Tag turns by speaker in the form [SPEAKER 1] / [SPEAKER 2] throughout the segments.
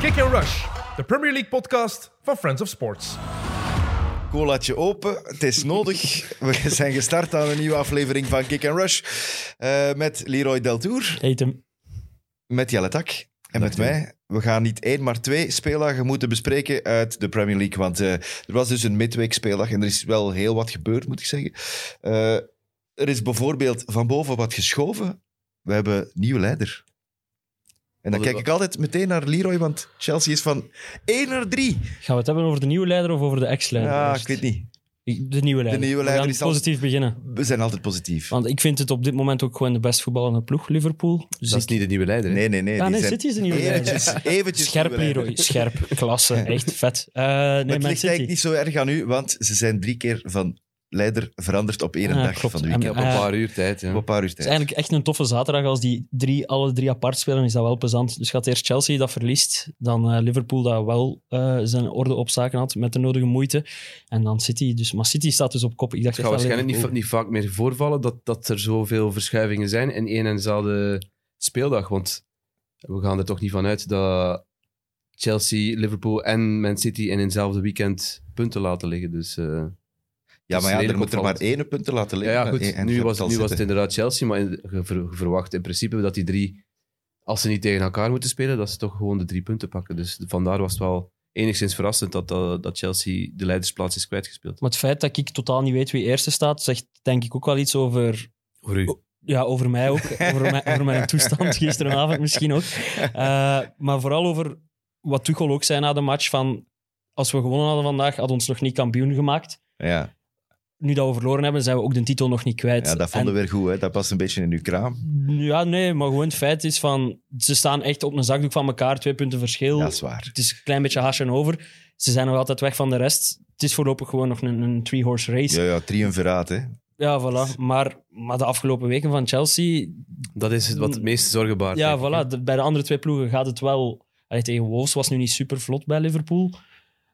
[SPEAKER 1] Kick and Rush, de Premier League podcast van Friends of Sports.
[SPEAKER 2] Colaatje open, het is nodig. We zijn gestart aan een nieuwe aflevering van Kick and Rush. eh, met Leroy Deltour,
[SPEAKER 3] Eet hem.
[SPEAKER 2] met Jelle Tak en met mij. We gaan niet één, maar twee speeldagen moeten bespreken uit de Premier League. Want eh, er was dus een midweek speeldag en er is wel heel wat gebeurd, moet ik zeggen. Eh, er is bijvoorbeeld van boven wat geschoven. We hebben een nieuwe leider. En dan kijk ik altijd meteen naar Leroy, want Chelsea is van 1 naar 3.
[SPEAKER 3] Gaan we het hebben over de nieuwe leider of over de ex-leider?
[SPEAKER 2] Ja, ik
[SPEAKER 3] eerst?
[SPEAKER 2] weet niet.
[SPEAKER 3] Ik- De nieuwe leider.
[SPEAKER 2] nieuwe
[SPEAKER 3] We
[SPEAKER 2] leider
[SPEAKER 3] gaan
[SPEAKER 2] is al-
[SPEAKER 3] positief beginnen.
[SPEAKER 2] We zijn altijd positief.
[SPEAKER 3] Want ik vind het op dit moment ook gewoon de best voetballende ploeg, Liverpool. Dus
[SPEAKER 4] Dat
[SPEAKER 3] ik...
[SPEAKER 4] is niet de nieuwe leider. hè?
[SPEAKER 2] Nee, nee, nee.
[SPEAKER 3] Ja,
[SPEAKER 2] die
[SPEAKER 3] nee,
[SPEAKER 2] zijn-
[SPEAKER 3] City is de nieuwe leider.
[SPEAKER 2] Eventjes, eventjes
[SPEAKER 3] Scherp,
[SPEAKER 2] nieuwe leider.
[SPEAKER 3] Leroy. Scherp. Klasse. Echt vet. Eh,
[SPEAKER 2] Maar
[SPEAKER 3] nee,
[SPEAKER 2] het
[SPEAKER 3] Man
[SPEAKER 2] ligt
[SPEAKER 3] City.
[SPEAKER 2] eigenlijk niet zo erg aan u, want ze zijn drie keer van leider veranderd op één
[SPEAKER 3] Ah,
[SPEAKER 2] dag
[SPEAKER 3] klopt.
[SPEAKER 2] van de
[SPEAKER 3] En-
[SPEAKER 2] weekend.
[SPEAKER 4] Op een
[SPEAKER 3] Eh,
[SPEAKER 4] paar uur tijd.
[SPEAKER 2] Op
[SPEAKER 4] Ja. Dus
[SPEAKER 2] een paar uur
[SPEAKER 3] Het
[SPEAKER 2] tijd.
[SPEAKER 3] is eigenlijk echt een toffe zaterdag. Als die drie, alle drie apart spelen, is dat wel plezant. Dus gaat eerst Chelsea dat verliest. Dan eh, Liverpool dat wel eh, zijn orde op zaken had met de nodige moeite. En dan City. Dus, maar City staat dus op kop. Ik dacht
[SPEAKER 4] Het gaat
[SPEAKER 3] echt wel
[SPEAKER 4] waarschijnlijk niet, va-
[SPEAKER 3] Liverpool.
[SPEAKER 4] niet vaak meer voorvallen dat, dat er zoveel verschuivingen zijn in één en dezelfde speeldag. Want we gaan er toch niet van uit dat Chelsea, Liverpool en Man City in eenzelfde weekend punten laten liggen. Dus, eh,
[SPEAKER 2] Ja, maar ja, er
[SPEAKER 4] redelijk
[SPEAKER 2] moet er maar
[SPEAKER 4] opvallend.
[SPEAKER 2] één punt te laten
[SPEAKER 4] ja,
[SPEAKER 2] liggen.
[SPEAKER 4] ja,
[SPEAKER 2] En-
[SPEAKER 4] goed.
[SPEAKER 2] en
[SPEAKER 4] Nu,
[SPEAKER 2] je
[SPEAKER 4] was,
[SPEAKER 2] hebt
[SPEAKER 4] nu
[SPEAKER 2] al
[SPEAKER 4] was het
[SPEAKER 2] zitten.
[SPEAKER 4] inderdaad Chelsea, maar in- je ver- je verwacht in principe dat die drie, als ze niet tegen elkaar moeten spelen, dat ze toch gewoon de drie punten pakken. Dus vandaar was het wel enigszins verrassend dat, dat, dat Chelsea de leidersplaats is kwijtgespeeld.
[SPEAKER 3] Maar het feit dat ik totaal niet weet wie eerste staat, zegt denk ik ook wel iets over,
[SPEAKER 4] Voor
[SPEAKER 2] Oh,
[SPEAKER 4] u.
[SPEAKER 3] ja, over mij ook. over, mij, over mijn toestand gisteravond misschien ook. Eh, maar vooral over wat Tuchel ook zei na de match: van als we gewonnen hadden vandaag, had ons nog niet kampioen gemaakt.
[SPEAKER 2] Ja,
[SPEAKER 3] Nu dat we verloren hebben, zijn we ook de titel nog niet kwijt.
[SPEAKER 2] ja, dat vonden we weer goed. Hè. Dat past een beetje in uw kraam.
[SPEAKER 3] En- Ja, nee, maar gewoon het feit is van ze staan echt op een zakdoek van elkaar, twee punten verschil.
[SPEAKER 2] Dat is waar.
[SPEAKER 3] Het is een klein beetje haasje over. Ze zijn nog altijd weg van de rest. Het is voorlopig gewoon nog een, een three-horse race.
[SPEAKER 2] Ja, ja, triumviraat, hè.
[SPEAKER 3] Ja, voilà. Maar, maar de afgelopen weken van Chelsea...
[SPEAKER 4] Dat is het wat het meest zorgen baart.
[SPEAKER 3] Ja,
[SPEAKER 4] denk ik, hè.
[SPEAKER 3] voilà. de- bij de andere twee ploegen gaat het wel... Allee, tegen Wolves was nu niet super vlot bij Liverpool.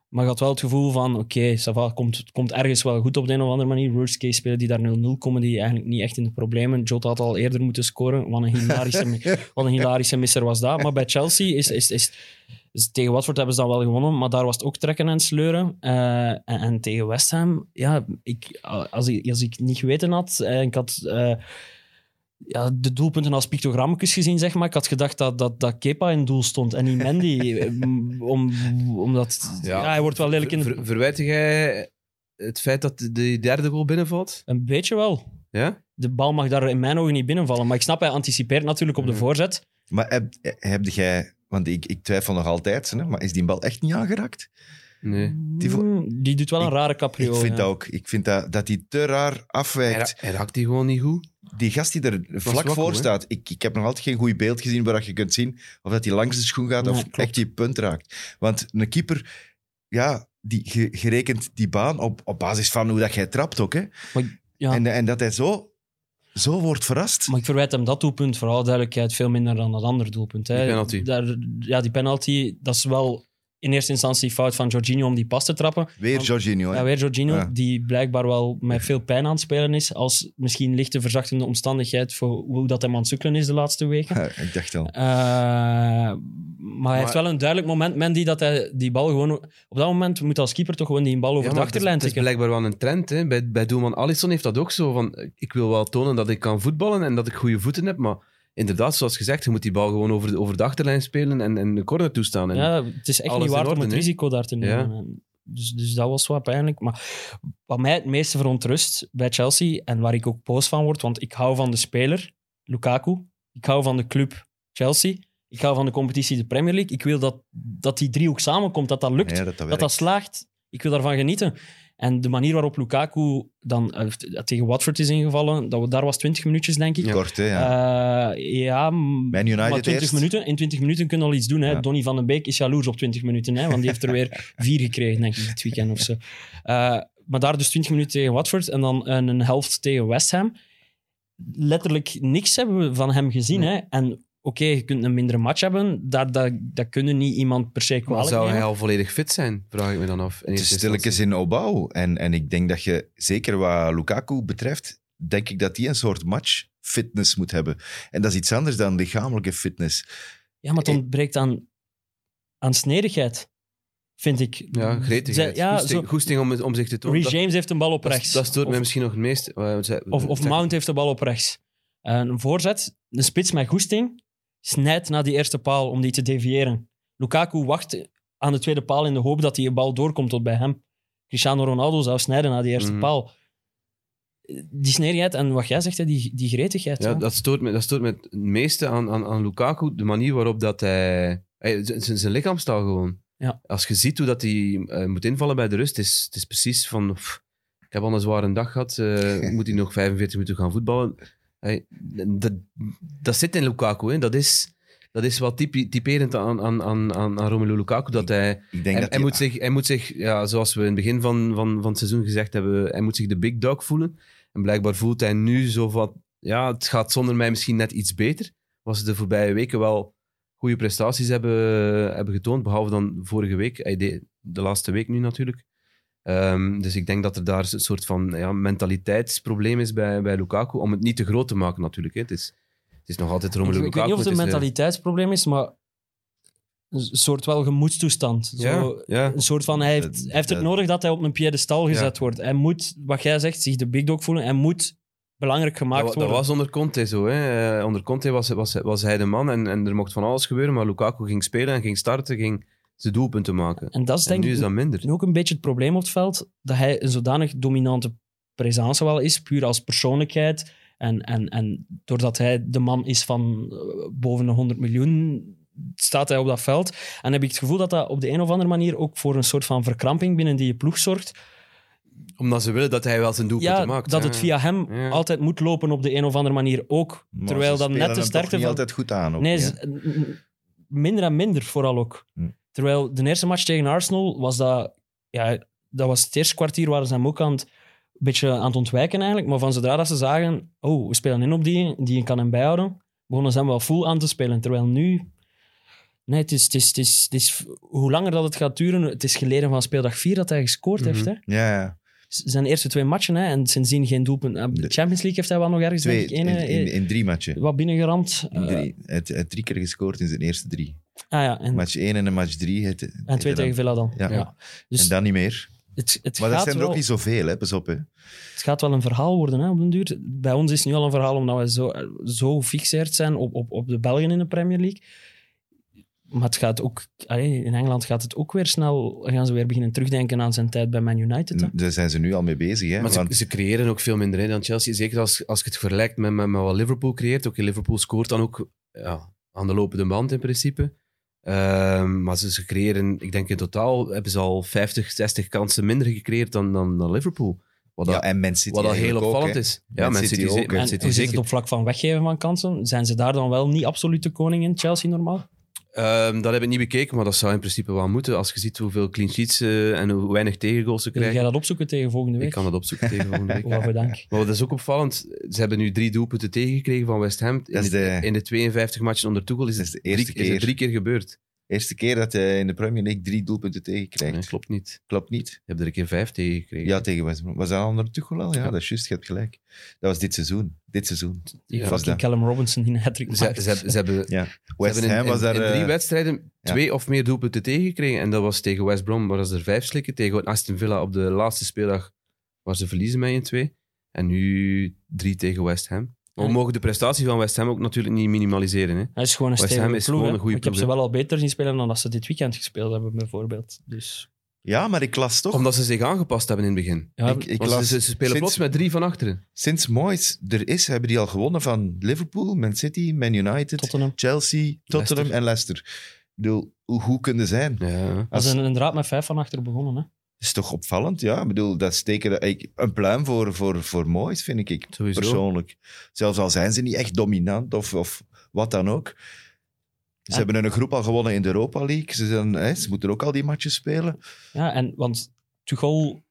[SPEAKER 3] Maar je had wel het gevoel van... Oké, ça va, komt, het komt ergens wel goed op de een of andere manier. Worst case spelen die daar 0-0 komen, die eigenlijk niet echt in de problemen. Jota had al eerder moeten scoren. Wat een hilarische, wat een hilarische misser was dat. Maar bij Chelsea is... is, is, is- Dus tegen Watford hebben ze dan wel gewonnen, maar daar was het ook trekken en sleuren. Eh, en, en tegen West Ham, ja, ik, als, ik, als ik niet geweten had, en ik had eh, ja, de doelpunten als pictogrammetjes gezien, zeg maar. Ik had gedacht dat, dat, dat Kepa in doel stond en niet Mandy. em, om, omdat... Ja.
[SPEAKER 4] Ja.
[SPEAKER 3] hij wordt wel lelijk in...
[SPEAKER 4] Ver- ver- verwijt jij het feit dat de derde goal binnenvalt?
[SPEAKER 3] Een beetje wel.
[SPEAKER 4] Ja?
[SPEAKER 3] De bal mag daar in mijn ogen niet binnenvallen. Maar ik snap, hij anticipeert natuurlijk op de
[SPEAKER 2] Mm.
[SPEAKER 4] Mhm.
[SPEAKER 3] voorzet.
[SPEAKER 2] Maar heb, heb jij... Want ik, ik twijfel nog altijd, hè, maar is die bal echt niet aangeraakt?
[SPEAKER 4] Nee.
[SPEAKER 2] Die vo-
[SPEAKER 3] Mm, die doet wel een
[SPEAKER 2] Ik-
[SPEAKER 3] rare caprio.
[SPEAKER 2] ik vind
[SPEAKER 3] ja.
[SPEAKER 2] dat ook. Ik vind dat, dat die te raar
[SPEAKER 4] Hij, ra-
[SPEAKER 2] afwijkt.
[SPEAKER 4] hij raakt die gewoon niet goed.
[SPEAKER 2] Die gast die er vlak
[SPEAKER 4] wakkel,
[SPEAKER 2] voor
[SPEAKER 4] hè?
[SPEAKER 2] staat, ik, ik heb nog altijd geen goed beeld gezien waar je kunt zien of dat hij langs de schoen gaat
[SPEAKER 3] Nee,
[SPEAKER 2] of
[SPEAKER 3] klopt.
[SPEAKER 2] echt die punt raakt. Want een keeper, ja, die, ge- gerekent die baan op, op basis van hoe dat jij trapt ook. Hè?
[SPEAKER 3] Maar- ja.
[SPEAKER 2] En, en dat hij zo, zo wordt verrast.
[SPEAKER 3] Maar ik verwijt hem dat doelpunt, vooral duidelijkheid, veel minder dan dat andere doelpunt. Hè.
[SPEAKER 4] Die penalty.
[SPEAKER 3] Daar, ja, die penalty, dat is wel in eerste instantie fout van Jorginho om die pas te trappen.
[SPEAKER 4] Oh
[SPEAKER 2] Weer
[SPEAKER 3] Want-
[SPEAKER 2] Jorginho. hè?
[SPEAKER 3] Ja, weer Jorginho,
[SPEAKER 2] Ja.
[SPEAKER 3] die blijkbaar wel met veel pijn aan het spelen is. Als misschien lichte verzachtende omstandigheid voor hoe dat hem aan het sukkelen is de laatste weken.
[SPEAKER 2] Ja, ik dacht al.
[SPEAKER 3] Eh, maar hij heeft wel een duidelijk moment, Mandy, dat hij die bal gewoon... Op dat moment moet als keeper toch gewoon die bal over
[SPEAKER 4] Ja,
[SPEAKER 3] de
[SPEAKER 4] maar het is-
[SPEAKER 3] achterlijn
[SPEAKER 4] het is
[SPEAKER 3] tikken.
[SPEAKER 4] blijkbaar wel een trend. Hè. Bij, bij Doelman Allison heeft dat ook zo. Van, ik wil wel tonen dat ik kan voetballen en dat ik goede voeten heb. Maar inderdaad, zoals gezegd, je moet die bal gewoon over de, over de achterlijn spelen en, en de corner toestaan. En,
[SPEAKER 3] Ja, het is echt
[SPEAKER 4] alles
[SPEAKER 3] niet
[SPEAKER 4] in
[SPEAKER 3] waard om
[SPEAKER 4] orde,
[SPEAKER 3] het
[SPEAKER 4] hè?
[SPEAKER 3] risico daar te nemen. En Dus, dus dat was wat pijnlijk. Maar wat mij het meeste verontrust bij Chelsea, en waar ik ook boos van word, want ik hou van de speler, Lukaku. Ik hou van de club, Chelsea. Ik hou van de competitie, de Premier League. Ik wil dat, dat die driehoek samenkomt, dat dat lukt,
[SPEAKER 2] Ja, dat dat
[SPEAKER 3] dat
[SPEAKER 2] werkt.
[SPEAKER 3] dat slaagt. Ik wil daarvan genieten. En de manier waarop Lukaku dan eh, tegen Watford is ingevallen, dat, we- daar was 20 minuutjes, denk ik.
[SPEAKER 2] Kort, hè. Ja.
[SPEAKER 3] Ja, ja m-
[SPEAKER 2] Man United
[SPEAKER 3] Eh, maar 20
[SPEAKER 2] eerst.
[SPEAKER 3] minuten, in 20 minuten kunnen we al iets doen. Hè.
[SPEAKER 2] Ja.
[SPEAKER 3] Donny van den Beek is jaloers op 20 minuten, hè, want die heeft er weer vier gekregen, denk ik, dit weekend of zo. Eh, maar daar dus 20 minuten tegen Watford en dan een, een helft tegen West Ham. Letterlijk niks hebben we van hem gezien. Hè. En oké, je kunt een mindere match hebben. Dat, dat, dat kunnen niet iemand per se
[SPEAKER 4] maar
[SPEAKER 3] kwalijk
[SPEAKER 4] zou
[SPEAKER 3] nemen.
[SPEAKER 4] hij al volledig fit zijn? Vraag ik me dan af.
[SPEAKER 2] Het is stilletjes in opbouw. En, en ik denk dat je, zeker wat Lukaku betreft, denk ik dat die een soort matchfitness moet hebben. En dat is iets anders dan lichamelijke fitness.
[SPEAKER 3] Ja, maar het ontbreekt aan aan snedigheid, vind ik.
[SPEAKER 4] Ja, gretigheid.
[SPEAKER 3] Zij- ja,
[SPEAKER 4] goesting,
[SPEAKER 3] zo-
[SPEAKER 4] goesting om, om zich te tonen.
[SPEAKER 3] Ree
[SPEAKER 4] Dat-
[SPEAKER 3] James heeft een bal op
[SPEAKER 4] dat,
[SPEAKER 3] rechts.
[SPEAKER 4] dat stoort
[SPEAKER 3] Of-
[SPEAKER 4] mij misschien nog het meest. Eh, want zij-
[SPEAKER 3] Of, of
[SPEAKER 4] zij-
[SPEAKER 3] Mount heeft de bal op rechts. Een voorzet, een spits met goesting, snijdt naar die eerste paal om die te deviëren. Lukaku wacht aan de tweede paal in de hoop dat die bal doorkomt tot bij hem. Cristiano Ronaldo zou snijden naar die eerste
[SPEAKER 4] Mhm.
[SPEAKER 3] paal. Die snedigheid en wat jij zegt, hè, die, die gretigheid.
[SPEAKER 4] Ja,
[SPEAKER 3] hè.
[SPEAKER 4] dat stoort me, dat stoort me het meeste aan, aan, aan Lukaku. De manier waarop dat hij... hij- z- zijn, zijn lichaamstaal gewoon.
[SPEAKER 3] Ja.
[SPEAKER 4] Als je ziet hoe dat hij eh, moet invallen bij de rust, het is, het is precies van... pff, ik heb al een zware dag gehad. eh, moet hij nog 45 minuten gaan voetballen? Hij- dat, dat zit in Lukaku. Hè. Dat, is, dat is wat typi- typerend aan, aan, aan, aan aan Romelu Lukaku. Dat hij...
[SPEAKER 2] Ik denk
[SPEAKER 4] Hij,
[SPEAKER 2] dat
[SPEAKER 4] hij
[SPEAKER 2] die-
[SPEAKER 4] moet zich, hij moet zich ja, zoals we in het begin van, van, van het seizoen gezegd hebben, hij moet zich de big dog voelen. En blijkbaar voelt hij nu zo van, ja, het gaat zonder mij misschien net iets beter. Was ze de voorbije weken wel goede prestaties hebben, hebben getoond, behalve dan vorige week, Hij deed- de laatste week nu natuurlijk. Ehm, dus ik denk dat er daar een soort van ja, mentaliteitsprobleem is bij, bij Lukaku, om het niet te groot te maken natuurlijk. Hè. Het, is, het is nog altijd
[SPEAKER 3] ik,
[SPEAKER 4] Romelu
[SPEAKER 3] ik
[SPEAKER 4] Lukaku.
[SPEAKER 3] weet niet of het een
[SPEAKER 4] is, eh,
[SPEAKER 3] mentaliteitsprobleem is, maar een soort wel gemoedstoestand. Zo,
[SPEAKER 4] ja, ja.
[SPEAKER 3] Een soort van, hij heeft,
[SPEAKER 4] Eh,
[SPEAKER 2] Dat-
[SPEAKER 3] hij heeft het
[SPEAKER 2] dat-
[SPEAKER 3] nodig dat hij op een piedestal gezet wordt. Hij moet, wat jij zegt, zich de big dog voelen. Hij moet belangrijk gemaakt
[SPEAKER 4] dat, wa-
[SPEAKER 3] worden.
[SPEAKER 4] Dat was onder Conte zo. Hè. Eh, Onder Conte was, was, was hij de man en, en er mocht van alles gebeuren. Maar Lukaku ging spelen en ging starten, ging zijn doelpunten maken.
[SPEAKER 3] en dat is
[SPEAKER 4] en
[SPEAKER 3] denk
[SPEAKER 4] nu is
[SPEAKER 3] ik
[SPEAKER 4] dat minder.
[SPEAKER 3] ook een beetje het probleem op het veld. Dat hij een zodanig dominante presence wel is, puur als persoonlijkheid. En, en, en doordat hij de man is van eh, boven de 100 miljoen, staat hij op dat veld. En heb ik het gevoel dat dat op de een of andere manier ook voor een soort van verkramping binnen die ploeg zorgt.
[SPEAKER 4] Omdat ze willen dat hij wel zijn doelpunten
[SPEAKER 3] Ja,
[SPEAKER 4] maakt.
[SPEAKER 3] dat
[SPEAKER 4] hè.
[SPEAKER 3] het via hem
[SPEAKER 4] Ja.
[SPEAKER 3] altijd moet lopen op de een of andere manier ook.
[SPEAKER 2] Maar
[SPEAKER 3] terwijl
[SPEAKER 2] ze
[SPEAKER 3] dan
[SPEAKER 2] spelen
[SPEAKER 3] net de
[SPEAKER 2] hem toch
[SPEAKER 3] sterkte
[SPEAKER 2] niet
[SPEAKER 3] van...
[SPEAKER 2] altijd goed aan. Ook,
[SPEAKER 3] Nee,
[SPEAKER 2] hè?
[SPEAKER 3] ze- n- n- minder en minder vooral ook.
[SPEAKER 2] Hm.
[SPEAKER 3] Terwijl de eerste match tegen Arsenal was dat... Ja, dat was het eerste kwartier waren ze hem ook aan het, een beetje aan het ontwijken eigenlijk. Maar van zodra dat ze zagen, oh, we spelen in op die, die kan hem bijhouden, begonnen ze hem wel full aan te spelen. Terwijl nu... Nee, het is, het is, het is, het is, hoe langer dat het gaat duren, het is geleden van speeldag 4 dat hij gescoord heeft.
[SPEAKER 4] Mhm.
[SPEAKER 3] Hè?
[SPEAKER 2] Ja, ja.
[SPEAKER 3] Zijn eerste twee matchen hè, en sindsdien geen doelpunt. Eh, De Champions League heeft hij wel nog ergens
[SPEAKER 2] Twee,
[SPEAKER 3] denk ik,
[SPEAKER 2] in,
[SPEAKER 3] één,
[SPEAKER 2] in,
[SPEAKER 3] eh,
[SPEAKER 2] in drie matchen.
[SPEAKER 3] wat binnengeramd.
[SPEAKER 2] In
[SPEAKER 3] Eh,
[SPEAKER 2] drie. Hij heeft- hij heeft drie keer gescoord in zijn eerste drie.
[SPEAKER 3] ah ja, en
[SPEAKER 2] Match 1 en een match 3. En
[SPEAKER 3] En twee tegen Villa dan.
[SPEAKER 2] Ja.
[SPEAKER 3] Ja.
[SPEAKER 2] Ja.
[SPEAKER 3] Dus
[SPEAKER 2] En dan niet meer.
[SPEAKER 3] het, het,
[SPEAKER 2] Maar dat
[SPEAKER 3] gaat
[SPEAKER 2] zijn er
[SPEAKER 3] wel,
[SPEAKER 2] ook niet zoveel, hè? pas op. Hè.
[SPEAKER 3] het gaat wel een verhaal worden hè, op den duur. Bij ons is het nu al een verhaal omdat we zo, zo gefixeerd zijn op, op, op de Belgen in de Premier League. Maar het gaat ook, allee, in Engeland gaat het ook weer snel. Gaan ze weer beginnen terugdenken aan zijn tijd bij Man United. Hè?
[SPEAKER 2] Daar zijn ze nu al mee bezig. Hè?
[SPEAKER 4] Maar ze,
[SPEAKER 2] Want
[SPEAKER 4] ze creëren ook veel minder hè, dan Chelsea. Zeker als, als je het vergelijkt met, met, met wat Liverpool creëert. Oké, Liverpool scoort dan ook ja, aan de lopende band in principe. Ehm, maar ze, ze creëren, ik denk in totaal, hebben ze al 50, 60 kansen minder gecreëerd dan, dan, dan Liverpool. Wat dat-
[SPEAKER 2] ja, en Man City
[SPEAKER 4] Wat al heel
[SPEAKER 2] eigenlijk ook,
[SPEAKER 4] opvallend
[SPEAKER 2] hè.
[SPEAKER 4] is. Ja,
[SPEAKER 2] Man
[SPEAKER 4] Man
[SPEAKER 2] City
[SPEAKER 4] City, ze-
[SPEAKER 2] ook, hè.
[SPEAKER 4] Man
[SPEAKER 3] En
[SPEAKER 4] City
[SPEAKER 3] hoe zit het
[SPEAKER 4] zeker.
[SPEAKER 3] op vlak van weggeven van kansen? Zijn ze daar dan wel niet absolute koning in Chelsea normaal?
[SPEAKER 4] Ehm, dat heb ik niet bekeken, maar dat zou in principe wel moeten. Als je ziet hoeveel clean sheets eh, en hoe weinig tegengoals ze
[SPEAKER 3] Kun jij
[SPEAKER 4] krijgen.
[SPEAKER 3] dat opzoeken tegen volgende week?
[SPEAKER 4] Ik kan dat opzoeken tegen volgende week.
[SPEAKER 3] Oh, waarvoor dank.
[SPEAKER 4] Maar dat is ook opvallend. Ze hebben nu drie doelpunten tegengekregen van West Ham. In
[SPEAKER 2] Dat is
[SPEAKER 4] de,
[SPEAKER 2] de
[SPEAKER 4] in de 52 matchen onder Tuchel is
[SPEAKER 2] Dat
[SPEAKER 4] het,
[SPEAKER 2] is de eerste
[SPEAKER 4] drie, is het
[SPEAKER 2] keer.
[SPEAKER 4] drie keer gebeurd.
[SPEAKER 2] eerste keer dat hij in de Premier League drie doelpunten tegenkrijgt.
[SPEAKER 4] Nee, klopt niet.
[SPEAKER 2] Klopt niet.
[SPEAKER 4] Je hebt er een keer vijf tegengekregen.
[SPEAKER 2] Ja, tegen West Brom. Was dat onder Tuchel al? Ja, dat is juist. Je hebt gelijk. Dat was dit seizoen. Dit seizoen.
[SPEAKER 3] Die
[SPEAKER 2] was
[SPEAKER 4] Ja,
[SPEAKER 2] dat.
[SPEAKER 3] fucking Callum Robinson die een hat-trick
[SPEAKER 4] ze, ze,
[SPEAKER 3] maakt.
[SPEAKER 4] hebben- ze hebben, ze
[SPEAKER 2] West
[SPEAKER 4] hebben in,
[SPEAKER 2] Ham was
[SPEAKER 4] in-
[SPEAKER 2] daar...
[SPEAKER 4] in drie
[SPEAKER 2] eh,
[SPEAKER 4] wedstrijden
[SPEAKER 2] ja.
[SPEAKER 4] twee of meer doelpunten tegengekregen. En dat was tegen West Brom, waar ze er vijf slikken. Tegen Aston Villa op de laatste speeldag, waar ze verliezen met 1-2. En nu drie tegen West Ham. Maar we
[SPEAKER 3] Ja.
[SPEAKER 4] mogen de prestatie van West Ham ook natuurlijk niet minimaliseren. Hè.
[SPEAKER 3] Hij is gewoon een
[SPEAKER 4] West Ham
[SPEAKER 3] stevige
[SPEAKER 4] is
[SPEAKER 3] ploeg,
[SPEAKER 4] gewoon
[SPEAKER 3] hè.
[SPEAKER 4] een goede
[SPEAKER 3] Ik heb
[SPEAKER 4] ploeg,
[SPEAKER 3] ze wel al beter zien spelen dan dat ze dit weekend gespeeld hebben, bijvoorbeeld. Dus,
[SPEAKER 2] ja, maar ik las toch...
[SPEAKER 4] Omdat ze zich aangepast hebben in het begin.
[SPEAKER 3] ja,
[SPEAKER 2] ik, ik
[SPEAKER 4] Want ze,
[SPEAKER 2] las,
[SPEAKER 4] ze- ze spelen
[SPEAKER 2] sinds-
[SPEAKER 4] plots met drie van achteren.
[SPEAKER 2] Sinds Moyes er is, hebben die al gewonnen van Liverpool, Man City, Man United,
[SPEAKER 3] Tottenham.
[SPEAKER 2] Chelsea, Tottenham
[SPEAKER 4] Leicester.
[SPEAKER 2] en Leicester. Ik bedoel, hoe goed kunnen zijn?
[SPEAKER 4] Ja.
[SPEAKER 3] Dat
[SPEAKER 2] Als-
[SPEAKER 3] is een, een draad met vijf van achter begonnen. Hè.
[SPEAKER 2] is toch opvallend, ja. Ik bedoel, dat steken ik, een pluim voor, voor, voor Moyes, vind ik, ik
[SPEAKER 4] Sowieso.
[SPEAKER 2] persoonlijk. Zelfs al zijn ze niet echt dominant of, of wat dan ook. Ze
[SPEAKER 3] Ja.
[SPEAKER 2] hebben een groep al gewonnen in de Europa League. Ze, zijn, hè, ze moeten ook al die matches spelen.
[SPEAKER 3] Ja, en, want Tuchel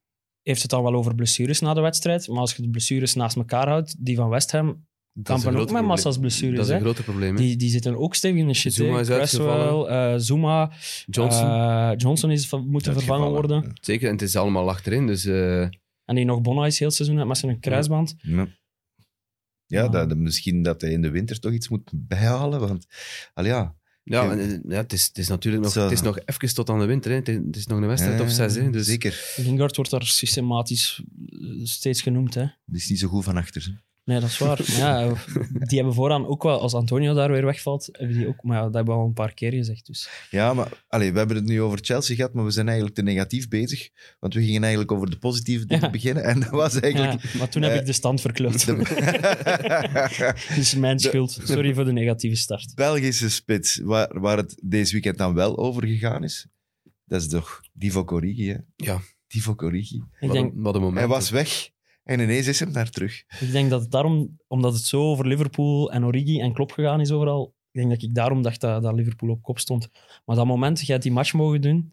[SPEAKER 3] heeft het dan wel over blessures na de wedstrijd, maar als je de blessures naast elkaar houdt, die van West Ham
[SPEAKER 4] Dat is een
[SPEAKER 3] kampen ook
[SPEAKER 4] groot
[SPEAKER 3] met
[SPEAKER 4] probleem.
[SPEAKER 3] massa's
[SPEAKER 4] Dat
[SPEAKER 3] blessures.
[SPEAKER 4] is een
[SPEAKER 3] Hè.
[SPEAKER 4] grote probleem. hè.
[SPEAKER 3] Die, die zitten ook stevig in de shit. hè.
[SPEAKER 4] Zuma is
[SPEAKER 3] Cresswell, eh, Zuma,
[SPEAKER 4] Johnson,
[SPEAKER 3] eh, Johnson is van- moeten vervangen
[SPEAKER 2] Uitgevallen.
[SPEAKER 3] worden.
[SPEAKER 4] zeker. En het is allemaal achterin, dus... eh,
[SPEAKER 3] En die nog Bonna is heel het seizoen uit met zijn kruisband.
[SPEAKER 2] Ja,
[SPEAKER 4] Ah.
[SPEAKER 2] ja dat, misschien dat hij in de winter toch iets moet bijhalen. Want al ja,
[SPEAKER 4] Ja, en, eh, ja het, is, het is natuurlijk nog,
[SPEAKER 2] Zo.
[SPEAKER 4] het is nog even tot aan de winter. Hè. Het, is, het is nog een wedstrijd of zes. Hè. Dus
[SPEAKER 2] Zeker.
[SPEAKER 3] Lingard wordt daar systematisch eh, steeds genoemd. Hè.
[SPEAKER 2] Die is niet zo goed van achter. hè.
[SPEAKER 3] Nee, dat is waar. ja, die hebben vooraan ook wel, als Antonio daar weer wegvalt, hebben die ook, maar ja, dat hebben we al een paar keer gezegd. Dus.
[SPEAKER 2] Ja, maar allee, we hebben het nu over Chelsea gehad, maar we zijn eigenlijk te negatief bezig. Want we gingen eigenlijk over de positieve dingen
[SPEAKER 3] Ja.
[SPEAKER 2] beginnen. En dat was
[SPEAKER 3] Ja,
[SPEAKER 2] eigenlijk...
[SPEAKER 3] maar toen heb ik de stand verkloot.
[SPEAKER 2] de-
[SPEAKER 3] Dat is mijn schuld. Sorry voor de negatieve start.
[SPEAKER 2] Belgische spits, waar, waar het deze weekend dan wel over gegaan is, dat is toch Divo Corrigi, hè?
[SPEAKER 4] Ja.
[SPEAKER 2] Divo Corrigi.
[SPEAKER 3] Ik
[SPEAKER 4] wat,
[SPEAKER 3] denk,
[SPEAKER 4] een, wat een moment.
[SPEAKER 2] Hij was weg en ineens is hem daar terug.
[SPEAKER 3] ik denk dat het daarom, omdat het zo over Liverpool en Origi en Klopp gegaan is overal, ik denk dat ik daarom dacht dat, dat Liverpool op kop stond. Maar dat moment, jij hebt die match mogen doen,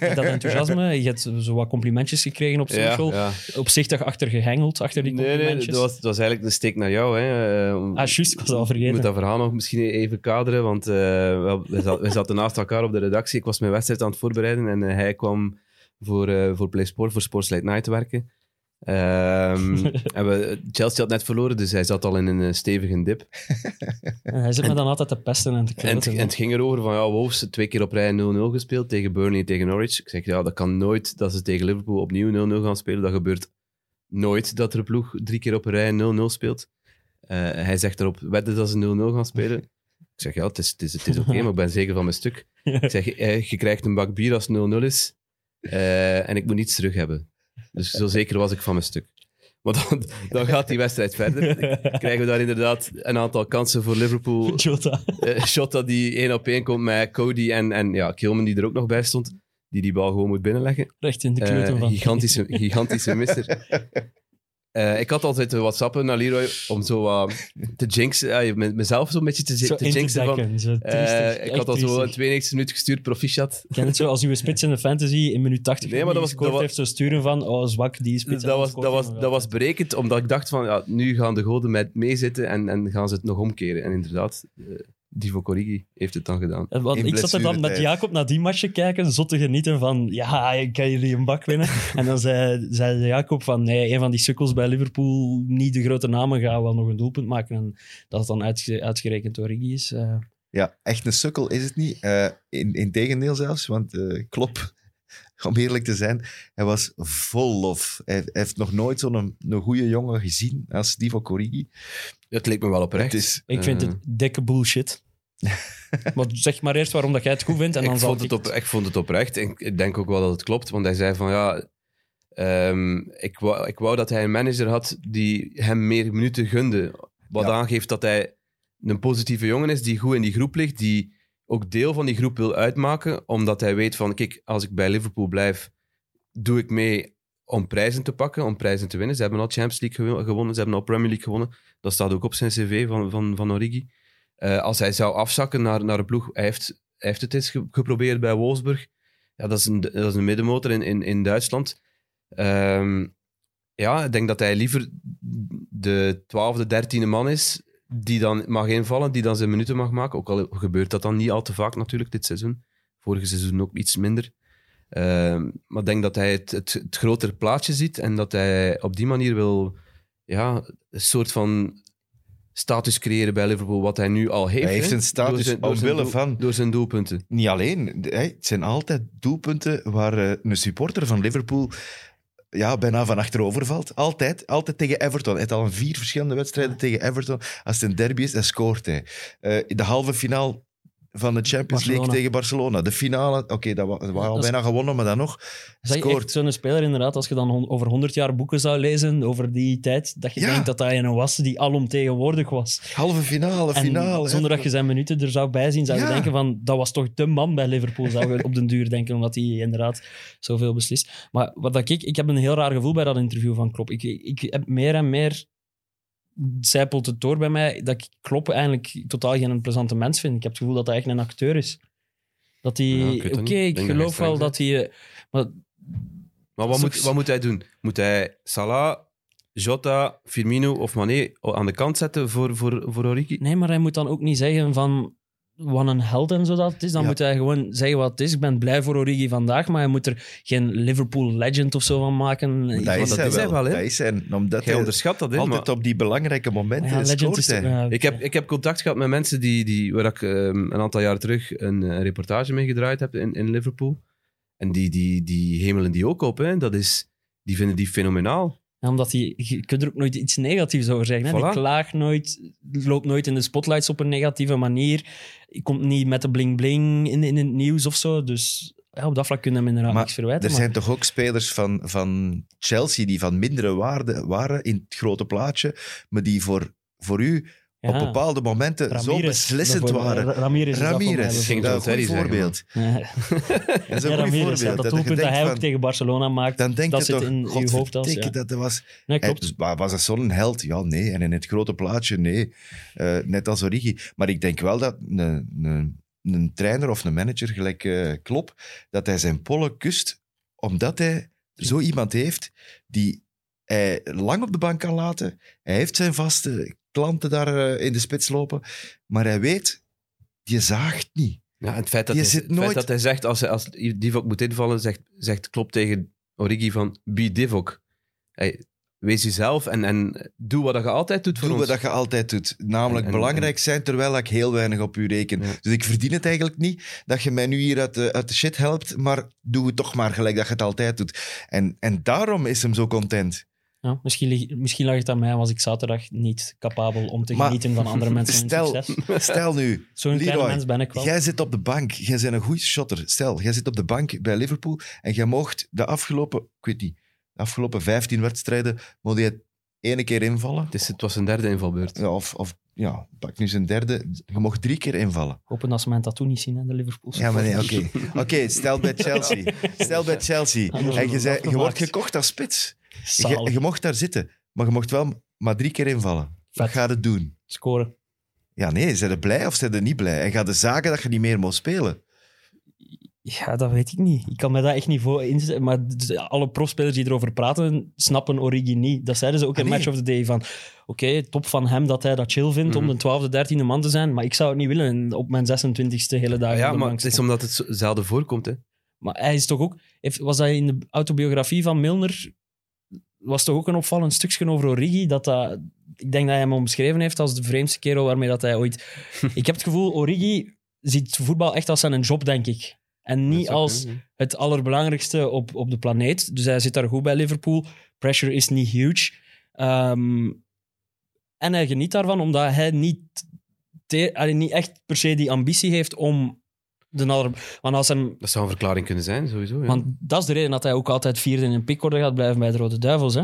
[SPEAKER 3] dat enthousiasme, je hebt zo wat complimentjes gekregen op
[SPEAKER 4] Ja,
[SPEAKER 3] social,
[SPEAKER 4] ja.
[SPEAKER 3] opzichtig achter gehengeld, achter die
[SPEAKER 4] Nee, nee,
[SPEAKER 3] complimentjes.
[SPEAKER 4] dat was, dat was eigenlijk een steek naar jou. Hè. Eh, om-
[SPEAKER 3] Ah, juist, ik was dat al
[SPEAKER 4] Ik
[SPEAKER 3] vergeten.
[SPEAKER 4] moet dat verhaal nog misschien even kaderen, want eh, wel, wij, zat- wij zaten naast elkaar op de redactie. Ik was mijn wedstrijd aan het voorbereiden en eh, hij kwam voor, eh voor PlaySport, voor Sports Late Night te werken. Ehm, en we, Chelsea had net verloren, dus hij zat al in een eh, stevige dip.
[SPEAKER 3] En hij zit me dan altijd te pesten en te
[SPEAKER 4] En, het-
[SPEAKER 3] kloten.
[SPEAKER 4] en het ging erover van, ja, Wolves twee keer op rij 0-0 gespeeld tegen Burnley en tegen Norwich. Ik zeg, ja, dat kan nooit dat ze tegen Liverpool opnieuw 0-0 gaan spelen. Dat gebeurt nooit dat er een ploeg drie keer op rij 0-0 speelt. Eh, hij zegt erop, wedden dat ze 0-0 gaan spelen. Ik zeg, ja, het is, het is, het is oké, maar ik ben zeker van mijn stuk. Ik zeg, eh, je krijgt een bak bier als het 0-0 is eh, en ik moet niets terug hebben. Dus zo zeker was ik van mijn stuk. Maar dan, dan gaat die wedstrijd verder. Krijgen we daar inderdaad een aantal kansen voor Liverpool.
[SPEAKER 3] Jota.
[SPEAKER 4] Eh, shot dat die één op één komt met Cody en, en ja, Kilman die er ook nog bij stond. Die die bal gewoon moet binnenleggen.
[SPEAKER 3] Recht in de
[SPEAKER 4] Eh,
[SPEAKER 3] kloten van.
[SPEAKER 4] gigantische, gigantische misser. Eh, ik had altijd WhatsAppen naar Leroy om zo wat te jinxen. eh, met mezelf zo'n beetje te,
[SPEAKER 3] zo
[SPEAKER 4] te
[SPEAKER 3] in te
[SPEAKER 4] jinxen. Van,
[SPEAKER 3] dekken. Zo
[SPEAKER 4] eh,
[SPEAKER 3] triestig,
[SPEAKER 4] ik
[SPEAKER 3] echt
[SPEAKER 4] had al zo
[SPEAKER 3] triestig.
[SPEAKER 4] 92 minuten gestuurd, proficiat.
[SPEAKER 3] Ik ken het zo als uw spits in de fantasy in minuut 80
[SPEAKER 4] Nee, maar dat was-
[SPEAKER 3] gescoord
[SPEAKER 4] dat wa-
[SPEAKER 3] heeft, zo sturen van oh, zwak, die spits.
[SPEAKER 4] Dus dat,
[SPEAKER 3] en dan
[SPEAKER 4] was,
[SPEAKER 3] scoort
[SPEAKER 4] dat,
[SPEAKER 3] hij nog
[SPEAKER 4] was, dat
[SPEAKER 3] wel.
[SPEAKER 4] was berekend, omdat ik dacht van ja, nu gaan de goden met meezitten en, en gaan ze het nog omkeren. En inderdaad, eh, Divo Corrigi heeft het dan gedaan.
[SPEAKER 3] En wat-
[SPEAKER 2] in
[SPEAKER 3] ik zat er dan met
[SPEAKER 2] blessuretijd.
[SPEAKER 3] Jacob naar die match te kijken, zot te genieten van ja, ik kan jullie een bak winnen. en dan zei, zei Jacob van nee, een van die sukkels bij Liverpool, niet de grote namen, gaan wel nog een doelpunt maken. En dat het dan uitge- uitgerekend door Riggy is. eh,
[SPEAKER 2] Ja, echt een sukkel is het niet. Eh in, tegendeel zelfs, want eh Klop, om eerlijk te zijn, hij was vol lof. Hij, hij heeft nog nooit zo'n een goede jongen gezien als Divo Corrigi.
[SPEAKER 4] Dat leek me wel oprecht.
[SPEAKER 2] Het is...
[SPEAKER 3] ik vind
[SPEAKER 4] Eh.
[SPEAKER 3] het dikke bullshit. maar zeg maar eerst waarom dat jij het goed vindt en dan
[SPEAKER 4] ik,
[SPEAKER 3] zal
[SPEAKER 4] vond het
[SPEAKER 3] ik
[SPEAKER 4] op, ik vond het oprecht. En ik denk ook wel dat het klopt. Want hij zei van ja. ehm, ik, wou, ik wou dat hij een manager had die hem meer minuten gunde. Wat
[SPEAKER 2] Ja.
[SPEAKER 4] aangeeft dat hij een positieve jongen is die goed in die groep ligt. Die ook deel van die groep wil uitmaken. Omdat hij weet van kijk, als ik bij Liverpool blijf, doe ik mee om prijzen te pakken, om prijzen te winnen. Ze hebben al Champions League gewo- gewonnen, ze hebben al Premier League gewonnen. Dat staat ook op zijn cv van, van, van Origi. Eh, als hij zou afzakken naar, naar een ploeg, hij heeft, hij heeft het eens ge- geprobeerd bij Wolfsburg. Ja, dat, is een, dat is een middenmotor in, in, in Duitsland. Ehm, ja, ik denk dat hij liever de twaalfde, dertiende man is die dan mag invallen, die dan zijn minuten mag maken. Ook al gebeurt dat dan niet al te vaak natuurlijk dit seizoen. Vorige seizoen ook iets minder. Ehm, maar ik denk dat hij het, het, het grotere plaatje ziet en dat hij op die manier wil ja, een soort van status creëren bij Liverpool, wat hij nu al heeft.
[SPEAKER 2] Hij heeft
[SPEAKER 4] hè?
[SPEAKER 2] een status omwille
[SPEAKER 4] doel-
[SPEAKER 2] van-
[SPEAKER 4] Door zijn doelpunten.
[SPEAKER 2] Niet alleen, de- hè, het zijn altijd doelpunten waar eh, een supporter van Liverpool ja, bijna van achterover valt. Altijd, altijd tegen Everton. Hij heeft al een vier verschillende wedstrijden tegen Everton. Als het een derby is, dan scoort hij. Eh, in de halve finale van de Champions
[SPEAKER 3] Barcelona.
[SPEAKER 2] League tegen Barcelona. De finale, oké, dat wa- dat waren al
[SPEAKER 3] Dat is-
[SPEAKER 2] bijna gewonnen, maar dan nog.
[SPEAKER 3] Zeg, echt
[SPEAKER 2] Scoort.
[SPEAKER 3] zo'n speler inderdaad, als je dan hon- over 100 jaar boeken zou lezen over die tijd, dat je
[SPEAKER 2] Ja.
[SPEAKER 3] denkt dat hij een was die alomtegenwoordig was.
[SPEAKER 2] Halve finale,
[SPEAKER 3] En
[SPEAKER 2] finale. hè.
[SPEAKER 3] zonder dat je zijn minuten er zou bij zien, zou je
[SPEAKER 2] Ja.
[SPEAKER 3] denken van, dat was toch de man bij Liverpool, zou je op den duur denken, omdat hij inderdaad zoveel beslist. Maar wat dat ik, ik heb een heel raar gevoel bij dat interview van Klopp. Ik, ik heb meer en meer, zijpelt het door bij mij, dat ik Klopp eigenlijk totaal geen plezante mens vind. Ik heb het gevoel dat hij echt een acteur is. Dat hij,
[SPEAKER 4] Ja, ik weet dat
[SPEAKER 3] oké,
[SPEAKER 4] niet. Ik
[SPEAKER 3] ik
[SPEAKER 4] denk dat
[SPEAKER 3] geloof
[SPEAKER 4] hij
[SPEAKER 3] wel
[SPEAKER 4] streng
[SPEAKER 3] dat hij... eh, Maar Dat
[SPEAKER 4] Maar wat
[SPEAKER 3] is
[SPEAKER 4] moet,
[SPEAKER 3] ook-
[SPEAKER 4] wat moet hij doen? Moet hij Salah, Jota, Firmino of Mané aan de kant zetten voor, voor, voor Origi?
[SPEAKER 3] Nee, maar hij moet dan ook niet zeggen van... wat een held en zo dat het is, dan
[SPEAKER 2] Ja.
[SPEAKER 3] moet hij gewoon zeggen wat het is. Ik ben blij voor Origi vandaag, maar hij moet er geen Liverpool legend of zo van maken.
[SPEAKER 2] Dat,
[SPEAKER 3] Ja,
[SPEAKER 2] is,
[SPEAKER 4] dat
[SPEAKER 2] hij
[SPEAKER 4] is hij
[SPEAKER 2] wel,
[SPEAKER 4] wel, hè?
[SPEAKER 2] Dat is hij. Omdat
[SPEAKER 4] Jij
[SPEAKER 2] hij
[SPEAKER 4] onderschat dat, hè? maar-
[SPEAKER 2] altijd op die belangrijke momenten
[SPEAKER 3] ja, legend
[SPEAKER 2] scoort
[SPEAKER 3] is
[SPEAKER 2] hij.
[SPEAKER 3] toch- ja,
[SPEAKER 4] Ik heb, ik heb contact gehad met mensen die, die, waar ik ehm, een aantal jaar terug een, eh, reportage mee gedraaid heb in, in Liverpool. En die, die, die hemelen die ook op. Hè. Dat is, die vinden die fenomenaal.
[SPEAKER 3] Ja, omdat hij, je kunt er ook nooit iets negatiefs over zeggen. Hè? Die
[SPEAKER 4] Voilà.
[SPEAKER 3] klaagt nooit, loopt nooit in de spotlights op een negatieve manier. Komt niet met de bling-bling in, in het nieuws of zo. Dus ja, op dat vlak kunnen we hem inderdaad
[SPEAKER 2] Maar
[SPEAKER 3] niks verwijten.
[SPEAKER 2] Er
[SPEAKER 3] maar-
[SPEAKER 2] zijn toch ook spelers van, van Chelsea die van mindere waarde waren in het grote plaatje, maar die voor, voor u op
[SPEAKER 3] Ja.
[SPEAKER 2] bepaalde momenten zo
[SPEAKER 3] Ramirez,
[SPEAKER 2] beslissend
[SPEAKER 3] bijvoorbeeld.
[SPEAKER 2] waren.
[SPEAKER 3] Ra- Ramirez. is dat voor mij,
[SPEAKER 2] Ramirez,
[SPEAKER 3] bijvoorbeeld.
[SPEAKER 4] ging
[SPEAKER 2] dat is
[SPEAKER 4] Valtteri
[SPEAKER 2] een goed
[SPEAKER 4] zeggen,
[SPEAKER 2] voorbeeld.
[SPEAKER 3] Ja,
[SPEAKER 2] Dat is een
[SPEAKER 3] ja,
[SPEAKER 2] goed
[SPEAKER 3] Ramirez, ja,
[SPEAKER 2] voorbeeld.
[SPEAKER 3] dat
[SPEAKER 2] Dat je
[SPEAKER 3] doelpunt dat
[SPEAKER 2] denkt
[SPEAKER 3] hij ook
[SPEAKER 2] van-
[SPEAKER 3] tegen Barcelona maakt,
[SPEAKER 2] Dan denk
[SPEAKER 3] dat
[SPEAKER 2] je
[SPEAKER 3] zit
[SPEAKER 2] toch,
[SPEAKER 3] in uw hoofd. als-
[SPEAKER 2] godverdikke,
[SPEAKER 3] ja.
[SPEAKER 2] dat dat was...
[SPEAKER 3] Nee,
[SPEAKER 2] Hij-
[SPEAKER 3] klopt.
[SPEAKER 2] dus wa- was dat zo'n held? Ja, nee. En in het grote plaatje, nee. Eh, net als Origi. Maar ik denk wel dat een, een, een trainer of een manager, gelijk eh Klopp, dat hij zijn pollen kust, omdat hij zo iemand heeft die hij lang op de bank kan laten. Hij heeft zijn vaste klanten daar eh, in de spits lopen. Maar hij weet, je zaagt niet.
[SPEAKER 4] Ja, en het feit dat,
[SPEAKER 2] Je
[SPEAKER 4] hij,
[SPEAKER 2] zit
[SPEAKER 4] het feit
[SPEAKER 2] nooit-
[SPEAKER 4] dat hij zegt, als, hij, als Divok moet invallen, zegt, zegt Klopp tegen Origi van, be Divok. Hey, wees jezelf en, en doe wat je altijd doet voor
[SPEAKER 2] Doe
[SPEAKER 4] ons.
[SPEAKER 2] wat dat je altijd doet. Namelijk
[SPEAKER 4] En- en-
[SPEAKER 2] belangrijk zijn, terwijl ik heel weinig op u reken.
[SPEAKER 4] Ja.
[SPEAKER 2] Dus ik verdien het eigenlijk niet dat je mij nu hier uit de, uit de shit helpt, maar doe het toch maar gelijk dat je het altijd doet. En, en daarom is hem zo content.
[SPEAKER 3] Ja, misschien, lig- misschien lag het aan mij, was ik zaterdag niet capabel om te
[SPEAKER 2] Maar
[SPEAKER 3] genieten van andere mensen hun
[SPEAKER 2] stel-
[SPEAKER 3] succes.
[SPEAKER 2] Stel nu,
[SPEAKER 3] Zo'n kleine
[SPEAKER 2] Leroy,
[SPEAKER 3] mens ben ik wel.
[SPEAKER 2] jij zit op de bank, jij bent een goede shotter. Stel, jij zit op de bank bij Liverpool en jij mocht de afgelopen, ik weet niet, de afgelopen 15 wedstrijden, mocht je ene keer invallen.
[SPEAKER 4] Het, is, het was een derde invalbeurt.
[SPEAKER 2] Ja, Of, of ja, pak nu zijn derde, je mocht drie keer invallen.
[SPEAKER 3] Hopen dat ze mijn tattoo niet zien, hè, de Liverpool.
[SPEAKER 2] Ja, maar nee, oké.
[SPEAKER 3] supporters.
[SPEAKER 2] Oké, stel bij Chelsea. Stel bij Chelsea.
[SPEAKER 3] Anders
[SPEAKER 2] En je,
[SPEAKER 3] wordt
[SPEAKER 2] zei, je
[SPEAKER 3] het
[SPEAKER 2] wordt
[SPEAKER 3] afgemaakt.
[SPEAKER 2] gekocht als spits. Je,
[SPEAKER 3] Zalig.
[SPEAKER 2] je mocht daar zitten, maar je mocht wel maar drie keer invallen. Wat
[SPEAKER 3] Vet.
[SPEAKER 2] gaat het doen?
[SPEAKER 3] Scoren.
[SPEAKER 2] Ja, nee, zijn er blij of zijn er niet blij? En gaat de zaken dat je niet meer mocht spelen?
[SPEAKER 3] Ja, dat weet ik niet. Ik kan me daar echt niet voor inzetten. Maar d- alle profspelers die erover praten, snappen Origi niet. Dat zeiden ze ook
[SPEAKER 2] Ah,
[SPEAKER 3] in
[SPEAKER 2] nee.
[SPEAKER 3] Match of the Day. Van, oké, top van hem dat hij dat chill vindt
[SPEAKER 4] Mhm.
[SPEAKER 3] om de 12e, 13e man te zijn. Maar ik zou het niet willen en op mijn 26e hele dag.
[SPEAKER 4] ja,
[SPEAKER 3] op de
[SPEAKER 4] maar
[SPEAKER 3] bank
[SPEAKER 4] het is
[SPEAKER 3] staan.
[SPEAKER 4] omdat het zo- zelden voorkomt. Hè.
[SPEAKER 3] Maar hij is toch ook... heeft- Was dat in de autobiografie van Milner... Was toch ook een opvallend stukje over Origi, dat dat... Ik denk dat hij hem omschreven heeft als de vreemdste kerel waarmee dat hij ooit... ik heb het gevoel, Origi ziet voetbal echt als zijn job, denk ik. En
[SPEAKER 4] Dat
[SPEAKER 3] niet
[SPEAKER 4] zou
[SPEAKER 3] als
[SPEAKER 4] kunnen,
[SPEAKER 3] het allerbelangrijkste op, op de planeet. Dus hij zit daar goed bij Liverpool. Pressure is niet huge. Ehm, en hij geniet daarvan omdat hij niet, te- allee, niet echt per se die ambitie heeft om de aller... Want, als hem,
[SPEAKER 4] ja. Dat zou een verklaring kunnen zijn, sowieso. Ja.
[SPEAKER 3] want dat is de reden dat hij ook altijd vierde in een pickorde gaat blijven bij de Rode Duivels. Hè?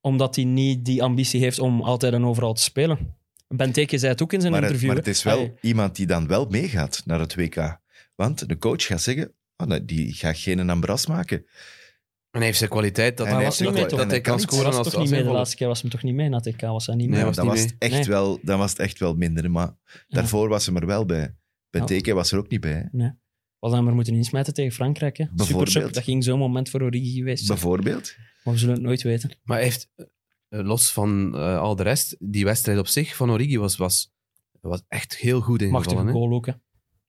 [SPEAKER 3] Omdat hij niet die ambitie heeft om altijd en overal te spelen. Benteke zei het ook in zijn
[SPEAKER 2] Maar het,
[SPEAKER 3] interview.
[SPEAKER 2] maar het
[SPEAKER 3] hè.
[SPEAKER 2] is wel
[SPEAKER 3] Allee,
[SPEAKER 2] iemand die dan wel meegaat naar het WK. Want de coach gaat zeggen, oh, nou, die gaat geen ambras maken.
[SPEAKER 4] En hij heeft zijn kwaliteit dat,
[SPEAKER 2] En hij
[SPEAKER 4] dat,
[SPEAKER 2] heeft zijn
[SPEAKER 4] dat,
[SPEAKER 3] kwaliteit.
[SPEAKER 4] dat hij
[SPEAKER 2] En
[SPEAKER 4] kan
[SPEAKER 2] hij kan
[SPEAKER 4] scoren
[SPEAKER 3] was
[SPEAKER 4] als,
[SPEAKER 3] toch niet
[SPEAKER 4] als
[SPEAKER 3] mee. De
[SPEAKER 4] invaller.
[SPEAKER 3] laatste keer was hem toch niet mee. Na TK was hij niet
[SPEAKER 4] Nee,
[SPEAKER 3] mee.
[SPEAKER 2] Ja,
[SPEAKER 4] was
[SPEAKER 2] dan,
[SPEAKER 4] niet
[SPEAKER 2] was het echt
[SPEAKER 3] Nee.
[SPEAKER 2] wel, dan was het echt wel minder. Maar daarvoor was ze er wel bij. Benteke was er ook niet bij. hè.
[SPEAKER 3] Wat dan maar moeten insmijten tegen Frankrijk. Hè. Super,
[SPEAKER 2] Bijvoorbeeld.
[SPEAKER 3] super. Dat ging zo'n moment voor Origi geweest. zijn.
[SPEAKER 2] Bijvoorbeeld.
[SPEAKER 3] Maar we zullen het nooit weten.
[SPEAKER 4] Maar hij heeft, eh, los van eh, al de rest, die wedstrijd op zich van Origi was, was, was echt heel goed
[SPEAKER 3] Machtige
[SPEAKER 4] ingevallen. hè.
[SPEAKER 3] goal ook. Hè.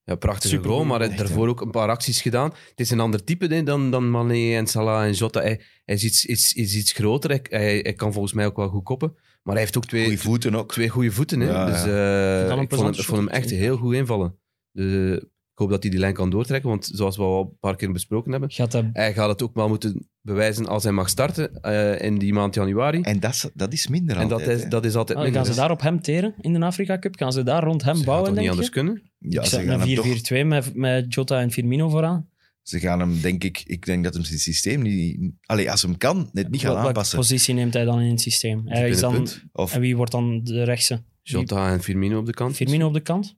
[SPEAKER 4] Ja, prachtige
[SPEAKER 3] Supergoed.
[SPEAKER 4] goal, maar hij heeft
[SPEAKER 2] Echt,
[SPEAKER 4] daarvoor ook een paar acties gedaan. Het is een ander type hè, dan, dan Mané en Salah en Jota. Hij, hij is, iets, iets, is iets groter, hij, hij, hij kan volgens mij ook wel goed koppen. Maar hij heeft ook twee
[SPEAKER 2] Goeie voeten ook.
[SPEAKER 4] twee goede voeten. Hè?
[SPEAKER 2] Ja, ja.
[SPEAKER 4] dus
[SPEAKER 3] Kan
[SPEAKER 4] eh
[SPEAKER 3] een
[SPEAKER 4] ik vond, hem,
[SPEAKER 3] plezante
[SPEAKER 4] ik vond hem
[SPEAKER 3] shot
[SPEAKER 4] echt
[SPEAKER 3] in.
[SPEAKER 4] heel goed invallen. Dus, eh, ik hoop dat hij die lijn kan doortrekken, want zoals we al een paar keer besproken hebben,
[SPEAKER 3] Gaat hij
[SPEAKER 4] hij gaat het ook wel moeten bewijzen als hij mag starten eh, in die maand januari. En,
[SPEAKER 2] En dat is, dat is minder
[SPEAKER 4] dat,
[SPEAKER 2] altijd,
[SPEAKER 4] is,
[SPEAKER 2] hè.
[SPEAKER 4] dat is altijd
[SPEAKER 3] Ah,
[SPEAKER 4] minder.
[SPEAKER 3] gaan ze daar op hem teren in de Afrika Cup? Gaan ze daar rond hem
[SPEAKER 4] Ze gaan
[SPEAKER 3] bouwen,
[SPEAKER 4] toch niet
[SPEAKER 3] denk
[SPEAKER 4] anders
[SPEAKER 3] je?
[SPEAKER 4] kunnen?
[SPEAKER 2] Ja,
[SPEAKER 3] ik
[SPEAKER 2] ze
[SPEAKER 3] zag
[SPEAKER 2] gaan hem
[SPEAKER 3] een
[SPEAKER 2] toch
[SPEAKER 3] 4-4-2 met, met Jota en Firmino vooraan.
[SPEAKER 2] Ze gaan hem, denk ik, ik denk dat hem zijn systeem niet. Allee, als hem kan, net niet gaan
[SPEAKER 3] Wel- welke
[SPEAKER 2] aanpassen.
[SPEAKER 3] positie neemt hij dan in het systeem? Hij is dan,
[SPEAKER 4] Binnenpunt.
[SPEAKER 2] Of
[SPEAKER 3] en wie wordt dan de rechtse?
[SPEAKER 4] Jota en Firmino op de kant.
[SPEAKER 3] Firmino op de kant?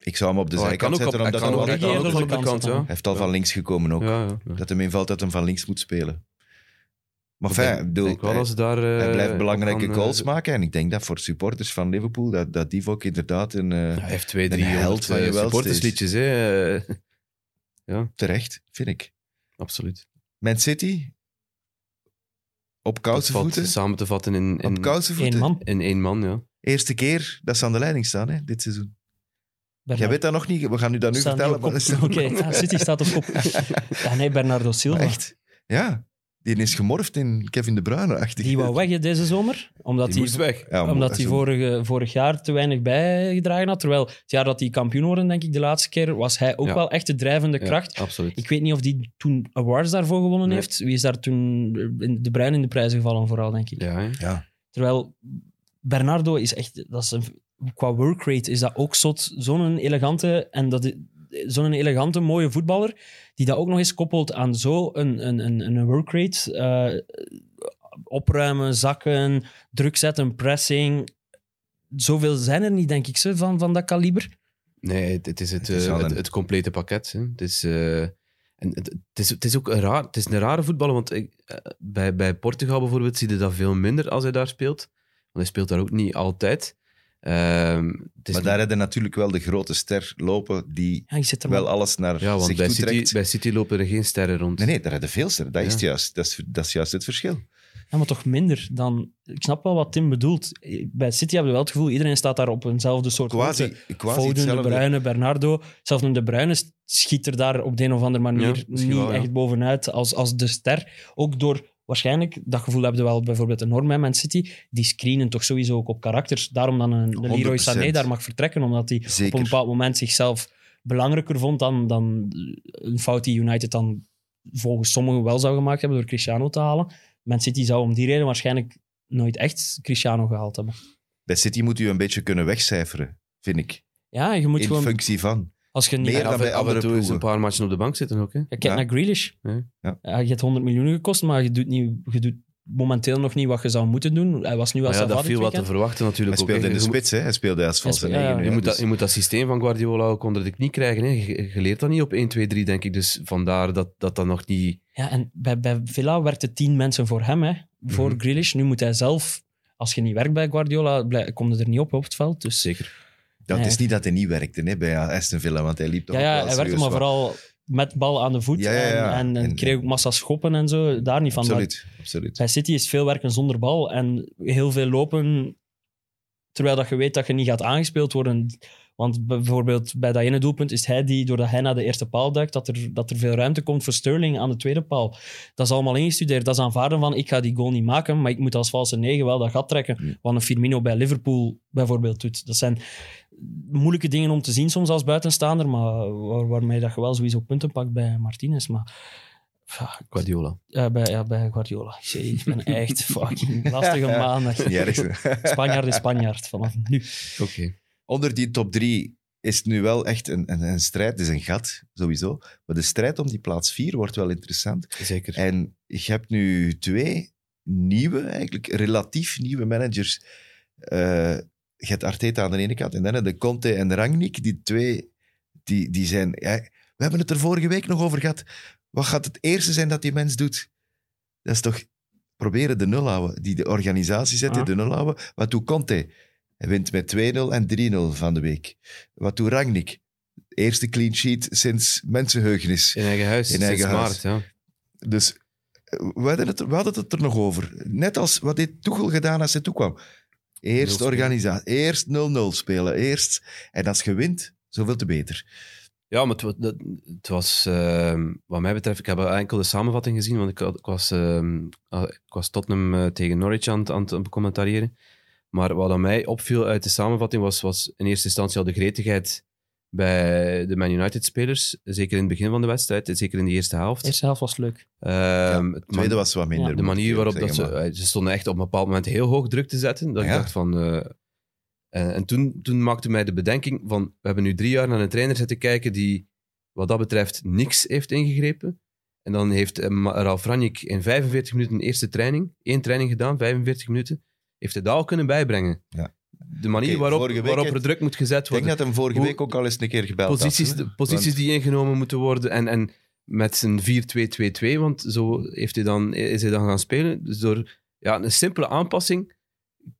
[SPEAKER 2] ik zou hem op de
[SPEAKER 4] Oh, hij kan
[SPEAKER 2] zijkant
[SPEAKER 4] ook op,
[SPEAKER 2] zetten.
[SPEAKER 4] hij
[SPEAKER 2] omdat
[SPEAKER 4] kan ook,
[SPEAKER 2] hij,
[SPEAKER 4] hij
[SPEAKER 2] hij
[SPEAKER 4] kan ook
[SPEAKER 3] Origi
[SPEAKER 4] op de kant, ja.
[SPEAKER 2] heeft al van links gekomen ook.
[SPEAKER 4] Ja, ja, ja.
[SPEAKER 2] Dat hem invalt dat hem van links moet spelen. Maar
[SPEAKER 4] Ik
[SPEAKER 2] fijn,
[SPEAKER 4] denk-
[SPEAKER 2] ik bedoel,
[SPEAKER 4] denk wel
[SPEAKER 2] hij,
[SPEAKER 4] dat ze daar, eh,
[SPEAKER 2] hij blijft
[SPEAKER 4] op
[SPEAKER 2] belangrijke
[SPEAKER 4] gaan, eh,
[SPEAKER 2] goals maken. En ik denk dat voor supporters van Liverpool, dat, dat die ook inderdaad een, eh,
[SPEAKER 4] Hij heeft twee,
[SPEAKER 2] Een
[SPEAKER 4] drie
[SPEAKER 2] held
[SPEAKER 4] held,
[SPEAKER 2] waar je wel
[SPEAKER 4] supportersliedjes. hè. Eh,
[SPEAKER 2] terecht, vind ik.
[SPEAKER 4] Absoluut.
[SPEAKER 2] Man City, op
[SPEAKER 4] Dat
[SPEAKER 2] koudse
[SPEAKER 4] valt
[SPEAKER 2] voeten.
[SPEAKER 4] samen te vatten in,
[SPEAKER 2] Op
[SPEAKER 4] in,
[SPEAKER 2] koudse
[SPEAKER 3] Eén
[SPEAKER 2] voeten.
[SPEAKER 3] man.
[SPEAKER 4] in één man, ja.
[SPEAKER 2] Eerste keer dat ze aan de leiding staan, hè, dit seizoen. Jij weet dat nog niet, we gaan u dat nu
[SPEAKER 3] Staat niet
[SPEAKER 2] vertellen.
[SPEAKER 3] op kop.
[SPEAKER 2] maar dat is-
[SPEAKER 3] Oké, ja, City staat op kop. Ja, nee, Bernardo Silva.
[SPEAKER 2] Maar echt, ja. Die is gemorfd in Kevin De Bruyne-achtig.
[SPEAKER 3] Die wou weg hè, deze zomer, omdat
[SPEAKER 4] Die,
[SPEAKER 3] hij
[SPEAKER 4] moest weg.
[SPEAKER 2] Ja, maar
[SPEAKER 3] omdat hij
[SPEAKER 2] zo-
[SPEAKER 3] vorige, vorig jaar te weinig bijgedragen had. Terwijl het jaar dat hij kampioen worden, denk ik, de laatste keer, was hij ook
[SPEAKER 4] Ja.
[SPEAKER 3] wel echt de drijvende
[SPEAKER 4] Ja,
[SPEAKER 3] kracht.
[SPEAKER 4] absoluut.
[SPEAKER 3] Ik weet niet of die toen awards daarvoor gewonnen
[SPEAKER 4] Nee.
[SPEAKER 3] heeft. Wie is daar toen in de bruin in de prijzen gevallen, vooral, denk ik.
[SPEAKER 4] Ja, hè.
[SPEAKER 3] Terwijl Bernardo is echt, dat is een, qua workrate is dat ook zot. Zo'n elegante en dat i- zo'n elegante, mooie voetballer, die dat ook nog eens koppelt aan zo'n een, een, een, een workrate. eh, opruimen, zakken, druk zetten, pressing. Zoveel zijn er niet, denk ik, ze, van, van dat kaliber.
[SPEAKER 4] Nee, het, het is het,
[SPEAKER 2] Het is
[SPEAKER 4] eh,
[SPEAKER 2] wel
[SPEAKER 4] het,
[SPEAKER 2] een-
[SPEAKER 4] het complete pakket. Hè. Het, is, eh, en het, het is, het is ook een, raar, het is een rare voetballer, want ik, eh, bij, bij Portugal bijvoorbeeld zie je dat veel minder als hij daar speelt. Want hij speelt daar ook niet altijd. Ehm, het is
[SPEAKER 2] Maar
[SPEAKER 4] niet-
[SPEAKER 2] daar hadden natuurlijk wel de grote ster lopen die
[SPEAKER 3] Ja, je zit er maar-
[SPEAKER 2] wel alles naar
[SPEAKER 4] ja, want
[SPEAKER 2] zich
[SPEAKER 4] bij
[SPEAKER 2] toe
[SPEAKER 4] City,
[SPEAKER 2] trekt.
[SPEAKER 4] bij City lopen er geen sterren rond.
[SPEAKER 2] Nee, nee, daar hadden veel sterren. Dat, is
[SPEAKER 4] Ja.
[SPEAKER 2] het juist, dat, is, dat is juist het verschil.
[SPEAKER 3] Ja, maar toch minder dan... Ik snap wel wat Tim bedoelt. Bij City hebben we wel het gevoel, iedereen staat daar op eenzelfde soort hoogte.
[SPEAKER 2] Quasi, quasi
[SPEAKER 3] Foden, De
[SPEAKER 2] hetzelfde.
[SPEAKER 3] Bruyne, Bernardo. Zelfs een De Bruyne schiet er daar op de een of andere manier
[SPEAKER 4] Ja,
[SPEAKER 3] niet
[SPEAKER 4] misschien wel, ja.
[SPEAKER 3] echt bovenuit als, als de ster. Ook door, waarschijnlijk, dat gevoel hebben we wel bijvoorbeeld enorm bij Man City, die screenen toch sowieso ook op karakters. Daarom dan een, een Leroy
[SPEAKER 2] 100%.
[SPEAKER 3] Sané daar mag vertrekken, omdat hij op een
[SPEAKER 2] Zeker.
[SPEAKER 3] bepaald moment zichzelf belangrijker vond dan, dan een fout die United dan volgens sommigen wel zou gemaakt hebben door Cristiano te halen. Man City zou om die reden waarschijnlijk nooit echt Cristiano gehaald hebben.
[SPEAKER 2] Bij City moet u een beetje kunnen wegcijferen, vind ik.
[SPEAKER 3] Ja, je moet
[SPEAKER 2] in
[SPEAKER 3] gewoon...
[SPEAKER 2] functie van.
[SPEAKER 3] Als je niet
[SPEAKER 2] Meer
[SPEAKER 4] En
[SPEAKER 2] dan
[SPEAKER 4] af,
[SPEAKER 2] bij
[SPEAKER 4] af en
[SPEAKER 2] andere
[SPEAKER 4] toe eens een
[SPEAKER 2] ploegen.
[SPEAKER 4] paar matchen op de bank zitten ook. Hè.
[SPEAKER 3] Ja, kijk
[SPEAKER 2] Ja.
[SPEAKER 3] naar Grealish.
[SPEAKER 4] Ja.
[SPEAKER 2] Ja.
[SPEAKER 3] Ja, je hebt 100 miljoen gekost, maar je doet, niet, je doet momenteel nog niet wat je zou moeten doen. Hij was nu wel
[SPEAKER 4] Maar ja, dat
[SPEAKER 3] Savard dit
[SPEAKER 4] viel wat te
[SPEAKER 3] weekend.
[SPEAKER 4] verwachten
[SPEAKER 2] Hij
[SPEAKER 4] natuurlijk ook.
[SPEAKER 2] speelde
[SPEAKER 4] hè.
[SPEAKER 2] in de
[SPEAKER 4] Je moet-
[SPEAKER 2] spits, hè. Hij speelde als van
[SPEAKER 3] Hij
[SPEAKER 2] zijn
[SPEAKER 3] speelde-
[SPEAKER 2] eigen.
[SPEAKER 3] ja,
[SPEAKER 4] Je
[SPEAKER 2] hè.
[SPEAKER 4] moet, dat,
[SPEAKER 2] Dus-
[SPEAKER 4] je moet dat systeem van Guardiola ook onder de knie krijgen. Hè. Je, je leert dat niet op 1, 2, 3, denk ik. Dus vandaar dat dat, dat nog niet...
[SPEAKER 3] Ja, en bij, bij Villa werkten 10 mensen voor hem, hè, voor
[SPEAKER 4] Mhm.
[SPEAKER 3] Grealish. Nu moet hij zelf, als je niet werkt bij Guardiola, blij- kom je er niet op op het veld. Dus,
[SPEAKER 4] Zeker.
[SPEAKER 2] dat
[SPEAKER 3] Nee.
[SPEAKER 2] is niet dat hij niet werkte hè, bij Aston Villa, want hij liep toch
[SPEAKER 3] ja,
[SPEAKER 2] ook
[SPEAKER 3] ja,
[SPEAKER 2] wel
[SPEAKER 3] hij
[SPEAKER 2] serieus
[SPEAKER 3] werkte maar
[SPEAKER 2] wat.
[SPEAKER 3] vooral met bal aan de voet
[SPEAKER 2] Ja, ja, ja.
[SPEAKER 3] En, en, en
[SPEAKER 2] En-
[SPEAKER 3] kreeg ook massa schoppen en zo. Daar niet van. Maar
[SPEAKER 2] Absoluut, absoluut.
[SPEAKER 3] Bij City is veel werken zonder bal en heel veel lopen terwijl dat je weet dat je niet gaat aangespeeld worden. Want bijvoorbeeld bij dat ene doelpunt is hij die, doordat hij naar de eerste paal duikt, dat er, dat er veel ruimte komt voor Sterling aan de tweede paal. Dat is allemaal ingestudeerd. Dat is aanvaarden van, ik ga die goal niet maken, maar ik moet als valse negen wel dat gat trekken.
[SPEAKER 2] Hmm.
[SPEAKER 3] Wat een Firmino bij Liverpool bijvoorbeeld doet. Dat zijn moeilijke dingen om te zien soms als buitenstaander, maar waar- waarmee dat je wel sowieso punten pakt bij Martinez. Maar ja,
[SPEAKER 4] Guardiola.
[SPEAKER 3] ja, bij, ja, bij Guardiola. Jee, ik ben echt fucking lastige maandag.
[SPEAKER 2] Ja, dat is-
[SPEAKER 3] Spanjaard is Spanjaard vanaf nu.
[SPEAKER 4] Oké.
[SPEAKER 2] onder die top drie is het nu wel echt een, een, een strijd. Het is een gat, sowieso. Maar de strijd om die plaats vier wordt wel interessant.
[SPEAKER 4] Zeker.
[SPEAKER 2] En je hebt nu twee nieuwe, eigenlijk relatief nieuwe managers. Eh, je hebt Arteta aan de ene kant en dan heb je Conte en Rangnick. Die twee, die, die zijn... Ja, we hebben het er vorige week nog over gehad. Wat gaat het eerste zijn dat die mens doet? Dat is toch proberen de nul houden. Die de organisatie zetten,
[SPEAKER 3] Ah.
[SPEAKER 2] de nul houden. Wat doet Conte? Hij wint met 2-0 en 3-0 van de week. Wat doet Rangnick? Eerste clean sheet sinds mensenheugenis.
[SPEAKER 4] In eigen huis.
[SPEAKER 2] In
[SPEAKER 4] sinds
[SPEAKER 2] eigen huis.
[SPEAKER 4] maart, ja.
[SPEAKER 2] Dus eh, we hadden, het, we hadden het er nog over. Net als wat dit Tuchel gedaan als hij toekwam.
[SPEAKER 4] Nul
[SPEAKER 2] Eerst
[SPEAKER 4] spelen.
[SPEAKER 2] organisatie, eerst 0-0 spelen, eerst. En als je wint, zoveel te beter.
[SPEAKER 4] Ja, maar het, wa- dat- het was, ehm, wat mij betreft, ik heb enkel de samenvatting gezien, want ik, had- ik was, ehm, ah, ik was Tottenham eh, tegen Norwich aan, het- aan het commentariëren. Maar wat aan mij opviel uit de samenvatting was, was in eerste instantie al de gretigheid bij de Man United-spelers. Zeker in het begin van de wedstrijd, zeker in de eerste helft.
[SPEAKER 3] Eerste helft was leuk.
[SPEAKER 4] Ehm,
[SPEAKER 2] Het tweede was wat minder.
[SPEAKER 3] Ja,
[SPEAKER 2] moet
[SPEAKER 4] de
[SPEAKER 2] ik
[SPEAKER 4] manier
[SPEAKER 2] eerlijk
[SPEAKER 4] waarop dat ze...
[SPEAKER 2] zeggen, maar-
[SPEAKER 4] eh, Ze stonden echt op een bepaald moment heel hoog druk te zetten. Dat
[SPEAKER 2] Ja.
[SPEAKER 4] ik dacht van... eh, en en toen, toen maakte mij de bedenking van... We hebben nu drie jaar naar een trainer zitten kijken die wat dat betreft niks heeft ingegrepen. En dan heeft eh, Ma- Ralf Ranjik in 45 minuten een eerste training, één training gedaan, 45 minuten, heeft hij dat al kunnen bijbrengen.
[SPEAKER 2] Ja.
[SPEAKER 4] De manier
[SPEAKER 2] Oké,
[SPEAKER 4] waarop,
[SPEAKER 2] vorige week
[SPEAKER 4] waarop er
[SPEAKER 2] heeft-
[SPEAKER 4] druk moet gezet
[SPEAKER 2] Ik denk
[SPEAKER 4] worden,
[SPEAKER 2] dat hem vorige
[SPEAKER 4] Hoe-
[SPEAKER 2] week ook al eens een keer gebeld
[SPEAKER 4] posities,
[SPEAKER 2] had.
[SPEAKER 4] de posities
[SPEAKER 2] Want-
[SPEAKER 4] die ingenomen moeten worden en, en met zijn 4-2-2-2, want zo heeft hij dan, is hij dan gaan spelen. Dus door ja, een simpele aanpassing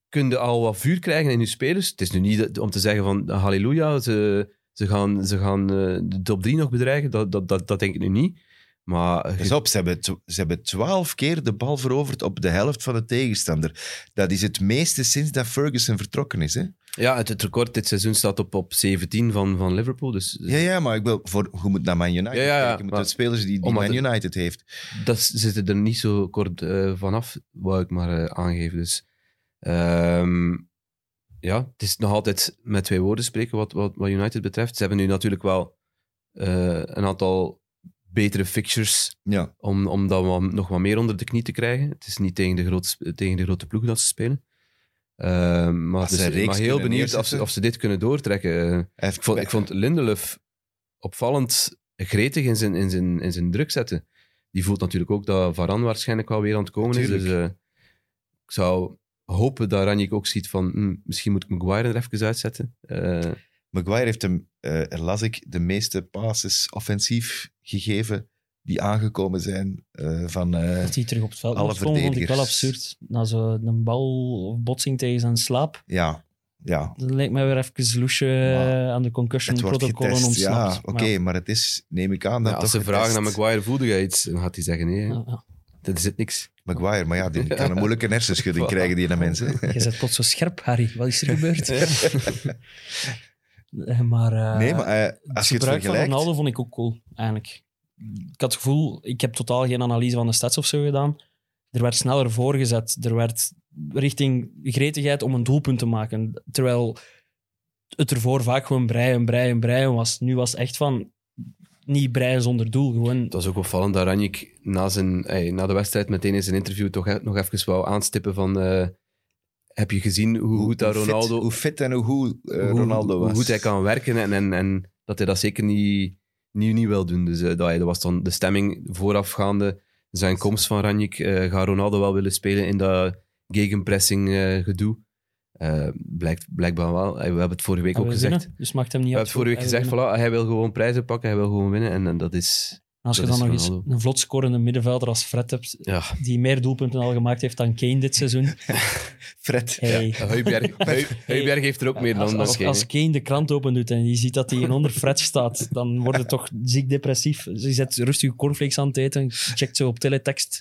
[SPEAKER 4] kun je al wat vuur krijgen in je spelers. Het is nu niet dat- om te zeggen van halleluja, ze, ze gaan, ze gaan eh, de top 3 nog bedreigen, dat, dat, dat, dat denk ik nu niet. Maar
[SPEAKER 2] Pas op, ze hebben, tw- ze hebben twaalf keer de bal veroverd op de helft van de tegenstander. Dat is het meeste sinds dat Ferguson vertrokken is. Hè?
[SPEAKER 4] ja, het, het record dit seizoen staat op, op 17 van, van Liverpool. Dus
[SPEAKER 2] Ja, ja, maar ik wil, voor, je moet naar Man United
[SPEAKER 4] Ja, ja, ja,
[SPEAKER 2] kijken. Je moet
[SPEAKER 4] maar-
[SPEAKER 2] de spelers die, die
[SPEAKER 4] Omdat
[SPEAKER 2] Man
[SPEAKER 4] het-
[SPEAKER 2] United heeft.
[SPEAKER 4] dat zitten er niet zo kort eh, vanaf, wou ik maar eh, aangeven. Dus ehm, ja, het is nog altijd met twee woorden spreken wat, wat, wat United betreft. Ze hebben nu natuurlijk wel eh, een aantal betere fixtures
[SPEAKER 2] Ja.
[SPEAKER 4] om, om dat wel- nog wat meer onder de knie te krijgen. Het is niet tegen de, grote sp- tegen de grote ploeg dat ze spelen. Ehm, maar
[SPEAKER 2] Als ze
[SPEAKER 4] dus-
[SPEAKER 2] een reeks
[SPEAKER 4] maar heel
[SPEAKER 2] kunnen
[SPEAKER 4] benieuwd of ze,
[SPEAKER 2] neerzetten.
[SPEAKER 4] of ze dit kunnen doortrekken. Eh,
[SPEAKER 2] Hij heeft-
[SPEAKER 4] ik, vond, ik vond Lindelöf opvallend gretig in zijn, in, zijn, in zijn druk zetten. Die voelt natuurlijk ook dat Varan waarschijnlijk wel weer aan het komen is.
[SPEAKER 2] Natuurlijk.
[SPEAKER 4] Dus eh, ik zou hopen dat Ranjik ook ziet van hm, misschien moet ik Maguire er even uitzetten. Eh,
[SPEAKER 2] Maguire heeft hem, eh, las ik, de meeste passes offensief gegeven die aangekomen zijn eh, van... eh,
[SPEAKER 3] Dat hij terug op het veld
[SPEAKER 2] Alle
[SPEAKER 3] mocht komen, vond ik wel
[SPEAKER 2] verdedigers.
[SPEAKER 3] absurd. Na zo'n bal of botsing tegen zijn slaap.
[SPEAKER 2] ja, ja.
[SPEAKER 3] Dat lijkt mij weer even loesje
[SPEAKER 2] Maar
[SPEAKER 3] eh, aan de concussion
[SPEAKER 2] Het wordt
[SPEAKER 3] protocollen
[SPEAKER 2] getest.
[SPEAKER 3] ontsnapt.
[SPEAKER 2] Ja,
[SPEAKER 3] Maar
[SPEAKER 2] oké, maar het is, neem ik aan,
[SPEAKER 4] ja,
[SPEAKER 2] dat
[SPEAKER 4] als
[SPEAKER 2] toch
[SPEAKER 4] ze vragen
[SPEAKER 2] getest.
[SPEAKER 4] naar Maguire, voelde jij iets? Dan gaat hij zeggen nee, hè.
[SPEAKER 3] ja, ja.
[SPEAKER 4] er zit niks.
[SPEAKER 2] Maguire, maar ja, die kan een moeilijke hersenschudding
[SPEAKER 4] Voilà.
[SPEAKER 2] krijgen, die naar mensen.
[SPEAKER 3] Je bent plots zo scherp, Harry. Wat is er gebeurd? Eh, maar, eh,
[SPEAKER 2] Nee, maar eh,
[SPEAKER 3] het
[SPEAKER 2] als je het
[SPEAKER 3] gebruik van
[SPEAKER 2] vergelijkt...
[SPEAKER 3] Ronaldo vond ik ook cool, eigenlijk. Ik had het gevoel, ik heb totaal geen analyse van de stats of zo gedaan. Er werd sneller voorgezet. Er werd richting gretigheid om een doelpunt te maken. Terwijl het ervoor vaak gewoon breien, breien, breien was. Nu was het echt van niet breien zonder doel. Gewoon
[SPEAKER 4] Het was ook opvallend dat Ranjik na, zijn, ey, na de wedstrijd meteen in zijn interview toch e- nog even wou aanstippen van eh, heb je gezien hoe goed dat
[SPEAKER 2] fit-
[SPEAKER 4] Ronaldo...
[SPEAKER 2] hoe fit en hoe goed eh,
[SPEAKER 4] hoe-
[SPEAKER 2] Ronaldo
[SPEAKER 4] hoe
[SPEAKER 2] was.
[SPEAKER 4] goed hij kan werken en, en, en dat hij dat zeker niet, niet, niet wil doen. Dus eh, dat, dat was dan de stemming voorafgaande. Zijn komst van Ranjik, eh gaat Ronaldo wel willen spelen in dat gegenpressing eh, gedoe? Eh, blijkt, blijkbaar wel. Ey, we hebben het vorige week
[SPEAKER 3] en
[SPEAKER 4] ook
[SPEAKER 3] we
[SPEAKER 4] gezegd.
[SPEAKER 3] winnen. Dus maakt hem niet
[SPEAKER 4] We
[SPEAKER 3] uit.
[SPEAKER 4] hebben vorige week
[SPEAKER 3] Hij
[SPEAKER 4] gezegd,
[SPEAKER 3] winnen.
[SPEAKER 4] voilà, hij wil gewoon prijzen pakken, hij wil gewoon winnen. En, en dat is...
[SPEAKER 3] Als je
[SPEAKER 4] dat
[SPEAKER 3] dan nog
[SPEAKER 4] is
[SPEAKER 3] eens
[SPEAKER 4] Ronaldo.
[SPEAKER 3] een vlot scorende middenvelder als Fred hebt,
[SPEAKER 4] Ja,
[SPEAKER 3] die meer doelpunten al gemaakt heeft dan Kane dit seizoen.
[SPEAKER 2] Fred.
[SPEAKER 3] Hey.
[SPEAKER 4] Heuberg, Heuberg heeft er ook meer
[SPEAKER 3] als,
[SPEAKER 4] dan
[SPEAKER 3] als,
[SPEAKER 4] dan
[SPEAKER 3] als Kane de krant open doet en je ziet dat hij in onder Fred staat, dan wordt het toch ziek depressief. Dus je zet rustig cornflakes aan het eten, je checkt zo op teletext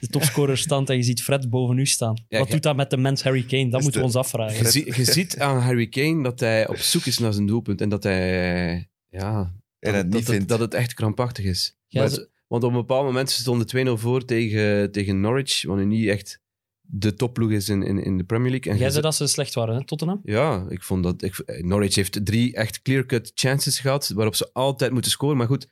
[SPEAKER 3] de topscorerstand en je ziet Fred boven u staan.
[SPEAKER 4] Ja,
[SPEAKER 3] Wat
[SPEAKER 4] ja.
[SPEAKER 3] doet dat met de mens Harry Kane? Dat
[SPEAKER 2] Is
[SPEAKER 3] moeten we
[SPEAKER 2] de-
[SPEAKER 3] ons afvragen.
[SPEAKER 4] Je, zie- je ziet aan Harry Kane dat hij op zoek is naar zijn doelpunt en dat hij... Ja,
[SPEAKER 2] En het
[SPEAKER 4] dat, dat,
[SPEAKER 2] niet
[SPEAKER 4] het-
[SPEAKER 2] vindt.
[SPEAKER 4] dat het echt krampachtig is.
[SPEAKER 3] Ja,
[SPEAKER 4] Maar
[SPEAKER 3] ze-
[SPEAKER 4] het- want op een bepaald moment ze stonden 2-0 voor tegen, tegen Norwich, wat nu niet echt de topploeg is in, in, in de Premier League. En
[SPEAKER 3] Jij zei
[SPEAKER 4] je zit-
[SPEAKER 3] dat ze slecht waren, hè, Tottenham?
[SPEAKER 4] Ja, ik vond dat... Ik, eh, Norwich heeft drie echt clear-cut chances gehad, waarop ze altijd moeten scoren. Maar goed,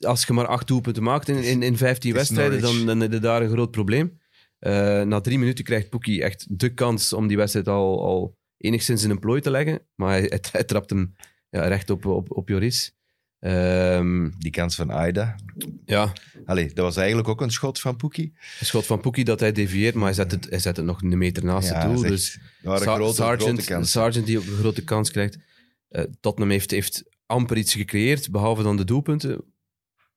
[SPEAKER 4] als je maar acht doelpunten maakt in, in, in 15
[SPEAKER 2] Het is
[SPEAKER 4] wedstrijden,
[SPEAKER 2] Norwich.
[SPEAKER 4] dan, dan heb je daar een groot probleem. Eh, na drie minuten krijgt Poekie echt de kans om die wedstrijd al, al enigszins in een plooi te leggen. Maar hij, hij, hij trapt hem ja, recht op, op, op Joris. Ehm,
[SPEAKER 2] Die kans van Aida.
[SPEAKER 4] ja,
[SPEAKER 2] Allee, dat was eigenlijk ook een schot van Poekie.
[SPEAKER 4] Een schot van Poekie dat hij devieert, maar hij zet het, hij zet het nog een meter naast het doel.
[SPEAKER 2] zeg,
[SPEAKER 4] Dus
[SPEAKER 2] dat waren
[SPEAKER 4] Sa-
[SPEAKER 2] grote,
[SPEAKER 4] Sargent,
[SPEAKER 2] grote kansen.
[SPEAKER 4] Sargent die ook een grote kans krijgt. Eh Tottenham heeft, heeft amper iets gecreëerd, behalve dan de doelpunten.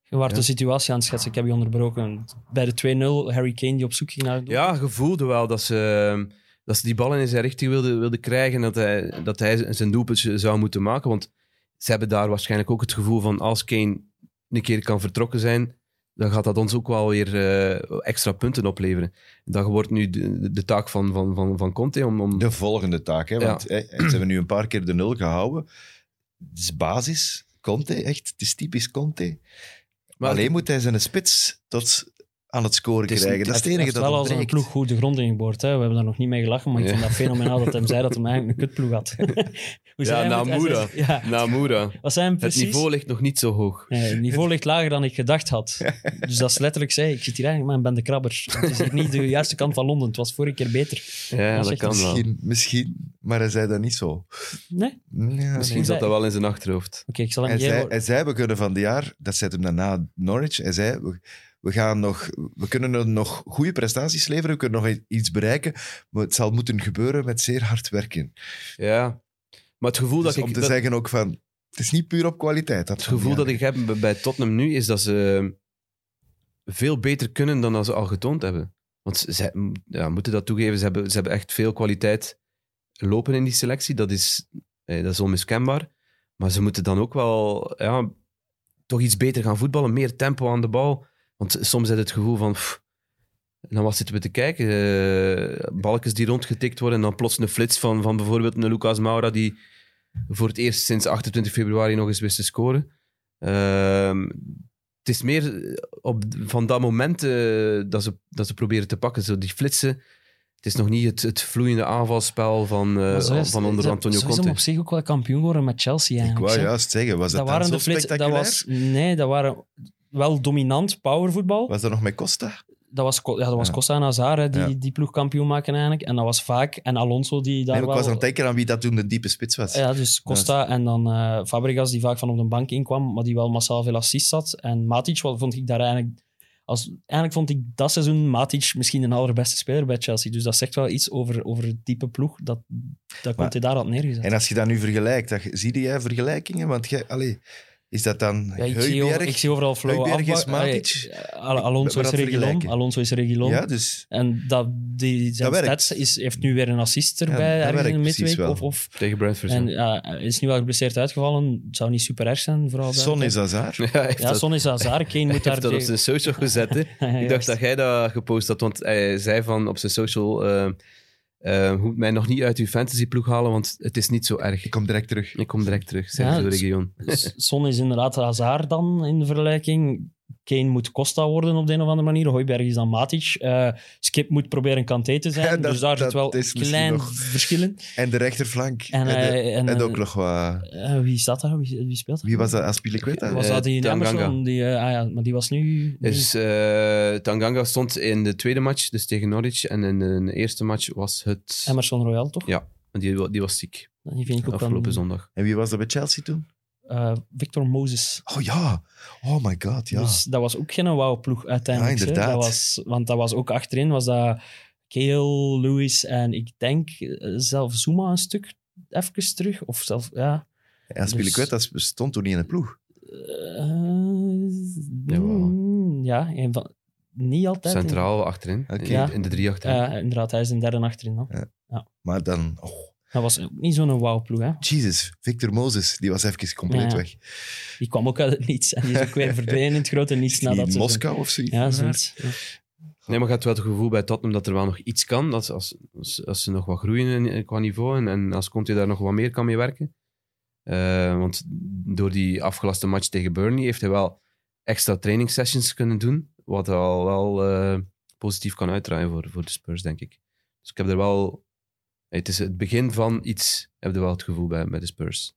[SPEAKER 3] Je waart
[SPEAKER 4] Ja.
[SPEAKER 3] de situatie aan het schetsen, ik heb je onderbroken. Bij de 2-0, Harry Kane die op zoek ging naar het doel.
[SPEAKER 4] Ja, gevoelde wel dat ze, eh, dat ze die ballen in zijn richting wilden wilde krijgen en dat hij, dat hij zijn doelpunt zou moeten maken. Want ze hebben daar waarschijnlijk ook het gevoel van als Kane een keer kan vertrokken zijn, dan gaat dat ons ook wel weer eh, extra punten opleveren. Dat wordt nu de, de- de taak van, van, van, van Conte om... om
[SPEAKER 2] De volgende taak, hè,
[SPEAKER 4] Ja.
[SPEAKER 2] want hè, ze hebben nu een paar keer de nul gehouden. Het is basis, Conte, echt. Het is typisch Conte.
[SPEAKER 4] Maar-
[SPEAKER 2] Alleen moet hij zijn spits tot aan het scoren
[SPEAKER 4] Het is
[SPEAKER 2] krijgen.
[SPEAKER 4] niet-
[SPEAKER 2] Dat is het
[SPEAKER 3] Hij
[SPEAKER 2] enige
[SPEAKER 3] heeft
[SPEAKER 2] dat
[SPEAKER 3] wel als een
[SPEAKER 2] ontbreekt.
[SPEAKER 3] ploeg goed de grond ingeboord. Hè. We hebben daar nog niet mee gelachen, maar ik
[SPEAKER 4] Ja.
[SPEAKER 3] vind dat fenomenaal dat hem zei dat hij eigenlijk een kutploeg had. Hoe zei hij
[SPEAKER 4] nou,
[SPEAKER 3] het? Hij
[SPEAKER 4] moeder.
[SPEAKER 3] zei- Ja,
[SPEAKER 4] Namura.
[SPEAKER 3] wat zijn
[SPEAKER 4] Het
[SPEAKER 3] precies?
[SPEAKER 4] niveau ligt nog niet zo hoog.
[SPEAKER 3] Nee, het niveau ligt lager dan ik gedacht had. Dus dat is letterlijk zei, ik zit hier eigenlijk maar ik ben de krabber. Het is hier niet de juiste kant van Londen. Het was vorige keer beter.
[SPEAKER 4] Ja,
[SPEAKER 3] Dat
[SPEAKER 4] dat,
[SPEAKER 3] is echt
[SPEAKER 4] kan wel.
[SPEAKER 2] Misschien,
[SPEAKER 4] Misschien,
[SPEAKER 2] misschien, maar hij zei dat niet zo.
[SPEAKER 3] Nee? Oké,
[SPEAKER 2] Ja.
[SPEAKER 3] Misschien
[SPEAKER 4] zat
[SPEAKER 3] zei-
[SPEAKER 4] dat wel in zijn achterhoofd.
[SPEAKER 3] ik zal hem
[SPEAKER 2] Hij zei,
[SPEAKER 3] geven.
[SPEAKER 2] hij zei, we kunnen van het jaar, dat zet hem daarna Norwich, hij zei, we, we gaan nog, we kunnen er nog goede prestaties leveren, we kunnen nog i- iets bereiken, maar het zal moeten gebeuren met zeer hard werken.
[SPEAKER 4] Ja. Maar het gevoel,
[SPEAKER 2] Dus
[SPEAKER 4] dat,
[SPEAKER 2] om
[SPEAKER 4] ik,
[SPEAKER 2] te
[SPEAKER 4] dat,
[SPEAKER 2] zeggen ook van, het is niet puur op kwaliteit. Dat
[SPEAKER 4] het gevoel dat ik heb bij- bij Tottenham nu is dat ze veel beter kunnen dan dat ze al getoond hebben. Want ze- ze ja, moeten dat toegeven, ze hebben, ze hebben echt veel kwaliteit lopen in die selectie. Dat is, eh, dat is onmiskenbaar. Maar ze moeten dan ook wel ja, toch iets beter gaan voetballen, meer tempo aan de bal. Want soms heb je het gevoel van... pff, en dan wat zitten we te kijken? eh balkjes die rondgetikt worden en dan plots een flits van, van bijvoorbeeld een Lucas Moura die voor het eerst sinds 28 februari nog eens wist te scoren. Ehm, het is meer eh, op, van dat moment eh, dat, ze, dat ze proberen te pakken. Zo die flitsen. Het is nog niet het, het vloeiende aanvalspel van, eh,
[SPEAKER 3] Maar zo is-
[SPEAKER 4] van onder
[SPEAKER 3] zo-
[SPEAKER 4] Antonio
[SPEAKER 3] zo is hem
[SPEAKER 4] Conte.
[SPEAKER 3] op zich ook wel kampioen geworden met Chelsea
[SPEAKER 2] Ik
[SPEAKER 3] eigenlijk.
[SPEAKER 2] wou
[SPEAKER 3] hè.
[SPEAKER 2] juist zeggen, was dat,
[SPEAKER 3] dat
[SPEAKER 2] dan
[SPEAKER 3] waren
[SPEAKER 2] zo
[SPEAKER 3] de flits, dat
[SPEAKER 2] spectaculair?
[SPEAKER 3] was, Nee, dat waren wel dominant powervoetbal.
[SPEAKER 2] Was dat nog met Costa?
[SPEAKER 3] Dat was, Co- ja, dat was
[SPEAKER 2] Ja.
[SPEAKER 3] Costa en Hazard hè, die,
[SPEAKER 2] Ja.
[SPEAKER 3] die ploeg kampioen maken eigenlijk. En dat was vaak... En Alonso die
[SPEAKER 2] Nee,
[SPEAKER 3] daar
[SPEAKER 2] maar ik
[SPEAKER 3] wel...
[SPEAKER 2] was aan het denken aan wie dat toen de diepe spits was.
[SPEAKER 3] Ja, dus Costa en dan eh, Fabregas, die vaak van op de bank inkwam, maar die wel massaal veel assist had. En Matic wat vond ik daar eigenlijk... Als, eigenlijk vond ik dat seizoen Matic misschien de allerbeste speler bij Chelsea. Dus dat zegt wel iets over, over het type ploeg dat, dat
[SPEAKER 2] Maar-
[SPEAKER 3] Conte daar had neergezet.
[SPEAKER 2] En als je dat nu vergelijkt, dan, zie jij vergelijkingen? Want jij, allee, is dat dan
[SPEAKER 3] Ja, ik, zie over-
[SPEAKER 2] Heubjerg?
[SPEAKER 3] ik zie overal Ah, flauwe
[SPEAKER 2] Heuberg is
[SPEAKER 3] afba- Allee,
[SPEAKER 2] Matic.
[SPEAKER 3] Al- Alonso
[SPEAKER 2] ben aan
[SPEAKER 3] is
[SPEAKER 2] het
[SPEAKER 3] Regilon.
[SPEAKER 2] vergelijken.
[SPEAKER 3] Alonso is Regilon.
[SPEAKER 2] Ja, dus...
[SPEAKER 3] En dat, die, zijn
[SPEAKER 2] werkt.
[SPEAKER 3] stats is, heeft nu weer een assist
[SPEAKER 2] dat
[SPEAKER 3] erbij, ergens
[SPEAKER 2] werkt
[SPEAKER 3] in de
[SPEAKER 2] precies
[SPEAKER 3] midweek.
[SPEAKER 2] wel.
[SPEAKER 3] Of, of,
[SPEAKER 4] Tegen Brentford.
[SPEAKER 3] en
[SPEAKER 4] ja.
[SPEAKER 3] ja, hij is nu wel geblesseerd uitgevallen. Het zou niet super erg zijn, vooral. bij-
[SPEAKER 2] Son is Hazard.
[SPEAKER 4] Ja, hij heeft
[SPEAKER 3] Ja,
[SPEAKER 4] dat-
[SPEAKER 3] Son is Hazard. Kane
[SPEAKER 4] hij
[SPEAKER 3] moet
[SPEAKER 4] heeft
[SPEAKER 3] daar
[SPEAKER 4] dat op
[SPEAKER 3] tegen-
[SPEAKER 4] zijn social gezet. hè.
[SPEAKER 3] Ja,
[SPEAKER 4] Ik
[SPEAKER 3] juist.
[SPEAKER 4] dacht dat jij dat gepost had, want hij zei van op zijn social... eh eh, moet mij nog niet uit uw fantasyploeg halen, want het is niet zo erg.
[SPEAKER 2] Ik kom direct terug.
[SPEAKER 4] Ik kom direct terug, zei
[SPEAKER 3] Ja,
[SPEAKER 4] ze de
[SPEAKER 3] het is-
[SPEAKER 4] regio.
[SPEAKER 3] Dus Son is inderdaad Hazard dan in de vergelijking. Kane moet Costa worden op de een of andere manier. Hooiberg is dan Matic. Eh, Skip moet proberen Kanté te zijn.
[SPEAKER 2] Ja, dat-
[SPEAKER 3] dus daar zit
[SPEAKER 2] dat
[SPEAKER 3] wel
[SPEAKER 2] is misschien
[SPEAKER 3] klein
[SPEAKER 2] nog-
[SPEAKER 3] verschillen.
[SPEAKER 2] En de rechterflank. En,
[SPEAKER 3] En,
[SPEAKER 2] de-
[SPEAKER 3] eh, en,
[SPEAKER 2] en
[SPEAKER 3] eh,
[SPEAKER 2] ook nog wat...
[SPEAKER 3] eh, wie staat daar? Wie, wie speelt daar?
[SPEAKER 2] Wie was dat? Aspilicueta?
[SPEAKER 3] Was dat die
[SPEAKER 4] Eh, Tanganga.
[SPEAKER 3] Emerson? Die, eh, ah ja, maar die was nu...
[SPEAKER 4] Dus eh, Tanganga stond in de tweede match, dus tegen Norwich. En in de eerste match was het...
[SPEAKER 3] Emerson Royal, toch?
[SPEAKER 4] Ja. Die, wa- die was ziek,
[SPEAKER 3] Die vind ik ook
[SPEAKER 4] afgelopen
[SPEAKER 3] dan,
[SPEAKER 4] zondag.
[SPEAKER 2] En wie was dat bij Chelsea toen?
[SPEAKER 3] eh, Victor Moses.
[SPEAKER 2] Oh ja. Oh my god, ja.
[SPEAKER 3] Dus dat was ook geen wauw ploeg uiteindelijk.
[SPEAKER 2] Ja,
[SPEAKER 3] hè.
[SPEAKER 2] inderdaad.
[SPEAKER 3] Dat was, want dat was ook achterin, was dat Keel, Lewis en ik denk eh, zelf Zuma een stuk even terug. Of zelf, ja.
[SPEAKER 2] en Aspilicueta
[SPEAKER 3] dus-
[SPEAKER 2] stond toen niet in de ploeg.
[SPEAKER 3] Eh, mm, ja, een van, niet altijd. in-
[SPEAKER 4] Centraal achterin,
[SPEAKER 2] Oké.
[SPEAKER 4] in,
[SPEAKER 3] Ja.
[SPEAKER 4] in de drie achterin.
[SPEAKER 3] Ja, inderdaad, hij is een derde achterin dan.
[SPEAKER 2] Maar dan... Oh,
[SPEAKER 3] Dat was ook niet zo'n wauw ploeg, hè.
[SPEAKER 2] Jesus, Victor Moses, die was even compleet
[SPEAKER 3] Ja.
[SPEAKER 2] weg.
[SPEAKER 3] Die kwam ook uit het niets en die is ook weer verdwenen in het grote niets
[SPEAKER 2] Is die
[SPEAKER 3] nadat
[SPEAKER 2] in
[SPEAKER 3] ze-
[SPEAKER 2] Moskou of zoiets?
[SPEAKER 3] Ja, zoiets. Ja.
[SPEAKER 4] Nee, maar je hebt wel het gevoel bij Tottenham dat er wel nog iets kan. Dat ze- als, als, als ze nog wat groeien in- qua niveau en, en als Conte daar nog wat meer kan mee werken. Eh, want door die afgelaste match tegen Burnley heeft hij wel extra training sessions kunnen doen. Wat al wel eh, positief kan uitdraaien voor, voor de Spurs, denk ik. Dus ik heb er wel... Het is het begin van iets, heb je wel het gevoel bij, bij de Spurs.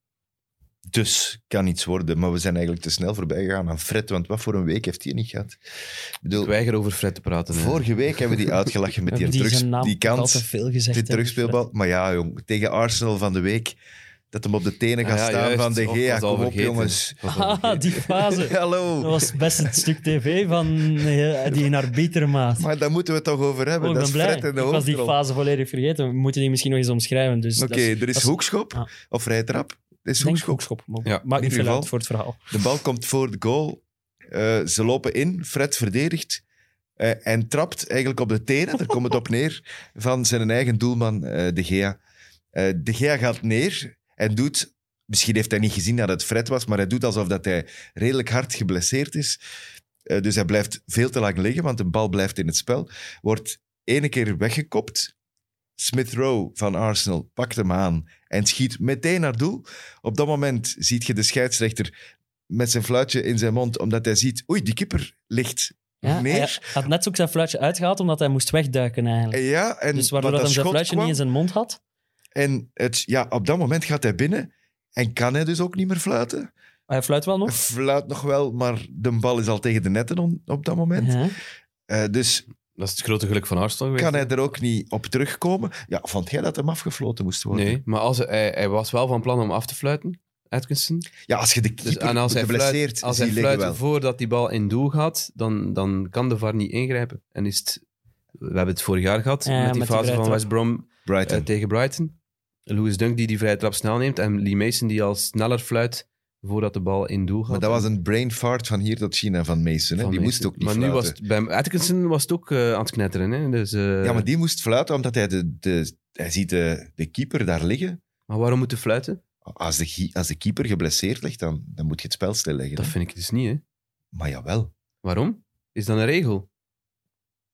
[SPEAKER 2] Dus kan iets worden, maar we zijn eigenlijk te snel voorbij gegaan aan Fred, want wat voor een week heeft hij niet gehad? Ik bedoel,
[SPEAKER 4] Ik weiger over Fred te praten. hè.
[SPEAKER 2] vorige week hebben we die uitgelachen met die,
[SPEAKER 3] die
[SPEAKER 2] terugs-
[SPEAKER 3] zijn naam
[SPEAKER 2] die
[SPEAKER 3] al te
[SPEAKER 2] kans,
[SPEAKER 3] veel gezegd.
[SPEAKER 2] die
[SPEAKER 3] hè.
[SPEAKER 2] terugspeelbal. Maar ja, jong, tegen Arsenal van de week, dat hem op de tenen
[SPEAKER 4] Ah
[SPEAKER 2] gaat
[SPEAKER 4] ja,
[SPEAKER 2] staan
[SPEAKER 4] juist.
[SPEAKER 2] van de
[SPEAKER 4] Och,
[SPEAKER 2] Gea.
[SPEAKER 4] was al
[SPEAKER 2] Kom op,
[SPEAKER 4] vergeten.
[SPEAKER 2] jongens.
[SPEAKER 4] Was al
[SPEAKER 3] Ah,
[SPEAKER 4] vergeten.
[SPEAKER 3] die fase. Dat
[SPEAKER 2] Hallo.
[SPEAKER 3] was best het stuk tv van eh, die in haar betere maat.
[SPEAKER 2] Maar daar moeten we het toch over hebben.
[SPEAKER 3] Oh, ik
[SPEAKER 2] dat
[SPEAKER 3] ben
[SPEAKER 2] is
[SPEAKER 3] blij.
[SPEAKER 2] Fred in
[SPEAKER 3] Ik
[SPEAKER 2] de
[SPEAKER 3] was die
[SPEAKER 2] hoofdrol. Oké,
[SPEAKER 3] fase volledig vergeten. We moeten die misschien nog eens omschrijven. Dus dat is-
[SPEAKER 2] er is,
[SPEAKER 3] dat is-
[SPEAKER 2] hoekschop
[SPEAKER 3] Ah.
[SPEAKER 2] of vrije trap. Het is
[SPEAKER 3] ik denk
[SPEAKER 2] hoekschop.
[SPEAKER 3] hoekschop. Maar
[SPEAKER 4] Ja,
[SPEAKER 3] maakt
[SPEAKER 2] in
[SPEAKER 3] niet
[SPEAKER 2] ieder
[SPEAKER 3] veel
[SPEAKER 2] geval.
[SPEAKER 3] uit voor het verhaal.
[SPEAKER 2] De bal komt voor de goal. Eh, ze lopen in, Fred verdedigt. eh, en trapt eigenlijk op de tenen, daar komt het op neer, van zijn eigen doelman, eh, De Gea. Eh, de Gea gaat neer en doet... Misschien heeft hij niet gezien dat het Fred was, maar hij doet alsof dat hij redelijk hard geblesseerd is. Eh, dus hij blijft veel te lang liggen, want de bal blijft in het spel. Wordt ene keer weggekopt. Smith Rowe van Arsenal pakt hem aan en schiet meteen naar doel. Op dat moment ziet je de scheidsrechter met zijn fluitje in zijn mond, omdat hij ziet, oei, die keeper ligt
[SPEAKER 3] Ja, Hij
[SPEAKER 2] neer.
[SPEAKER 3] had net ook zijn fluitje uitgehaald, omdat hij moest wegduiken eigenlijk.
[SPEAKER 2] En ja, en
[SPEAKER 3] dus waardoor
[SPEAKER 2] wat
[SPEAKER 3] dat
[SPEAKER 2] dat
[SPEAKER 3] hem zijn
[SPEAKER 2] schot
[SPEAKER 3] fluitje
[SPEAKER 2] kwam,
[SPEAKER 3] niet in zijn mond had.
[SPEAKER 2] En het, ja, op dat moment gaat hij binnen en kan hij dus ook niet meer fluiten.
[SPEAKER 3] Ah, Hij fluit wel nog.
[SPEAKER 2] Fluit nog wel, maar de bal is al tegen de netten on- op dat moment.
[SPEAKER 3] Ja.
[SPEAKER 2] Eh, dus
[SPEAKER 4] Dat is het grote geluk van Arsenal geweest.
[SPEAKER 2] kan hij er ook niet op terugkomen. Ja, vond jij dat hem afgefloten moest worden?
[SPEAKER 4] Nee, maar als hij, hij, hij was wel van plan om af te fluiten, Atkinson.
[SPEAKER 2] Ja, als je de
[SPEAKER 4] Dus,
[SPEAKER 2] keeper
[SPEAKER 4] en als hij
[SPEAKER 2] geblesseerd
[SPEAKER 4] fluit, als
[SPEAKER 2] zie
[SPEAKER 4] hij
[SPEAKER 2] je liggen
[SPEAKER 4] fluit
[SPEAKER 2] wel.
[SPEAKER 4] voordat die bal in doel gaat, dan, dan kan de VAR niet ingrijpen. En is het, we hebben het vorig jaar gehad
[SPEAKER 3] Ja,
[SPEAKER 4] met die
[SPEAKER 3] met die
[SPEAKER 4] fase
[SPEAKER 3] vrije
[SPEAKER 4] van
[SPEAKER 3] trap.
[SPEAKER 4] West Brom eh,
[SPEAKER 2] Brighton.
[SPEAKER 4] tegen Brighton. Louis Dunk die die vrije trap snel neemt en Lee Mason die al sneller fluit voordat de bal in doel gaat.
[SPEAKER 2] maar dat was een brain fart van hier tot China van Mason. Hè?
[SPEAKER 4] Van
[SPEAKER 2] die moest
[SPEAKER 4] Mason.
[SPEAKER 2] ook niet
[SPEAKER 4] Maar nu
[SPEAKER 2] fluiten.
[SPEAKER 4] was het, bij Atkinson was het ook eh, aan het knetteren. Hè? Dus, eh,
[SPEAKER 2] Ja, maar die moest fluiten omdat hij de, de hij ziet de, de keeper daar liggen.
[SPEAKER 4] maar waarom moeten fluiten?
[SPEAKER 2] Als de, gie- als de keeper geblesseerd ligt, dan, dan moet je het spel stilleggen.
[SPEAKER 4] Dat
[SPEAKER 2] hè.
[SPEAKER 4] vind ik dus niet, hè.
[SPEAKER 2] Maar jawel.
[SPEAKER 4] Waarom? Is dat een regel?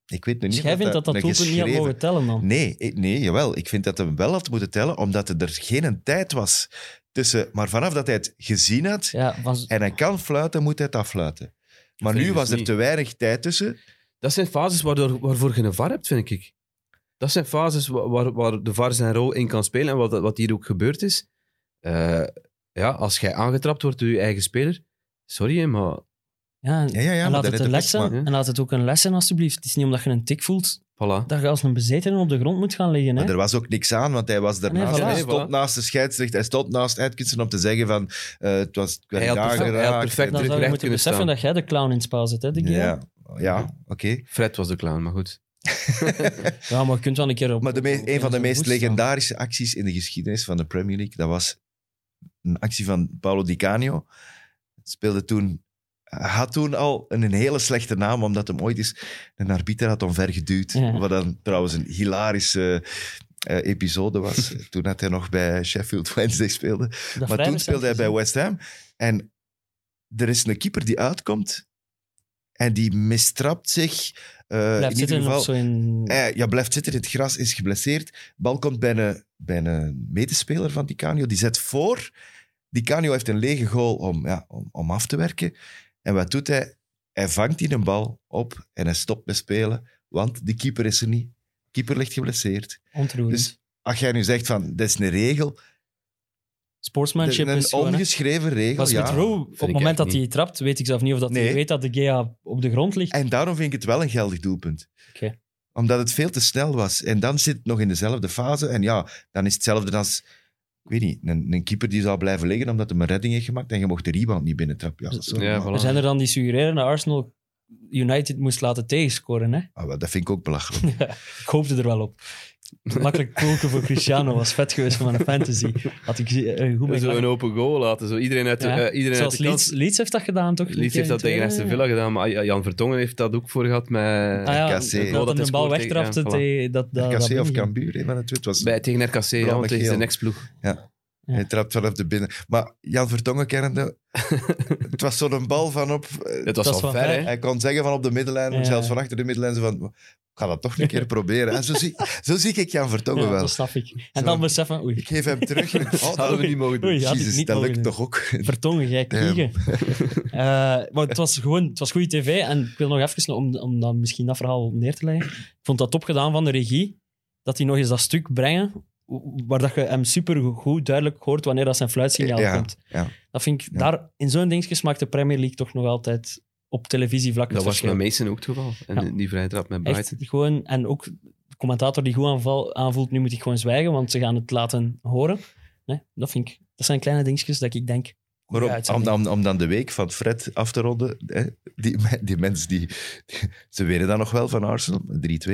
[SPEAKER 2] Ik weet nu
[SPEAKER 3] Dus
[SPEAKER 2] niet
[SPEAKER 3] jij
[SPEAKER 2] of
[SPEAKER 3] vindt dat dat
[SPEAKER 2] een
[SPEAKER 3] doelpunt niet had
[SPEAKER 2] geschreven-
[SPEAKER 3] mogen tellen dan?
[SPEAKER 2] Nee, ik- nee, jawel. Ik vind dat hem wel had moeten tellen, omdat er geen tijd was tussen... Maar vanaf dat hij het gezien had
[SPEAKER 3] Ja, van,
[SPEAKER 2] en hij kan fluiten, moet hij het affluiten. Maar
[SPEAKER 4] vind
[SPEAKER 2] nu
[SPEAKER 4] ik
[SPEAKER 2] was
[SPEAKER 4] dus
[SPEAKER 2] er
[SPEAKER 4] niet.
[SPEAKER 2] te weinig tijd tussen.
[SPEAKER 4] Dat zijn fases waardoor, waarvoor je een VAR hebt, vind ik. Dat zijn fases wa- waar, waar de VAR zijn rol in kan spelen. En wat, wat hier ook gebeurd is. eh, ja, als jij aangetrapt wordt door je eigen speler. Sorry, hè, maar
[SPEAKER 3] ja,
[SPEAKER 2] Ja, ja, ja.
[SPEAKER 3] en
[SPEAKER 2] maar
[SPEAKER 3] laat
[SPEAKER 2] dat
[SPEAKER 3] het
[SPEAKER 2] heeft
[SPEAKER 3] een
[SPEAKER 2] hem
[SPEAKER 3] les zijn.
[SPEAKER 2] vastgemaakt.
[SPEAKER 4] hè.
[SPEAKER 3] En laat het ook een les zijn, alsjeblieft. Het is niet omdat je een tik voelt,
[SPEAKER 4] voilà.
[SPEAKER 3] dat je als een bezetene op de grond moet gaan liggen. Hè?
[SPEAKER 2] Maar er was ook niks aan, want hij was daarnaast.
[SPEAKER 3] voilà.
[SPEAKER 2] Hij
[SPEAKER 4] Nee,
[SPEAKER 2] stond
[SPEAKER 4] voilà.
[SPEAKER 2] naast de scheidsrechter, hij stond naast Atkinson om te zeggen van... eh, het was, ik werd
[SPEAKER 4] Hij had perfect-
[SPEAKER 2] aangeraakt.
[SPEAKER 4] hij had perfect
[SPEAKER 3] Dan
[SPEAKER 4] terug
[SPEAKER 3] zou je
[SPEAKER 4] recht
[SPEAKER 3] moeten
[SPEAKER 4] kunnen
[SPEAKER 3] beseffen
[SPEAKER 4] staan.
[SPEAKER 3] dat jij de clown in het spel zit, hè, de
[SPEAKER 2] Ja, ja oké.
[SPEAKER 4] Fred was de clown, maar goed.
[SPEAKER 3] Ja, maar je kunt wel een keer op...
[SPEAKER 2] Maar de meest-
[SPEAKER 3] op-
[SPEAKER 2] een van de
[SPEAKER 3] op-
[SPEAKER 2] meest
[SPEAKER 3] op- staan.
[SPEAKER 2] legendarische acties in de geschiedenis van de Premier League, dat was een actie van Paolo Di Canio. Speelde toen, had toen al een, een hele slechte naam, omdat hem ooit eens een arbiter had omvergeduwd.
[SPEAKER 3] Ja.
[SPEAKER 2] Wat dan trouwens een hilarische eh, episode was. toen had hij nog bij Sheffield Wednesday speelde.
[SPEAKER 3] Dat
[SPEAKER 2] maar toen
[SPEAKER 3] vrijwel
[SPEAKER 2] speelde hij
[SPEAKER 3] zelfs,
[SPEAKER 2] bij
[SPEAKER 3] hè.
[SPEAKER 2] West Ham. En er is een keeper die uitkomt en die mistrapt zich. eh,
[SPEAKER 3] Blijft
[SPEAKER 2] in ieder
[SPEAKER 3] zitten
[SPEAKER 2] geval,
[SPEAKER 3] op zo'n...
[SPEAKER 2] eh, ja, blijft zitten in het gras, is geblesseerd. Bal komt bij een, bij een medespeler van Di Canio. Die zet voor. Di Canio heeft een lege goal om, ja, om, om af te werken. En wat doet hij? Hij vangt die een bal op en hij stopt met spelen. Want de keeper is er niet. De keeper ligt geblesseerd.
[SPEAKER 3] Ontroerend.
[SPEAKER 2] Dus als jij nu zegt van, dat is een regel.
[SPEAKER 3] Sportsmanship
[SPEAKER 2] een
[SPEAKER 3] is gewoon... hè.
[SPEAKER 2] ongeschreven regel,
[SPEAKER 3] Was met
[SPEAKER 2] ja.
[SPEAKER 3] Rowe, op het
[SPEAKER 4] ik
[SPEAKER 3] moment
[SPEAKER 4] echt
[SPEAKER 3] dat hij trapt, weet ik zelf niet of dat hij
[SPEAKER 2] Nee.
[SPEAKER 3] weet dat de Gea op de grond ligt.
[SPEAKER 2] En daarom vind ik het wel een geldig doelpunt.
[SPEAKER 3] Oké.
[SPEAKER 2] Omdat het veel te snel was. En dan zit het nog in dezelfde fase. En ja, dan is hetzelfde als, ik weet niet, een, een keeper die zou blijven liggen omdat hij een redding heeft gemaakt en je mocht de rebound niet binnentrappen. Ja, dat, is wel-
[SPEAKER 4] Ja, voilà.
[SPEAKER 3] Er zijn er dan die suggereren dat Arsenal United moest laten tegenscoren. Hè?
[SPEAKER 2] Ah, wel, dat vind ik ook belachelijk.
[SPEAKER 3] Ik hoopte er wel op. Makkelijk koken voor Cristiano was vet geweest van mijn fantasy. Had ik eh, goed mee
[SPEAKER 4] Zo een
[SPEAKER 3] gedaan.
[SPEAKER 4] open goal laten. Zo iedereen uit de,
[SPEAKER 3] Ja.
[SPEAKER 4] eh, iedereen uit
[SPEAKER 3] Zoals
[SPEAKER 4] de
[SPEAKER 3] Leeds,
[SPEAKER 4] kans.
[SPEAKER 3] Leeds heeft dat gedaan, toch?
[SPEAKER 4] Leeds heeft dat tegen Aston Villa gedaan, maar ah, Jan Vertongen heeft dat ook voor gehad
[SPEAKER 2] Eh,
[SPEAKER 4] met...
[SPEAKER 3] Ah ja,
[SPEAKER 2] RKC.
[SPEAKER 3] dat
[SPEAKER 4] Oh, Dat
[SPEAKER 3] hij
[SPEAKER 4] is
[SPEAKER 3] een bal
[SPEAKER 4] goed
[SPEAKER 3] wegtrapte.
[SPEAKER 4] tegen- ja,
[SPEAKER 3] tegen- dat, dat, dat
[SPEAKER 2] KC of
[SPEAKER 3] binnenging.
[SPEAKER 2] Cambuur, hè, van het het was...
[SPEAKER 4] bij, tegen RKC, ja,
[SPEAKER 2] Blauw
[SPEAKER 4] want
[SPEAKER 2] met
[SPEAKER 4] tegen zijn
[SPEAKER 2] geel.
[SPEAKER 4] ex-ploeg.
[SPEAKER 2] Hij trapt vanaf de binnen. Maar Jan Vertongen kennende, het was zo'n bal van op... eh,
[SPEAKER 4] Het was
[SPEAKER 3] Dat is
[SPEAKER 4] al
[SPEAKER 3] wel
[SPEAKER 4] ver,
[SPEAKER 3] ver.
[SPEAKER 4] hè.
[SPEAKER 2] Hij kon zeggen van op de middenlijn,
[SPEAKER 3] Ja.
[SPEAKER 2] of zelfs van achter de middenlijn, zo van, ik ga dat toch een keer proberen. En zo zie, zo zie ik Jan Vertongen
[SPEAKER 3] Ja,
[SPEAKER 2] wel.
[SPEAKER 3] dat snap ik. En
[SPEAKER 2] Zo.
[SPEAKER 3] dan beseffen, oei,
[SPEAKER 2] Ik geef hem terug. Oh, dat-
[SPEAKER 4] Hadden we niet mogen doen.
[SPEAKER 3] Oei, had ik
[SPEAKER 2] Jezus,
[SPEAKER 3] niet
[SPEAKER 2] dat
[SPEAKER 3] mogen
[SPEAKER 2] lukt
[SPEAKER 3] doen.
[SPEAKER 2] toch ook.
[SPEAKER 3] Vertongen, jij
[SPEAKER 2] Damn.
[SPEAKER 3] kiegen. Eh, maar het was gewoon het was goede tv. En ik wil nog even, om, om dan misschien dat verhaal neer te leggen. Ik vond dat top gedaan van de regie. Dat hij nog eens dat stuk brengen. Waar dat je hem super goed duidelijk hoort wanneer dat zijn fluitsignaal
[SPEAKER 2] Ja,
[SPEAKER 3] komt.
[SPEAKER 2] ja.
[SPEAKER 3] Dat vind ik,
[SPEAKER 2] Ja.
[SPEAKER 3] daar, in zo'n dingetjes maakt de Premier League toch nog altijd op televisie vlak
[SPEAKER 4] Dat was met Mason ook het geval. En
[SPEAKER 3] Ja.
[SPEAKER 4] die vrije trap met
[SPEAKER 3] Echt
[SPEAKER 4] Brighton.
[SPEAKER 3] gewoon, en ook de commentator die goed aanval, aanvoelt, nu moet ik gewoon zwijgen, want ze gaan het laten horen. Nee, dat vind ik, dat zijn kleine dingetjes dat ik denk,
[SPEAKER 2] Maar om, om,
[SPEAKER 3] uitzending.
[SPEAKER 2] dan- om dan de week van Fred af te ronden, hè, die, me- die mensen die, die- Ze winnen dan nog wel van Arsenal, 3-2.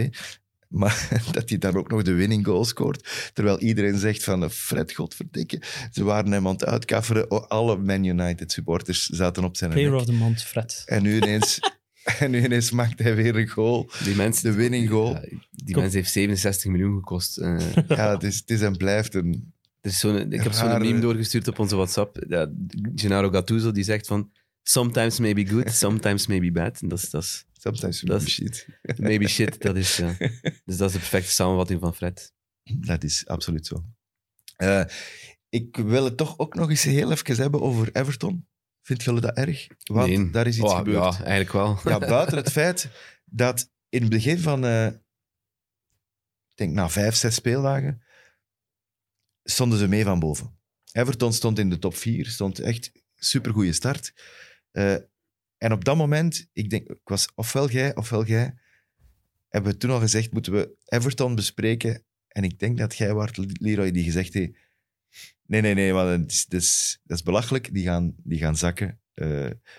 [SPEAKER 2] Maar dat hij dan ook nog de winning goal scoort. Terwijl iedereen zegt van, eh, Fred, godverdikke. Ze waren hem aan het uitkafferen. O, Alle Man United supporters zaten op zijn
[SPEAKER 3] player
[SPEAKER 2] nek.
[SPEAKER 3] of the month, Fred.
[SPEAKER 2] En nu ineens... En nu ineens maakt hij weer een goal.
[SPEAKER 4] Die mensen,
[SPEAKER 2] De winning goal.
[SPEAKER 4] Ja, die
[SPEAKER 3] Kom.
[SPEAKER 4] mensen heeft 67 miljoen gekost. Eh,
[SPEAKER 2] Ja, het is, het is en blijft een...
[SPEAKER 4] Er is zo'n- ik heb zo'n
[SPEAKER 2] Rare-
[SPEAKER 4] meme doorgestuurd op onze WhatsApp. Ja, Gennaro Gattuso die zegt van... Sometimes maybe good, sometimes maybe bad. En dat is, dat is,
[SPEAKER 2] Sometimes
[SPEAKER 4] Dat is-
[SPEAKER 2] shit.
[SPEAKER 4] maybe shit, dat is... Ja. Dus dat is de perfecte samenvatting van Fred.
[SPEAKER 2] Dat is absoluut zo. Eh, ik wil het toch ook nog eens heel even hebben over Everton. Vindt jullie dat erg? Want
[SPEAKER 4] Nee.
[SPEAKER 2] daar is iets
[SPEAKER 4] Oh,
[SPEAKER 2] gebeurd.
[SPEAKER 4] Ja, eigenlijk wel.
[SPEAKER 2] Ja, buiten het feit dat in het begin van, eh, ik denk na vijf, zes speeldagen, stonden ze mee van boven. Everton stond in de top vier, stond echt supergoeie start. Eh, en op dat moment, ik denk, ik was ofwel jij, ofwel jij, hebben we toen al gezegd, moeten we Everton bespreken. En ik denk dat jij, Wart Leroy, die gezegd heeft, nee, nee, nee, want het is, dat is, dat is belachelijk, die gaan, die gaan zakken. Eh,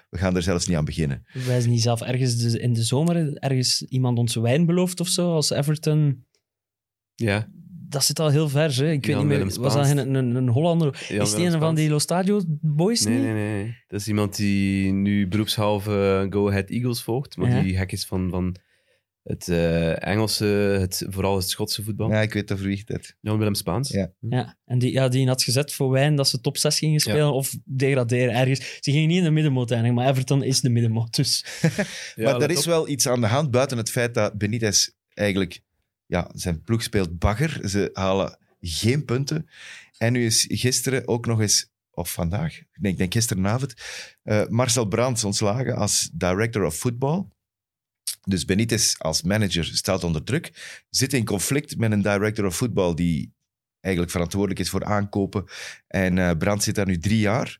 [SPEAKER 2] we gaan er zelfs niet aan beginnen.
[SPEAKER 3] Wij zijn niet zelf ergens de- in de zomer ergens iemand onze wijn beloofd of zo, als Everton.
[SPEAKER 4] Ja,
[SPEAKER 3] Dat zit al heel ver, hè. Ik weet
[SPEAKER 4] Jan
[SPEAKER 3] niet meer,
[SPEAKER 4] Willem
[SPEAKER 3] was dat
[SPEAKER 4] Spaans.
[SPEAKER 3] een, een, een Hollander?
[SPEAKER 4] Jan
[SPEAKER 3] is die een
[SPEAKER 4] Willem
[SPEAKER 3] van
[SPEAKER 4] Spaans.
[SPEAKER 3] die Los Stadio boys
[SPEAKER 4] Nee,
[SPEAKER 3] niet?
[SPEAKER 4] nee, nee. nee. Dat is iemand die nu beroepshalve Go Ahead Eagles volgt, maar
[SPEAKER 3] Ja.
[SPEAKER 4] die hack is van, van het eh, Engelse, het, vooral het Schotse voetbal.
[SPEAKER 2] Ja, ik weet dat verwiegt het.
[SPEAKER 4] Jan-Willem Spaans.
[SPEAKER 2] Ja.
[SPEAKER 3] Ja, en die, ja, die had gezet voor Wijn dat ze top 6 gingen spelen of degraderen ergens. Ze gingen niet in de middenmoot eindigen, maar Everton is de middenmoot. Dus
[SPEAKER 4] Ja,
[SPEAKER 2] maar er
[SPEAKER 4] let
[SPEAKER 2] is
[SPEAKER 4] op.
[SPEAKER 2] wel iets aan de hand buiten het feit dat Benitez eigenlijk... Ja, zijn ploeg speelt bagger. Ze halen geen punten. En nu is gisteren ook nog eens... Of vandaag, nee, ik denk gisteravond, eh, Marcel Brands ontslagen als director of football. Dus Benitez als manager staat onder druk. Zit in conflict met een director of football die eigenlijk verantwoordelijk is voor aankopen. En eh Brandt zit daar nu drie jaar.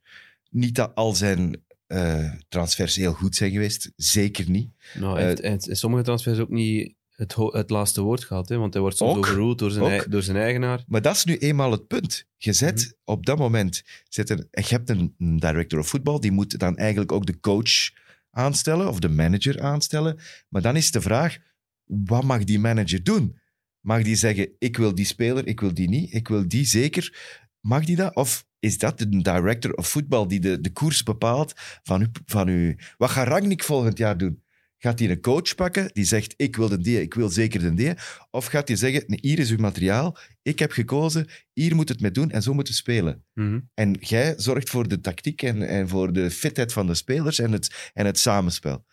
[SPEAKER 2] Niet dat al zijn eh, transfers heel goed zijn geweest. Zeker niet.
[SPEAKER 4] Nou,
[SPEAKER 2] Eh,
[SPEAKER 4] hij heeft- hij heeft in sommige transfers ook niet het, ho- het laatste woord gehad, hè, want hij wordt soms
[SPEAKER 2] Ook.
[SPEAKER 4] overruled door zijn,
[SPEAKER 2] Ook.
[SPEAKER 4] ei- door zijn eigenaar.
[SPEAKER 2] Maar dat is nu eenmaal het punt. Je zet op dat moment... Zet een, je hebt een een director of voetbal, die moet dan eigenlijk ook de coach aanstellen of de manager aanstellen. Maar dan is de vraag, wat mag die manager doen? Mag die zeggen, ik wil die speler, ik wil die niet, ik wil die zeker. Mag die dat? Of is dat de director of voetbal die de, de koers bepaalt van u, van u... Wat gaat Rangnick volgend jaar doen? Gaat hij een coach pakken die zegt, ik wil de die, ik wil zeker de die? Of gaat hij zeggen, nee, hier is uw materiaal, ik heb gekozen, hier moet het mee doen en zo moeten we spelen.
[SPEAKER 4] Mhm.
[SPEAKER 2] En jij zorgt voor de tactiek en, en voor de fitheid van de spelers en het, en het samenspel.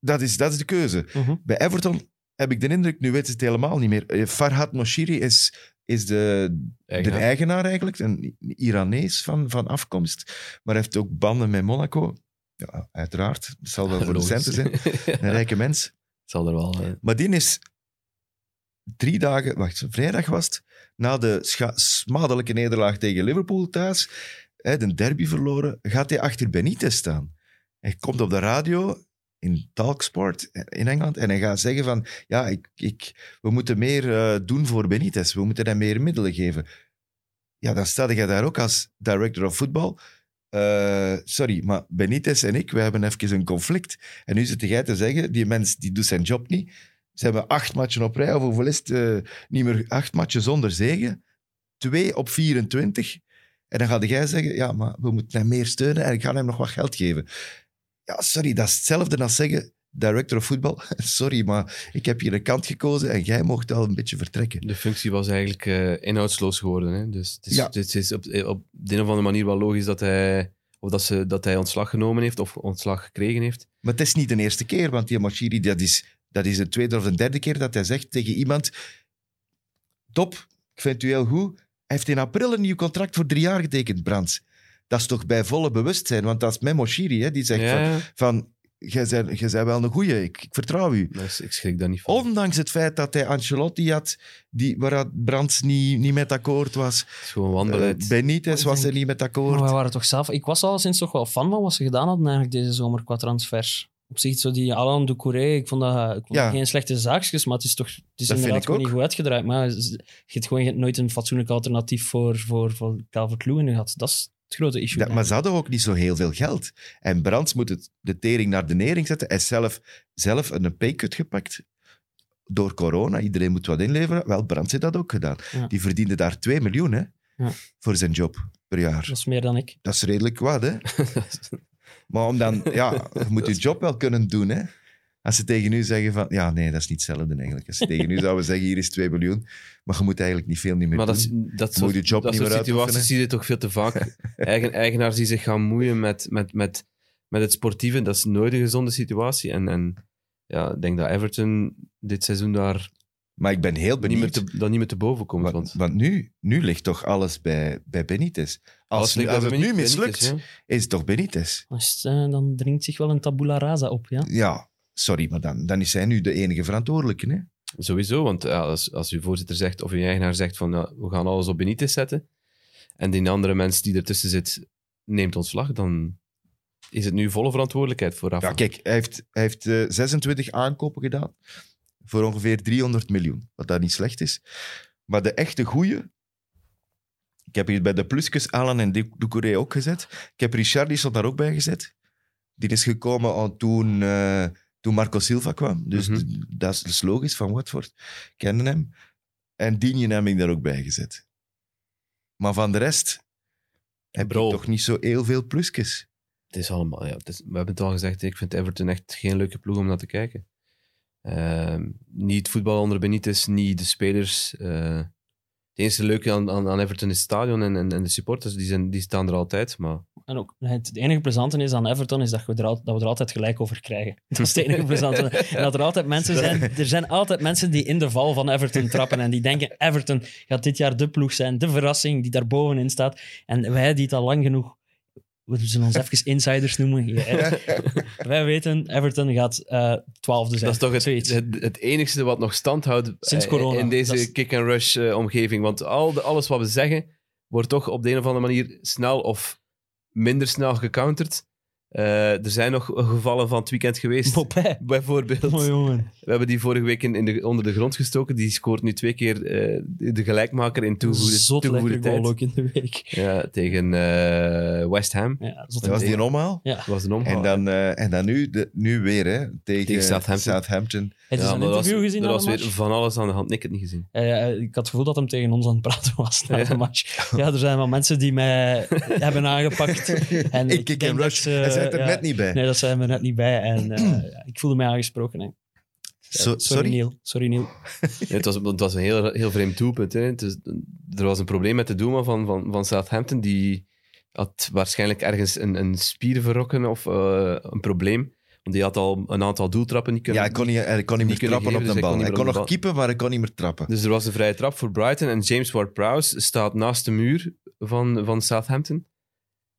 [SPEAKER 2] Dat is, dat is de keuze.
[SPEAKER 3] Mhm.
[SPEAKER 2] Bij Everton heb ik de indruk, nu weten ze het helemaal niet meer. Eh, Farhad Moshiri is, is de, de
[SPEAKER 4] Eigenaar.
[SPEAKER 2] eigenaar eigenlijk, een Iranees van, van afkomst, maar heeft ook banden met Monaco. Ja, uiteraard. Het zal wel voor de
[SPEAKER 4] Logisch.
[SPEAKER 2] centen zijn. Een rijke mens.
[SPEAKER 4] Zal er wel. eh,
[SPEAKER 2] Maar die is drie dagen, wacht, vrijdag was het, na de scha- smadelijke nederlaag tegen Liverpool thuis, hè, de derby verloren, gaat hij achter Benitez staan. Hij komt op de radio in Talksport eh, in Engeland en hij gaat zeggen van, ja, ik, ik, we moeten meer eh, doen voor Benitez, we moeten hem meer middelen geven. Ja, dan sta je daar ook als director of voetbal. Eh, sorry, maar Benitez en ik, we hebben even een conflict. En nu zit jij te zeggen, die mens die doet zijn job niet. Ze hebben acht matchen op rij, of hoeveel is het? eh, niet meer acht matchen zonder zegen. Twee op 24. En dan gaat jij zeggen, ja, maar we moeten hem meer steunen en ik ga hem nog wat geld geven. Ja, sorry, dat is hetzelfde als zeggen, director of voetbal, sorry, maar ik heb hier een kant gekozen en jij mocht al een beetje vertrekken.
[SPEAKER 4] De functie was eigenlijk eh, inhoudsloos geworden. Hè? Dus het is,
[SPEAKER 2] Ja.
[SPEAKER 4] het is op, op de een of andere manier wel logisch dat hij, of dat, ze, dat hij ontslag genomen heeft of ontslag gekregen heeft.
[SPEAKER 2] Maar het is niet de eerste keer, want die Machiri, dat is, dat is de tweede of de derde keer dat hij zegt tegen iemand: Top, ik vind u heel goed. Hij heeft in april een nieuw contract voor drie jaar getekend, Brands. Dat is toch bij volle bewustzijn, want dat is met Moshiri, hè, die zegt van-
[SPEAKER 4] ja,
[SPEAKER 2] van: Jij bent jij bent wel een goeie, ik, ik vertrouw u.
[SPEAKER 4] dus ik schrik daar niet van.
[SPEAKER 2] Ondanks het feit dat hij Ancelotti had, die, waar Brands niet, niet met akkoord was.
[SPEAKER 4] het is gewoon
[SPEAKER 2] Eh,
[SPEAKER 4] wanbeleid.
[SPEAKER 2] Benitez was er niet met
[SPEAKER 3] maar wij
[SPEAKER 2] akkoord.
[SPEAKER 3] waren toch zelf... Ik was al sinds toch wel fan van wat ze gedaan hadden eigenlijk deze zomer qua transfer. Op zich, zo die Alain Doucouré, ik vond dat, ik vond
[SPEAKER 2] Ja.
[SPEAKER 3] dat geen slechte zaakjes, maar het is toch het is
[SPEAKER 2] vind
[SPEAKER 3] inderdaad
[SPEAKER 2] ik
[SPEAKER 3] gewoon
[SPEAKER 2] ook.
[SPEAKER 3] niet goed uitgedraaid. Maar z- je hebt gewoon geen- nooit een fatsoenlijk alternatief voor, voor, voor Calvert-Lewin gehad. Dat is het grote issue.
[SPEAKER 2] Dat- maar ze
[SPEAKER 3] eigenlijk.
[SPEAKER 2] hadden ook niet zo heel veel geld. En Brands moet het, de tering naar de nering zetten. Hij is zelf, zelf een paycut gepakt. Door corona, iedereen moet wat inleveren. Wel, Brands heeft dat ook gedaan.
[SPEAKER 3] Ja.
[SPEAKER 2] Die verdiende daar 2 miljoen hè,
[SPEAKER 3] Ja.
[SPEAKER 2] voor zijn job per jaar.
[SPEAKER 3] Dat is meer dan ik.
[SPEAKER 2] Dat is redelijk wat, hè? Maar om dan, ja, je moet je job wel kunnen doen, hè? Als ze tegen u zeggen van, ja, nee, dat is niet hetzelfde eigenlijk. Als ze tegen u zouden zeggen, hier is 2 miljoen, maar je moet eigenlijk niet veel niet meer
[SPEAKER 4] maar dat,
[SPEAKER 2] doen.
[SPEAKER 4] is- dat
[SPEAKER 2] Moet
[SPEAKER 4] soort,
[SPEAKER 2] je job
[SPEAKER 4] dat
[SPEAKER 2] niet
[SPEAKER 4] soort
[SPEAKER 2] meer uitoefenen.
[SPEAKER 4] situaties zie je toch veel te vaak. Eigen, eigenaars die zich gaan moeien met, met, met, met het sportieve, dat is nooit een gezonde situatie. En, en ja, ik denk dat Everton dit seizoen daar
[SPEAKER 2] Maar ik ben heel
[SPEAKER 4] niet
[SPEAKER 2] benieuwd.
[SPEAKER 4] meer, te, dat niet meer te boven komt.
[SPEAKER 2] Want,
[SPEAKER 4] want
[SPEAKER 2] want nu, nu ligt toch alles bij, bij Benitez. Als,
[SPEAKER 4] alles
[SPEAKER 2] nu-
[SPEAKER 4] ligt
[SPEAKER 2] als
[SPEAKER 4] bij
[SPEAKER 2] het nu
[SPEAKER 4] Benitez,
[SPEAKER 2] mislukt,
[SPEAKER 4] hè.
[SPEAKER 2] is het toch Benitez?
[SPEAKER 3] Dan is het, eh, Dan dringt zich wel een tabula rasa op, ja.
[SPEAKER 2] Ja, sorry, maar dan, dan is hij nu de enige verantwoordelijke. Hè?
[SPEAKER 4] Sowieso, want ja, als, als uw voorzitter zegt of uw eigenaar zegt van ja, we gaan alles op Benitez zetten en die andere mens die ertussen zit neemt ontslag, dan is het nu volle verantwoordelijkheid voor Rafa.
[SPEAKER 2] Ja, kijk, hij heeft, hij heeft eh, 26 aankopen gedaan voor ongeveer 300 miljoen, wat daar niet slecht is. Maar de echte goeie, ik heb hier bij de plusjes Alan en Du- Doucouré ook gezet. Ik heb Richarlison daar ook bij gezet. Die is gekomen al toen, eh, toen Marco Silva kwam. Dus
[SPEAKER 4] Mhm.
[SPEAKER 2] d- dat is dus logisch van Watford. Kennen hem. En Digne heb ik daar ook bij gezet. Maar van de rest heb
[SPEAKER 4] Bro.
[SPEAKER 2] je toch niet zo heel veel plusjes.
[SPEAKER 4] Het is allemaal, ja, het is- we hebben het al gezegd, ik vind Everton echt geen leuke ploeg om naar te kijken. Ehm, niet het voetbal onder Benitez, niet de spelers. eh. het enige leuke aan, aan, aan Everton is het stadion en, en, en de supporters, die, zijn, die staan er altijd. Maar
[SPEAKER 3] En ook, het, het enige plezante is aan Everton is dat, we er al- dat we er altijd gelijk over krijgen. Dat is het enige plezante. En dat er altijd mensen zijn... Er zijn altijd mensen die in de val van Everton trappen en die denken Everton gaat dit jaar de ploeg zijn, de verrassing die daar bovenin staat. En wij die het al lang genoeg... We zullen ons even insiders noemen. Ja. Wij weten, Everton gaat eh twaalfde zijn.
[SPEAKER 4] dat is toch het,
[SPEAKER 3] Zoiets.
[SPEAKER 4] het, het enigste wat nog stand houdt
[SPEAKER 3] Sinds
[SPEAKER 4] eh,
[SPEAKER 3] corona.
[SPEAKER 4] in deze
[SPEAKER 3] Dat is-
[SPEAKER 4] kick-and-rush eh, omgeving. Want al de, alles wat we zeggen, wordt toch op de een of andere manier snel of minder snel gecounterd. Eh, er zijn nog gevallen van het weekend geweest.
[SPEAKER 3] Popeye.
[SPEAKER 4] Bijvoorbeeld.
[SPEAKER 3] Mooi jongen.
[SPEAKER 4] We hebben die vorige week in, in de, onder de grond gestoken. Die scoort nu twee keer eh, de gelijkmaker in toegevoegde,
[SPEAKER 3] Zot
[SPEAKER 4] toegevoegde
[SPEAKER 3] lekker
[SPEAKER 4] tijd.
[SPEAKER 3] goal ook in de week.
[SPEAKER 4] Ja, tegen eh, West Ham.
[SPEAKER 3] Ja, zot
[SPEAKER 2] Dat was die
[SPEAKER 3] goal.
[SPEAKER 2] een omhaal.
[SPEAKER 3] Ja.
[SPEAKER 4] Dat was een omhaal.
[SPEAKER 2] En dan, eh, en dan nu, de, nu weer, hè, tegen,
[SPEAKER 4] Tegen Southampton.
[SPEAKER 2] Southampton.
[SPEAKER 3] Het is
[SPEAKER 4] Ja,
[SPEAKER 3] een
[SPEAKER 4] maar dat was-
[SPEAKER 3] interview gezien
[SPEAKER 4] Er
[SPEAKER 3] na de
[SPEAKER 4] was weer
[SPEAKER 3] match.
[SPEAKER 4] van alles aan de hand. Nee, Ik heb het niet gezien.
[SPEAKER 3] Eh, eh, ik had het gevoel dat hem tegen ons aan het praten was na de
[SPEAKER 4] Ja.
[SPEAKER 3] match. Ja, er zijn wel mensen die mij hebben aangepakt. En
[SPEAKER 2] ik kick
[SPEAKER 3] denk
[SPEAKER 2] en
[SPEAKER 3] dat
[SPEAKER 2] rush.
[SPEAKER 3] ze-
[SPEAKER 2] Hij zit er
[SPEAKER 4] eh,
[SPEAKER 3] ja,
[SPEAKER 2] net niet bij.
[SPEAKER 3] Nee, dat zijn we net niet bij. En eh, ja, ik voelde mij aangesproken. Hè. Ja,
[SPEAKER 2] So-
[SPEAKER 3] sorry,
[SPEAKER 2] sorry?
[SPEAKER 3] Neil. Sorry, Neil.
[SPEAKER 4] Ja, het, was, het was een heel, heel vreemd doelpunt. Hè. Het is- er was een probleem met de doelman van, van, van Southampton. Die had waarschijnlijk ergens een, een spier verrokken of eh, een probleem. Want die had al een aantal doeltrappen niet kunnen
[SPEAKER 2] Ja, hij kon niet, hij kon niet meer
[SPEAKER 4] Die kunnen
[SPEAKER 2] trappen
[SPEAKER 4] geven,
[SPEAKER 2] op
[SPEAKER 4] dus
[SPEAKER 2] de
[SPEAKER 4] hij kon
[SPEAKER 2] bal.
[SPEAKER 4] niet
[SPEAKER 2] Hij
[SPEAKER 4] meer
[SPEAKER 2] kon
[SPEAKER 4] op de
[SPEAKER 2] nog
[SPEAKER 4] bal.
[SPEAKER 2] keepen, maar hij kon niet meer trappen.
[SPEAKER 4] Dus er was een vrije trap voor Brighton en James Ward-Prowse staat naast de muur van, van Southampton.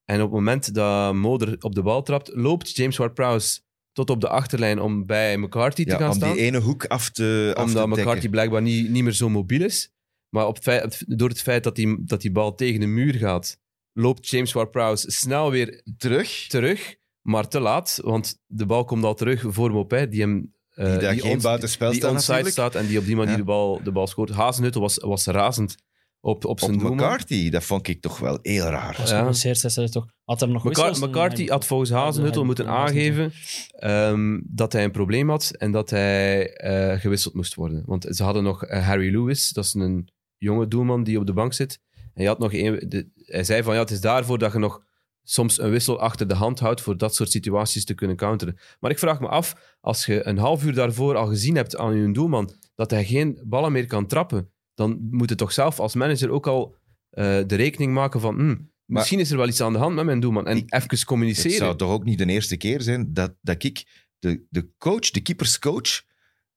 [SPEAKER 4] En op het moment dat Moder op de bal trapt, loopt James Ward-Prowse tot op de achterlijn om bij McCarthy te
[SPEAKER 2] Ja,
[SPEAKER 4] gaan
[SPEAKER 2] om
[SPEAKER 4] staan.
[SPEAKER 2] die ene hoek af te af
[SPEAKER 4] omdat
[SPEAKER 2] te dekken.
[SPEAKER 4] McCarthy blijkbaar niet, niet meer zo mobiel is. Maar op het feit- door het feit dat die, dat die bal tegen de muur gaat, loopt James Ward-Prowse snel weer
[SPEAKER 2] terug.
[SPEAKER 4] terug, maar te laat. Want de bal komt al terug voor Mopé, die hem... eh,
[SPEAKER 2] die daar geen
[SPEAKER 4] ons-
[SPEAKER 2] buitenspel
[SPEAKER 4] die
[SPEAKER 2] staan
[SPEAKER 4] onside
[SPEAKER 2] natuurlijk.
[SPEAKER 4] staat en die op die manier
[SPEAKER 2] Ja.
[SPEAKER 4] de, bal, de bal scoort. Hazenutten was, was razend op, op zijn
[SPEAKER 2] Op
[SPEAKER 4] doelman.
[SPEAKER 2] McCarthy, dat vond ik toch wel heel raar.
[SPEAKER 3] Dat was
[SPEAKER 4] Ja.
[SPEAKER 3] geblesseerd, zei ze toch. Had hem nog
[SPEAKER 4] Mccar-
[SPEAKER 3] wissels?
[SPEAKER 4] McCarthy had volgens Hazenutel
[SPEAKER 3] hij-
[SPEAKER 4] moeten
[SPEAKER 3] hij- hij-
[SPEAKER 4] aangeven ehm, dat hij een probleem had en dat hij eh, gewisseld moest worden. Want ze hadden nog eh, Harry Lewis, dat is een jonge doelman die op de bank zit. En je had nog een, de- hij zei van ja, het is daarvoor dat je nog soms een wissel achter de hand houdt voor dat soort situaties te kunnen counteren. Maar ik vraag me af, als je een half uur daarvoor al gezien hebt aan je doelman dat hij geen ballen meer kan trappen, dan moet je toch zelf als manager ook al eh, de rekening maken van hm, misschien is er wel iets aan de hand met mijn doelman. En
[SPEAKER 2] Ik-
[SPEAKER 4] even
[SPEAKER 2] Het
[SPEAKER 4] communiceren.
[SPEAKER 2] zou toch ook niet de eerste keer zijn dat, dat ik de, de coach, de keeperscoach,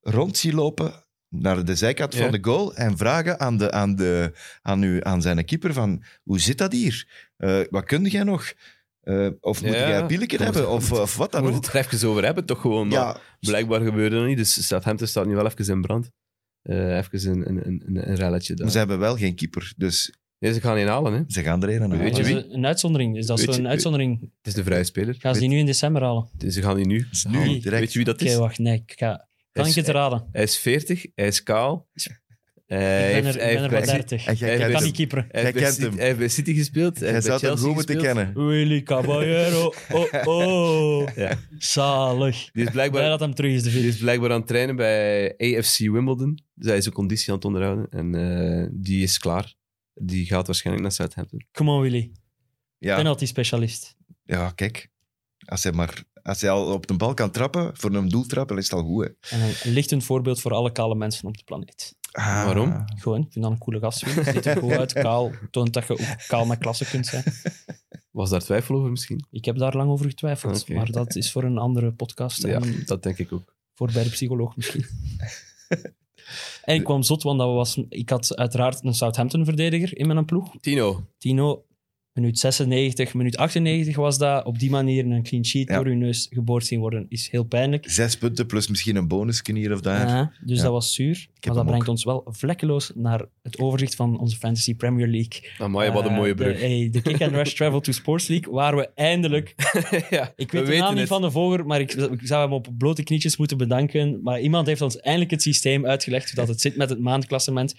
[SPEAKER 2] rond zie lopen naar de zijkant
[SPEAKER 4] Ja.
[SPEAKER 2] van de goal en vragen aan, de, aan, de, aan, u, aan zijn keeper van hoe zit dat hier? Eh, wat kun jij nog? Eh, of moet
[SPEAKER 4] Ja.
[SPEAKER 2] jij pilleken hebben? Of, of wat
[SPEAKER 4] Daar
[SPEAKER 2] dan
[SPEAKER 4] moet je
[SPEAKER 2] ook?
[SPEAKER 4] het er even over hebben, toch gewoon. Maar
[SPEAKER 2] Ja,
[SPEAKER 4] Blijkbaar gebeurde dat niet, dus Southampton staat nu wel even in brand. Eh, even een, een, een, een- een relletje daar.
[SPEAKER 2] maar ze hebben wel geen keeper, dus
[SPEAKER 4] Nee, ze gaan in halen, hè. Het
[SPEAKER 2] ze gaan er een aan
[SPEAKER 4] Weet
[SPEAKER 2] halen.
[SPEAKER 4] je
[SPEAKER 3] Dat
[SPEAKER 4] wie?
[SPEAKER 3] is Een uitzondering. Is dat
[SPEAKER 4] Weet je-
[SPEAKER 3] zo'n uitzondering?
[SPEAKER 4] is de vrije speler.
[SPEAKER 3] Gaan ze die nu in december halen?
[SPEAKER 4] Dus Ze gaan die nu.
[SPEAKER 2] Dus
[SPEAKER 3] Wie?
[SPEAKER 2] nu,
[SPEAKER 4] Weet
[SPEAKER 2] direct.
[SPEAKER 4] je wie dat
[SPEAKER 3] Oké,
[SPEAKER 4] is?
[SPEAKER 3] wacht. Nee, ik ga... Kan
[SPEAKER 4] Hij
[SPEAKER 3] ik
[SPEAKER 4] is-
[SPEAKER 3] het raden?
[SPEAKER 4] Hij is 40, hij is kaal. Eh,
[SPEAKER 3] Ik
[SPEAKER 4] hij
[SPEAKER 3] ben
[SPEAKER 4] heeft-
[SPEAKER 3] er,
[SPEAKER 4] hij
[SPEAKER 3] ik ben
[SPEAKER 4] heeft
[SPEAKER 3] er
[SPEAKER 4] bij
[SPEAKER 3] maar
[SPEAKER 4] City-
[SPEAKER 3] 30.
[SPEAKER 2] En jij
[SPEAKER 4] Hij
[SPEAKER 3] Ik
[SPEAKER 2] kent
[SPEAKER 3] kan
[SPEAKER 2] hem.
[SPEAKER 3] niet keeperen.
[SPEAKER 4] hij
[SPEAKER 2] Jij
[SPEAKER 4] heeft bij
[SPEAKER 2] kent
[SPEAKER 4] City-
[SPEAKER 2] hem.
[SPEAKER 4] Hij heeft bij City gespeeld. Hij
[SPEAKER 2] Jij
[SPEAKER 4] heeft bij
[SPEAKER 2] zou hem
[SPEAKER 4] Chelsea
[SPEAKER 2] goed moeten
[SPEAKER 4] gespeeld.
[SPEAKER 2] kennen.
[SPEAKER 3] Willy Caballero, oh oh.
[SPEAKER 4] Ja.
[SPEAKER 3] Zalig.
[SPEAKER 4] Die is
[SPEAKER 3] Blij
[SPEAKER 4] blijkbaar,
[SPEAKER 3] dat hem terug is, de
[SPEAKER 4] die
[SPEAKER 3] video.
[SPEAKER 4] is blijkbaar aan het trainen bij AFC Wimbledon. Dus hij is zijn conditie aan het onderhouden. En eh, die is klaar. Die gaat waarschijnlijk naar Southampton.
[SPEAKER 3] Come on, Willy.
[SPEAKER 2] Ja,
[SPEAKER 3] Penalty specialist.
[SPEAKER 2] ja, kijk. Als hij, maar, als hij al op de bal kan trappen, voor een doeltrap, dan is het al goed. Hè.
[SPEAKER 3] En een lichtend voorbeeld voor alle kale mensen op de planeet.
[SPEAKER 2] Ah.
[SPEAKER 4] Waarom?
[SPEAKER 3] Gewoon, ik vind dat een coole gast. Willy. Ziet er goed uit, kaal. Toont dat je ook kaal met klasse kunt zijn.
[SPEAKER 4] Was daar twijfel over misschien?
[SPEAKER 3] Ik heb daar lang over getwijfeld,
[SPEAKER 4] Oké.
[SPEAKER 3] maar dat is voor een andere podcast.
[SPEAKER 4] Ja,
[SPEAKER 3] En
[SPEAKER 4] dat denk ik ook.
[SPEAKER 3] Voor bij de psycholoog misschien. en ik kwam zot, want dat was, ik had uiteraard een Southampton-verdediger in mijn ploeg.
[SPEAKER 4] Tino.
[SPEAKER 3] Tino, minuut 96, minuut 98 was dat. Op die manier een clean sheet
[SPEAKER 2] Ja.
[SPEAKER 3] door uw neus geboord zien worden, is heel pijnlijk.
[SPEAKER 2] Zes punten plus misschien een bonusken hier of daar.
[SPEAKER 3] Ja, dus
[SPEAKER 2] Ja.
[SPEAKER 3] dat was zuur.
[SPEAKER 2] heb
[SPEAKER 3] Maar
[SPEAKER 2] hem
[SPEAKER 3] dat
[SPEAKER 2] ook.
[SPEAKER 3] brengt ons wel vlekkeloos naar het overzicht van onze Fantasy Premier League.
[SPEAKER 4] Amai, wat een
[SPEAKER 3] Eh,
[SPEAKER 4] mooie
[SPEAKER 3] De,
[SPEAKER 4] brug.
[SPEAKER 3] hey, de Kick and Rush Travel to Sports League, waar we eindelijk...
[SPEAKER 4] ja,
[SPEAKER 3] Ik
[SPEAKER 4] we
[SPEAKER 3] weet de
[SPEAKER 4] weten
[SPEAKER 3] naam niet
[SPEAKER 4] het.
[SPEAKER 3] van de volger, maar ik, ik zou hem op blote knietjes moeten bedanken. Maar iemand heeft ons eindelijk het systeem uitgelegd, hoe dat het zit met het maandklassement.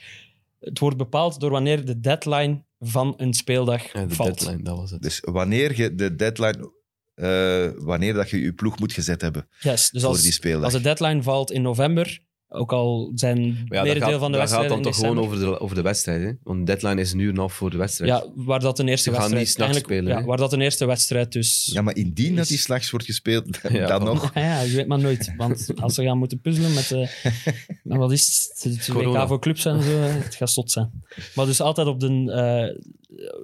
[SPEAKER 3] Het wordt bepaald door wanneer de deadline van een speeldag
[SPEAKER 4] Ja, de
[SPEAKER 3] valt.
[SPEAKER 4] deadline, dat was het.
[SPEAKER 2] Dus wanneer je de deadline, eh, wanneer dat je je ploeg moet gezet hebben
[SPEAKER 3] Yes, dus
[SPEAKER 2] voor die
[SPEAKER 3] als,
[SPEAKER 2] speeldag.
[SPEAKER 3] als de deadline valt in november, Ook al zijn
[SPEAKER 4] Maar ja, dat
[SPEAKER 3] merendeel van de
[SPEAKER 4] gaat, dat gaat
[SPEAKER 3] wedstrijden
[SPEAKER 4] dan
[SPEAKER 3] in
[SPEAKER 4] toch
[SPEAKER 3] december.
[SPEAKER 4] gewoon over de, over de wedstrijd. Hè? Want de deadline is nu en half voor de wedstrijd.
[SPEAKER 3] Ja, waar dat een eerste
[SPEAKER 4] We gaan
[SPEAKER 3] wedstrijd...
[SPEAKER 4] niet 's nachts
[SPEAKER 3] eigenlijk-
[SPEAKER 4] spelen,
[SPEAKER 3] Ja,
[SPEAKER 4] hè?
[SPEAKER 3] waar dat een eerste wedstrijd dus...
[SPEAKER 2] Ja, maar indien dat die s'nachts wordt gespeeld, dan,
[SPEAKER 4] Ja,
[SPEAKER 2] dan
[SPEAKER 4] voilà.
[SPEAKER 2] nog.
[SPEAKER 3] Ah ja, je weet maar nooit. Want als ze gaan moeten puzzelen met... eh, met wat is het? Het is
[SPEAKER 4] Corona.
[SPEAKER 3] WK voor clubs en zo. Het gaat zot zijn. Maar dus altijd op de... eh,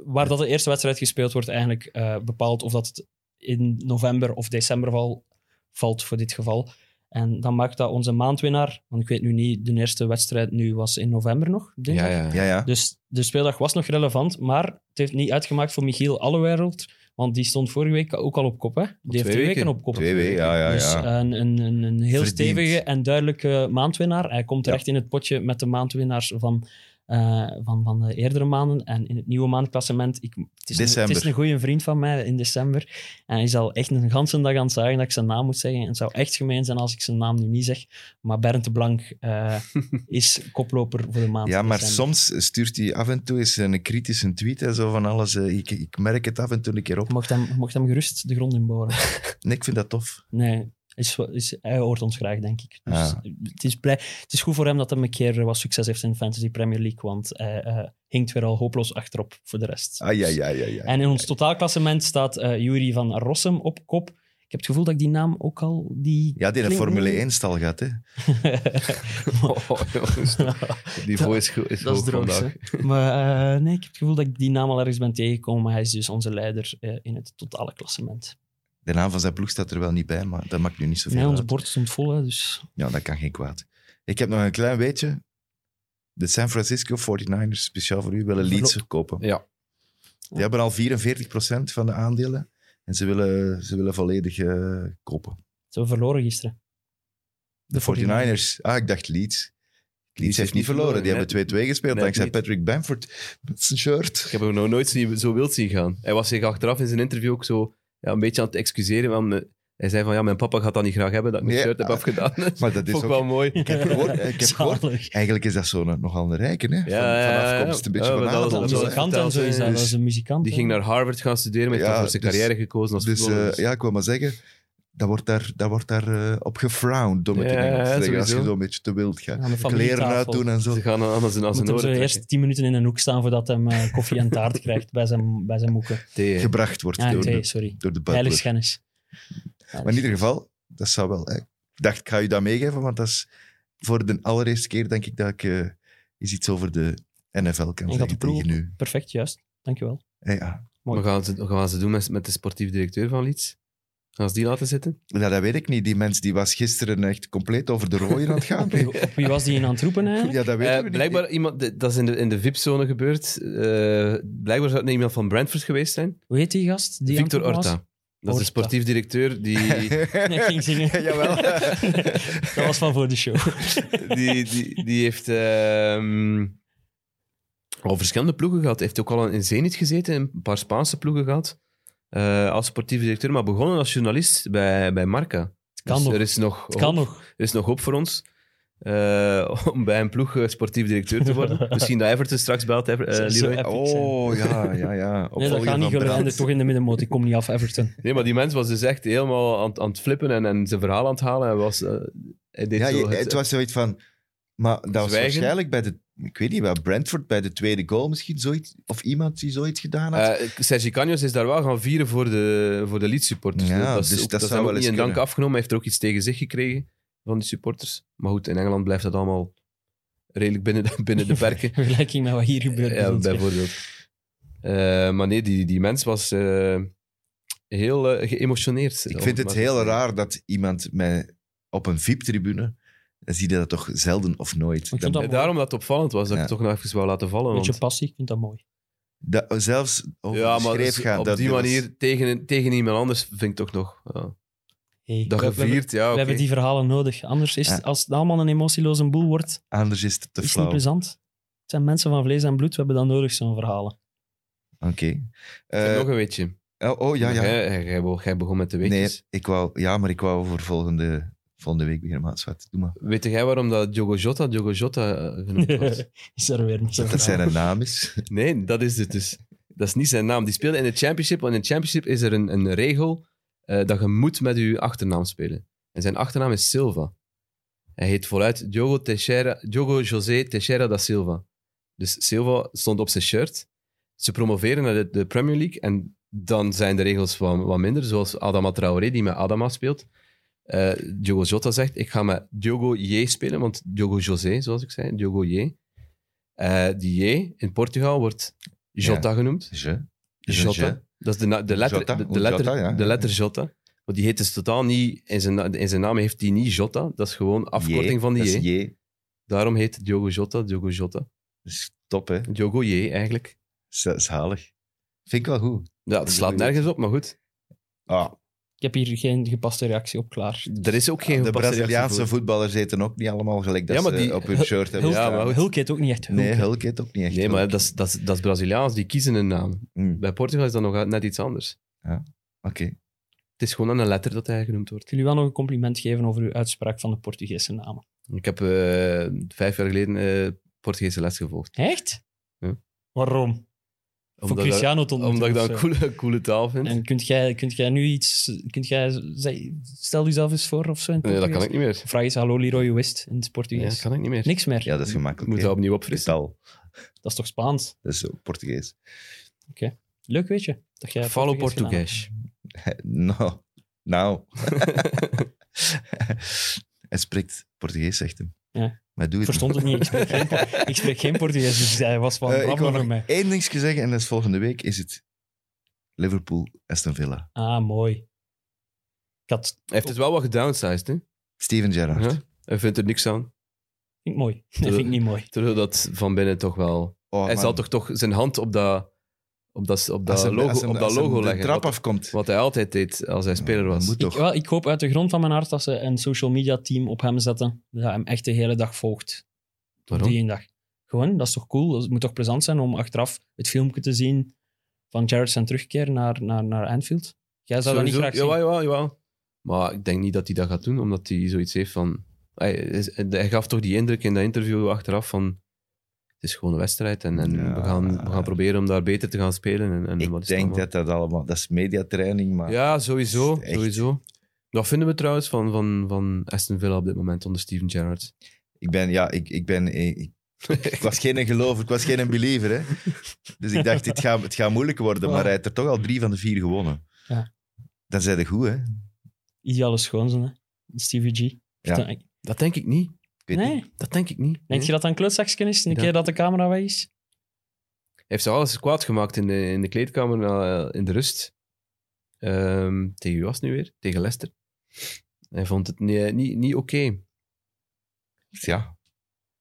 [SPEAKER 3] waar dat de eerste wedstrijd gespeeld wordt, eigenlijk eh, bepaald of dat het in november of december val, valt voor dit geval. En dan maakt dat onze maandwinnaar... Want ik weet nu niet, de eerste wedstrijd nu was in november nog, dinsdag.
[SPEAKER 4] ja, ja.
[SPEAKER 2] Ja, ja.
[SPEAKER 3] Dus de speeldag was nog relevant, maar het heeft niet uitgemaakt voor Michiel Allerwereld, want die stond vorige week ook al op kop. Hè? Die heeft
[SPEAKER 4] twee
[SPEAKER 3] twee weken,
[SPEAKER 4] weken.
[SPEAKER 3] op kop.
[SPEAKER 2] Twee weken, ja, ja,
[SPEAKER 3] dus
[SPEAKER 2] ja.
[SPEAKER 3] Een, een, een, een heel
[SPEAKER 2] Verdiend.
[SPEAKER 3] stevige en duidelijke maandwinnaar. Hij komt terecht in het potje met de maandwinnaars van, eh, van, van de eerdere maanden. En in het nieuwe maandklassement, ik, het, is een, het
[SPEAKER 2] December.
[SPEAKER 3] is een goede vriend van mij in december. En hij zal echt een ganse dag aan het zagen dat ik zijn naam moet zeggen. En het zou echt gemeen zijn als ik zijn naam nu niet zeg. Maar Bernd de Blank eh, is koploper voor de maand.
[SPEAKER 2] Ja, maar
[SPEAKER 3] december.
[SPEAKER 2] soms stuurt hij af en toe eens een kritische tweet en zo van alles. eh, Ik, ik merk het af en toe een keer op.
[SPEAKER 3] Je mocht hem, je mocht hem gerust de grond inboren.
[SPEAKER 2] Nee, ik vind dat tof.
[SPEAKER 3] Nee, is, wa- is, hij hoort ons graag, denk ik. Dus
[SPEAKER 2] Ja.
[SPEAKER 3] het, is blij, het is goed voor hem dat hij een keer eh, wat succes heeft in de Fantasy Premier League, want hij eh, hinkt weer al hopeloos achterop voor de rest. Dus-
[SPEAKER 2] Ah, ja, ja, ja. ja.
[SPEAKER 3] En in ons totaalklassement staat eh Juri van Rossum op kop. Ik heb het gevoel dat ik die naam ook al... Die
[SPEAKER 2] Ja, die in een
[SPEAKER 3] klinkt-
[SPEAKER 2] Formule 1-stal gaat, hè.
[SPEAKER 4] Oh, jongens, het niveau is, go- is
[SPEAKER 3] Dat is
[SPEAKER 4] hoog
[SPEAKER 3] droog,
[SPEAKER 4] vandaag.
[SPEAKER 3] hè. Maar eh, nee, ik heb het gevoel dat ik die naam al ergens ben tegengekomen. maar Hij is dus onze leider eh, in het totale klassement.
[SPEAKER 2] De naam van zijn ploeg staat er wel niet bij, maar dat maakt nu niet zoveel
[SPEAKER 3] Nee, ons
[SPEAKER 2] uit.
[SPEAKER 3] bord stond vol, hè, dus...
[SPEAKER 2] Ja, dat kan geen kwaad. Ik heb nog een klein weetje. De San Francisco 49ers, speciaal voor u, willen Leeds verkopen.
[SPEAKER 4] Ja.
[SPEAKER 2] Die hebben al 44% van de aandelen. En ze willen, ze willen volledig eh, kopen.
[SPEAKER 3] Ze hebben verloren gisteren.
[SPEAKER 2] De 49ers. Ah, ik dacht Leeds. Leeds heeft niet verloren. Die
[SPEAKER 4] nee.
[SPEAKER 2] hebben 2-2 gespeeld
[SPEAKER 4] Net
[SPEAKER 2] dankzij
[SPEAKER 4] niet.
[SPEAKER 2] Patrick Bamford. Met zijn shirt.
[SPEAKER 4] Ik heb hem nog nooit zien- zo wild zien gaan. Hij was zich achteraf in zijn interview ook zo ja, een beetje aan het excuseren. want, eh, hij zei van, ja, mijn papa gaat dat niet graag hebben, dat ik mijn
[SPEAKER 2] Nee.
[SPEAKER 4] shirt heb afgedaan. Dat
[SPEAKER 2] Maar dat is
[SPEAKER 4] vond ik eh,
[SPEAKER 2] ook...
[SPEAKER 4] wel mooi.
[SPEAKER 2] Ik heb gehoord... Ik heb gehoord
[SPEAKER 3] Zalig.
[SPEAKER 2] eigenlijk is dat zo'n nogal een rijke, hè? Van,
[SPEAKER 4] ja, ja,
[SPEAKER 2] van
[SPEAKER 4] ja.
[SPEAKER 2] afkomst, een beetje
[SPEAKER 4] Ja,
[SPEAKER 2] van
[SPEAKER 4] maar dat was
[SPEAKER 2] adel,
[SPEAKER 3] Een
[SPEAKER 4] zo, hè.
[SPEAKER 3] muzikant en zo is dat.
[SPEAKER 4] Dus-
[SPEAKER 3] dat is een muzikant.
[SPEAKER 4] Die
[SPEAKER 3] hè.
[SPEAKER 4] ging naar Harvard gaan studeren, maar hij heeft
[SPEAKER 2] Ja,
[SPEAKER 4] dan voor zijn
[SPEAKER 2] dus-
[SPEAKER 4] carrière gekozen als
[SPEAKER 2] Dus
[SPEAKER 4] voetballer.
[SPEAKER 2] eh, ja, ik wil maar zeggen, dat wordt daar, dat wordt daar eh, op gefrowned, om het in
[SPEAKER 4] Ja,
[SPEAKER 2] Engels te
[SPEAKER 4] ja,
[SPEAKER 2] zeggen, als je
[SPEAKER 4] sowieso.
[SPEAKER 2] zo een beetje te wild gaat.
[SPEAKER 3] Aan de
[SPEAKER 2] Kleren
[SPEAKER 3] familietafel.
[SPEAKER 2] uitdoen en zo.
[SPEAKER 4] Ze gaan aan zijn, aan
[SPEAKER 3] Moet
[SPEAKER 4] zijn
[SPEAKER 3] hem
[SPEAKER 4] oren
[SPEAKER 3] zo
[SPEAKER 4] trekken.
[SPEAKER 3] eerst tien minuten in een hoek staan voordat hij eh, koffie en taart krijgt bij zijn, bij zijn moeken.
[SPEAKER 4] Thee, hè.
[SPEAKER 2] Gebracht wordt
[SPEAKER 3] Ah,
[SPEAKER 2] door,
[SPEAKER 3] nee,
[SPEAKER 2] de,
[SPEAKER 3] sorry.
[SPEAKER 2] door de butler.
[SPEAKER 3] Heiligschennis. dus
[SPEAKER 2] Maar in ieder geval, dat zou wel... eh, ik dacht, ik ga je dat meegeven, want dat is voor de allereerste keer, denk ik, dat ik eh, eens iets over de NFL kan
[SPEAKER 3] dat de
[SPEAKER 2] zeggen
[SPEAKER 3] ploeg-
[SPEAKER 2] tegen nu.
[SPEAKER 3] Perfect, juist. Dankjewel.
[SPEAKER 2] ja.
[SPEAKER 4] Wat gaan ze, wat gaan ze doen met, met de sportief directeur van Leeds? Gaan ze die laten zitten?
[SPEAKER 2] Ja, dat weet ik niet. Die mens die was gisteren echt compleet over de rooien aan het gaan.
[SPEAKER 3] Op wie, op wie was die in aan het roepen eigenlijk?
[SPEAKER 2] Ja, dat
[SPEAKER 4] Eh,
[SPEAKER 2] weten we niet.
[SPEAKER 4] blijkbaar iemand, de- dat is in de, in de VIP-zone gebeurd. Eh, blijkbaar zou het niet iemand van Brentford geweest zijn.
[SPEAKER 3] Hoe heet die gast? Die aan het
[SPEAKER 4] Victor
[SPEAKER 3] roepen was?
[SPEAKER 4] Orta. Dat is de
[SPEAKER 3] Orta.
[SPEAKER 4] sportief directeur die,
[SPEAKER 3] Nee, ik ging zingen.
[SPEAKER 2] Jawel.
[SPEAKER 3] Dat was van voor de show.
[SPEAKER 4] die, die, die heeft ehm, al verschillende ploegen gehad. Heeft ook al in Zenit gezeten, een paar Spaanse ploegen gehad. eh, als sportief directeur, maar begonnen als journalist bij, bij Marca. Het
[SPEAKER 3] kan nog.
[SPEAKER 4] Dus Er is nog,
[SPEAKER 3] Het kan
[SPEAKER 4] hoop.
[SPEAKER 3] nog.
[SPEAKER 4] Er is nog hoop voor ons eh, om bij een ploeg eh, sportief directeur te worden. Misschien dat Everton straks belt, Ever- eh,
[SPEAKER 3] Zo- zo
[SPEAKER 4] Leroy.
[SPEAKER 3] epic zijn.
[SPEAKER 2] Oh, ja, ja, ja.
[SPEAKER 3] Nee, dat
[SPEAKER 2] Opvolger
[SPEAKER 3] gaat niet
[SPEAKER 2] van
[SPEAKER 3] gelukken.
[SPEAKER 2] Brandt.
[SPEAKER 3] En er toch in de middenmoot. Ik kom niet af, Everton.
[SPEAKER 4] Nee, maar die mens was dus echt helemaal aan, aan het flippen en, en zijn verhaal aan het halen. Hij was, eh, hij deed
[SPEAKER 2] Ja,
[SPEAKER 4] zo
[SPEAKER 2] je-
[SPEAKER 4] het-
[SPEAKER 2] het was zoiets van... Maar dat was
[SPEAKER 4] Zwijgen.
[SPEAKER 2] waarschijnlijk bij de... Ik weet niet, bij Brentford, bij de tweede goal misschien zoiets... Of iemand die zoiets gedaan had.
[SPEAKER 4] Eh, Sergi Canjos is daar wel gaan vieren voor de, voor de Leeds-supporters.
[SPEAKER 2] Ja,
[SPEAKER 4] dat is
[SPEAKER 2] dus
[SPEAKER 4] ook-
[SPEAKER 2] dat
[SPEAKER 4] dat
[SPEAKER 2] zou
[SPEAKER 4] zou
[SPEAKER 2] wel
[SPEAKER 4] niet
[SPEAKER 2] eens
[SPEAKER 4] in dank
[SPEAKER 2] kunnen.
[SPEAKER 4] afgenomen. Hij heeft er ook iets tegen zich gekregen van die supporters. Maar goed, in Engeland blijft dat allemaal redelijk binnen de, binnen de perken.
[SPEAKER 3] In vergelijking met wat hier gebeurt.
[SPEAKER 4] Ja,
[SPEAKER 3] bedoelt je.
[SPEAKER 4] bijvoorbeeld. Eh, maar nee, die, die mens was eh, heel eh, geëmotioneerd.
[SPEAKER 2] ik vind het heel raar dat iemand met, op een VIP-tribune... Dan zie je dat toch zelden of nooit.
[SPEAKER 3] vind
[SPEAKER 2] Dan-
[SPEAKER 3] dat-
[SPEAKER 4] Eh, Daarom dat het opvallend was, dat ik
[SPEAKER 2] Ja.
[SPEAKER 4] het toch nog even wou laten vallen.
[SPEAKER 3] Beetje
[SPEAKER 4] Want,
[SPEAKER 3] passie, ik vind dat mooi.
[SPEAKER 2] dat- zelfs over
[SPEAKER 4] ja,
[SPEAKER 2] de
[SPEAKER 4] maar
[SPEAKER 2] schreef
[SPEAKER 4] dus
[SPEAKER 2] gaan.
[SPEAKER 4] op
[SPEAKER 2] dat-
[SPEAKER 4] die
[SPEAKER 2] dat was-
[SPEAKER 4] manier tegen, tegen iemand anders vind ik toch nog... Ja.
[SPEAKER 3] Hey,
[SPEAKER 4] Dat
[SPEAKER 3] we- we-
[SPEAKER 4] gevierd, ja, oké.
[SPEAKER 3] We hebben die verhalen nodig. Anders is het-
[SPEAKER 2] Ja.
[SPEAKER 3] als het allemaal een emotieloze boel wordt,
[SPEAKER 2] Anders is het te
[SPEAKER 3] is het niet
[SPEAKER 2] flauw. Oké.
[SPEAKER 3] plezant. Het zijn mensen van vlees en bloed, we hebben dan nodig, zo'n verhalen.
[SPEAKER 4] Ik heb
[SPEAKER 2] Eh,
[SPEAKER 4] nog een weetje.
[SPEAKER 2] oh, oh, ja, ja.
[SPEAKER 4] Jij, jij- jij be- jij begon met de weetjes.
[SPEAKER 2] Nee, ik wou, ja, maar ik wou voor volgende, volgende week beginnen. Maar zwart, doe maar.
[SPEAKER 4] Weet jij waarom dat Diogo Jota Diogo Jota eh, genoemd was?
[SPEAKER 3] is er weer met zo'n
[SPEAKER 2] Dat
[SPEAKER 3] verhaal.
[SPEAKER 2] zijn naam is.
[SPEAKER 4] Nee, dat is het dus. Dat is niet zijn naam. Die speelde in de Championship, want in de Championship is er een, een regel eh, dat je moet met je achternaam spelen. En zijn achternaam is Silva. Hij heet vooruit Diogo, Teixeira, Diogo José Teixeira da Silva. Dus Silva stond op zijn shirt. Ze promoveren naar de, de Premier League en dan zijn de regels wat, wat minder, zoals Adama Traoré, die met Adama speelt. Eh, Diogo Jota zegt, ik ga met Diogo J spelen, want Diogo José, zoals ik zei, Diogo J. Eh, die J in Portugal wordt Jota genoemd.
[SPEAKER 2] Je. Je-
[SPEAKER 4] Jota. Dat is de, na- de letter,
[SPEAKER 2] Jota,
[SPEAKER 4] de, de
[SPEAKER 2] of
[SPEAKER 4] letter,
[SPEAKER 2] Jota, ja.
[SPEAKER 4] de letter Jota. Want die heet dus totaal niet, in zijn, na- in zijn naam heeft hij niet Jota. Dat is gewoon afkorting
[SPEAKER 2] Je.
[SPEAKER 4] van die
[SPEAKER 2] Dat
[SPEAKER 4] J.
[SPEAKER 2] is je.
[SPEAKER 4] Daarom heet Diogo Jota, Diogo Jota.
[SPEAKER 2] Dat is Dus top, hè.
[SPEAKER 4] Diogo J eigenlijk.
[SPEAKER 2] Is- Dat is halig. Vind ik wel goed.
[SPEAKER 4] Ja, het slaat
[SPEAKER 2] Diogo J.
[SPEAKER 4] nergens op, maar goed.
[SPEAKER 2] Ah,
[SPEAKER 3] Ik heb hier geen gepaste reactie op klaar.
[SPEAKER 4] Er is ook geen
[SPEAKER 2] Ah, de
[SPEAKER 4] gepaste
[SPEAKER 2] Braziliaanse
[SPEAKER 4] reactie voor.
[SPEAKER 2] voetballers eten ook niet allemaal gelijk dat
[SPEAKER 4] Ja, maar
[SPEAKER 2] ze
[SPEAKER 4] die-
[SPEAKER 2] op hun shirt hebben.
[SPEAKER 3] Hulk,
[SPEAKER 4] Ja, maar-
[SPEAKER 3] Hulk heet ook niet echt Hulk.
[SPEAKER 2] Nee,
[SPEAKER 3] hè.
[SPEAKER 2] Hulk eet ook niet echt.
[SPEAKER 4] Nee, maar
[SPEAKER 2] Hulk.
[SPEAKER 4] dat is, dat, is, dat is Braziliaans, die kiezen een naam.
[SPEAKER 2] Mm, Oké.
[SPEAKER 4] Bij Portugal is dat nog net iets anders. Het is gewoon aan een letter dat hij genoemd wordt.
[SPEAKER 3] Ik wil jullie wel nog een compliment geven over uw uitspraak van de Portugese namen.
[SPEAKER 4] Ik heb eh, vijf jaar geleden eh, Portugese les gevolgd.
[SPEAKER 3] Echt?
[SPEAKER 4] Ja.
[SPEAKER 3] Waarom? Voor
[SPEAKER 4] dat-
[SPEAKER 3] Cristiano tot
[SPEAKER 4] omdat ik dat een coole, coole taal vind.
[SPEAKER 3] En kunt jij, kunt jij nu iets... Kunt jij, zij- stel jezelf eens voor of zo in het
[SPEAKER 4] nee, dat kan
[SPEAKER 3] Portugees.
[SPEAKER 4] ik niet meer.
[SPEAKER 3] Vraag eens hallo Leroy West in het
[SPEAKER 4] Ja,
[SPEAKER 3] Portugees.
[SPEAKER 4] dat kan ik niet meer.
[SPEAKER 3] Niks meer.
[SPEAKER 2] Ja, dat is
[SPEAKER 4] ik
[SPEAKER 2] gemakkelijk.
[SPEAKER 4] moet
[SPEAKER 2] hè.
[SPEAKER 4] dat opnieuw opfrissen.
[SPEAKER 2] Getal.
[SPEAKER 3] Dat is toch Spaans?
[SPEAKER 2] Dat is ook Portugees.
[SPEAKER 3] Leuk, weet je? Dat jij
[SPEAKER 4] Follow
[SPEAKER 3] Portugees gedaan
[SPEAKER 4] Portugees.
[SPEAKER 2] Nou, nou. hij spreekt Portugees, zegt hem.
[SPEAKER 3] Ja.
[SPEAKER 2] Maar doe
[SPEAKER 3] hebt. Ik
[SPEAKER 2] het
[SPEAKER 3] verstond het niet. Ik spreek geen, Por- ik spreek geen Portugees, dus hij was van
[SPEAKER 2] Eh, ik
[SPEAKER 3] babbelen
[SPEAKER 2] wil nog
[SPEAKER 3] voor mij.
[SPEAKER 2] één ding zeggen en dat is volgende week is het Liverpool-Aston Villa.
[SPEAKER 3] Ah, mooi. Ik had...
[SPEAKER 4] Hij heeft het wel wat gedownsized, hè?
[SPEAKER 2] Steven Gerrard.
[SPEAKER 4] Ja? Hij vindt er niks aan.
[SPEAKER 3] Vind ik mooi. Nee, vind ik niet mooi.
[SPEAKER 4] Terwijl dat van binnen toch wel...
[SPEAKER 2] Oh,
[SPEAKER 4] hij
[SPEAKER 2] man.
[SPEAKER 4] zal toch, toch zijn hand op dat, op dat, op dat
[SPEAKER 2] Als hem-
[SPEAKER 4] logo,
[SPEAKER 2] als hem-
[SPEAKER 4] op dat
[SPEAKER 2] als hem
[SPEAKER 4] logo
[SPEAKER 2] de
[SPEAKER 4] leggen.
[SPEAKER 2] trap
[SPEAKER 4] wat,
[SPEAKER 2] afkomt.
[SPEAKER 4] wat hij altijd deed als hij speler was.
[SPEAKER 2] Moet
[SPEAKER 3] Ik,
[SPEAKER 2] toch.
[SPEAKER 3] wel, ik hoop uit de grond van mijn hart dat ze een social media team op hem zetten. Dat hem echt de hele dag volgt.
[SPEAKER 4] Waarom?
[SPEAKER 3] Die één dag. Gewoon, dat is toch cool? Het moet toch plezant zijn om achteraf het filmpje te zien van Jared zijn terugkeer naar, naar, naar Anfield? Jij zou dat niet
[SPEAKER 4] Sowieso.
[SPEAKER 3] graag zien.
[SPEAKER 4] Jawel, jawel, jawel. Maar ik denk niet dat hij dat gaat doen, omdat hij zoiets heeft van... Hij, is- hij gaf toch die indruk in dat interview achteraf van... Het is gewoon een wedstrijd en, en
[SPEAKER 2] Ja.
[SPEAKER 4] we, gaan, we gaan proberen om daar beter te gaan spelen. En, en wat
[SPEAKER 2] Ik
[SPEAKER 4] is het
[SPEAKER 2] denk
[SPEAKER 4] allemaal.
[SPEAKER 2] dat dat allemaal... Dat is mediatraining, maar...
[SPEAKER 4] Ja, sowieso.
[SPEAKER 2] Echt.
[SPEAKER 4] sowieso. Wat vinden we trouwens van, van, van Aston Villa op dit moment onder Steven Gerrard?
[SPEAKER 2] Ik ben... Ja, ik, ik ben... Ik, ik- ik was geen gelover, ik was geen believer. Hè. Dus ik dacht, het gaat, het gaat moeilijk worden, maar hij heeft er toch al drie van de vier gewonnen.
[SPEAKER 3] Ja.
[SPEAKER 2] Dan zijn ze goed, hè?
[SPEAKER 3] Ideale schoonzoon, hè? Stevie G.
[SPEAKER 2] Ja.
[SPEAKER 3] Vertel-
[SPEAKER 4] Dat denk ik niet.
[SPEAKER 2] Ik weet
[SPEAKER 3] nee.
[SPEAKER 2] niet.
[SPEAKER 4] Dat denk ik niet.
[SPEAKER 2] Hm?
[SPEAKER 3] Denk je dat dat een klutzaksken is, een
[SPEAKER 4] Ja.
[SPEAKER 3] keer dat de camera weg is?
[SPEAKER 4] Hij heeft ze alles kwaad gemaakt in de, in de kleedkamer na- in de rust. Ehm, tegen wie was het nu weer? Tegen Leicester. Hij vond het niet, eh, niet, niet oké.
[SPEAKER 2] Ja,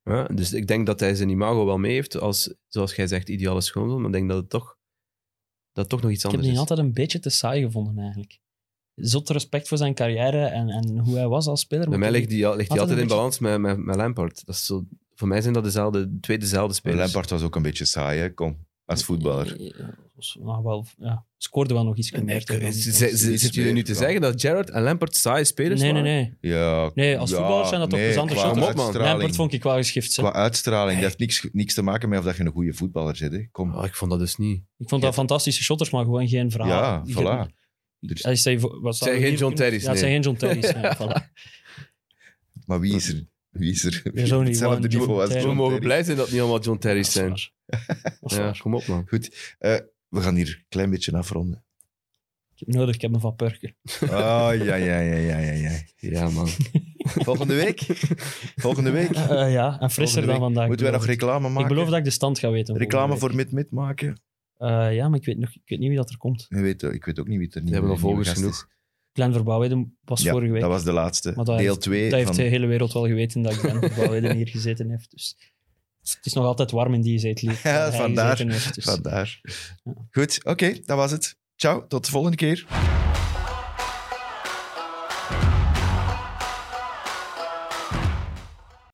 [SPEAKER 4] Ja, dus ik denk dat hij zijn imago wel mee heeft als, zoals jij zegt, ideale schoonzoon. Maar ik denk dat het toch, dat het toch nog iets
[SPEAKER 3] Ik heb
[SPEAKER 4] anders
[SPEAKER 3] die
[SPEAKER 4] is.
[SPEAKER 3] altijd een beetje te saai gevonden, eigenlijk. Zot respect voor zijn carrière en, en hoe hij was als speler.
[SPEAKER 4] Bij
[SPEAKER 3] maar
[SPEAKER 4] mij
[SPEAKER 3] ik-
[SPEAKER 4] ligt die, al- ligt die
[SPEAKER 3] altijd
[SPEAKER 4] altijd
[SPEAKER 3] een
[SPEAKER 4] in balans met, met, met Lampard. Dat is zo, voor mij zijn dat dezelfde, twee dezelfde
[SPEAKER 2] maar
[SPEAKER 4] spelers.
[SPEAKER 3] dus-
[SPEAKER 2] Lampard was ook een beetje saai, hè? Kom, als voetballer.
[SPEAKER 3] Eh, Maar wel, ja, scoorde wel nog iets meer.
[SPEAKER 2] Nee,
[SPEAKER 3] tegen
[SPEAKER 2] ik-
[SPEAKER 3] ons.
[SPEAKER 4] Z- z-
[SPEAKER 2] Iets
[SPEAKER 4] Zitten jullie nu te
[SPEAKER 2] meer, ja.
[SPEAKER 4] zeggen dat Gerrard en Lampard saaie spelers
[SPEAKER 3] nee, nee,
[SPEAKER 4] waren?
[SPEAKER 3] nee.
[SPEAKER 2] Ja,
[SPEAKER 3] Nee, als
[SPEAKER 2] ja,
[SPEAKER 3] voetballers zijn dat toch
[SPEAKER 2] nee,
[SPEAKER 3] plezante
[SPEAKER 2] qua
[SPEAKER 4] shots. Kom op, man.
[SPEAKER 2] uitstraling.
[SPEAKER 3] Lampert vond ik wel geschift. hè.
[SPEAKER 2] Qua uitstraling, dat heeft niks, niks te maken met of dat je een goede voetballer bent. Hè. Kom.
[SPEAKER 4] Oh, ik vond dat dus niet.
[SPEAKER 3] Ik vond dat fantastische shotters, maar gewoon geen verhaal.
[SPEAKER 2] ja,
[SPEAKER 3] Ik-
[SPEAKER 2] voilà. Dus,
[SPEAKER 3] ik- Hij zei, wat zouden
[SPEAKER 4] zijn
[SPEAKER 3] we
[SPEAKER 4] geen
[SPEAKER 3] hier
[SPEAKER 4] John
[SPEAKER 3] kunnen-
[SPEAKER 4] Terry's,
[SPEAKER 3] Ja, het zijn
[SPEAKER 4] nee.
[SPEAKER 3] geen John Terry's. nee, voilà.
[SPEAKER 2] Maar wie is er? Wie is er?
[SPEAKER 3] is only
[SPEAKER 2] Hetzelfde
[SPEAKER 3] one
[SPEAKER 2] niveau
[SPEAKER 3] John
[SPEAKER 2] als
[SPEAKER 3] Terry.
[SPEAKER 4] We
[SPEAKER 2] John
[SPEAKER 4] mogen
[SPEAKER 2] Terry.
[SPEAKER 4] blij zijn dat het niet allemaal John
[SPEAKER 3] Dat
[SPEAKER 4] Terry's
[SPEAKER 3] is
[SPEAKER 4] zijn.
[SPEAKER 3] waar. Dat is
[SPEAKER 4] Ja,
[SPEAKER 3] waar.
[SPEAKER 4] kom op, man.
[SPEAKER 2] Goed, eh, we gaan hier een klein beetje afronden.
[SPEAKER 3] Ik heb nodig, ik heb me van Perker.
[SPEAKER 2] Oh, ja, ja, ja, ja, ja, ja.
[SPEAKER 4] Ja, man.
[SPEAKER 2] Volgende week? Volgende week?
[SPEAKER 3] Eh, ja, en frisser
[SPEAKER 2] Volgende
[SPEAKER 3] dan
[SPEAKER 2] week. Moeten wij
[SPEAKER 3] vandaag.
[SPEAKER 2] nog
[SPEAKER 3] beloof ik.
[SPEAKER 2] reclame maken?
[SPEAKER 3] Ik beloof dat ik de stand ga weten.
[SPEAKER 2] Reclame
[SPEAKER 3] volgende
[SPEAKER 2] voor Mid-Mid maken?
[SPEAKER 3] week. Eh, ja, maar ik weet, nog, ik weet niet wie dat er komt.
[SPEAKER 2] Ik weet, ik weet ook niet wie het er niet
[SPEAKER 4] hebben al volgers genoeg.
[SPEAKER 3] Glenn Verbouwheden was
[SPEAKER 2] Ja,
[SPEAKER 3] vorige week.
[SPEAKER 2] dat was de laatste.
[SPEAKER 3] Maar dat
[SPEAKER 2] Deel
[SPEAKER 3] heeft-
[SPEAKER 2] 2
[SPEAKER 3] Dat heeft de
[SPEAKER 2] van...
[SPEAKER 3] hele wereld wel geweten dat Glenn Verbouwheden hier gezeten heeft. Dus het is nog altijd warm in die zetel. hier,
[SPEAKER 2] Ja,
[SPEAKER 3] waar hij
[SPEAKER 2] vandaar.
[SPEAKER 3] gezeten heeft, dus.
[SPEAKER 2] Vandaar. Goed, oké, dat was het. Ciao, tot de volgende keer.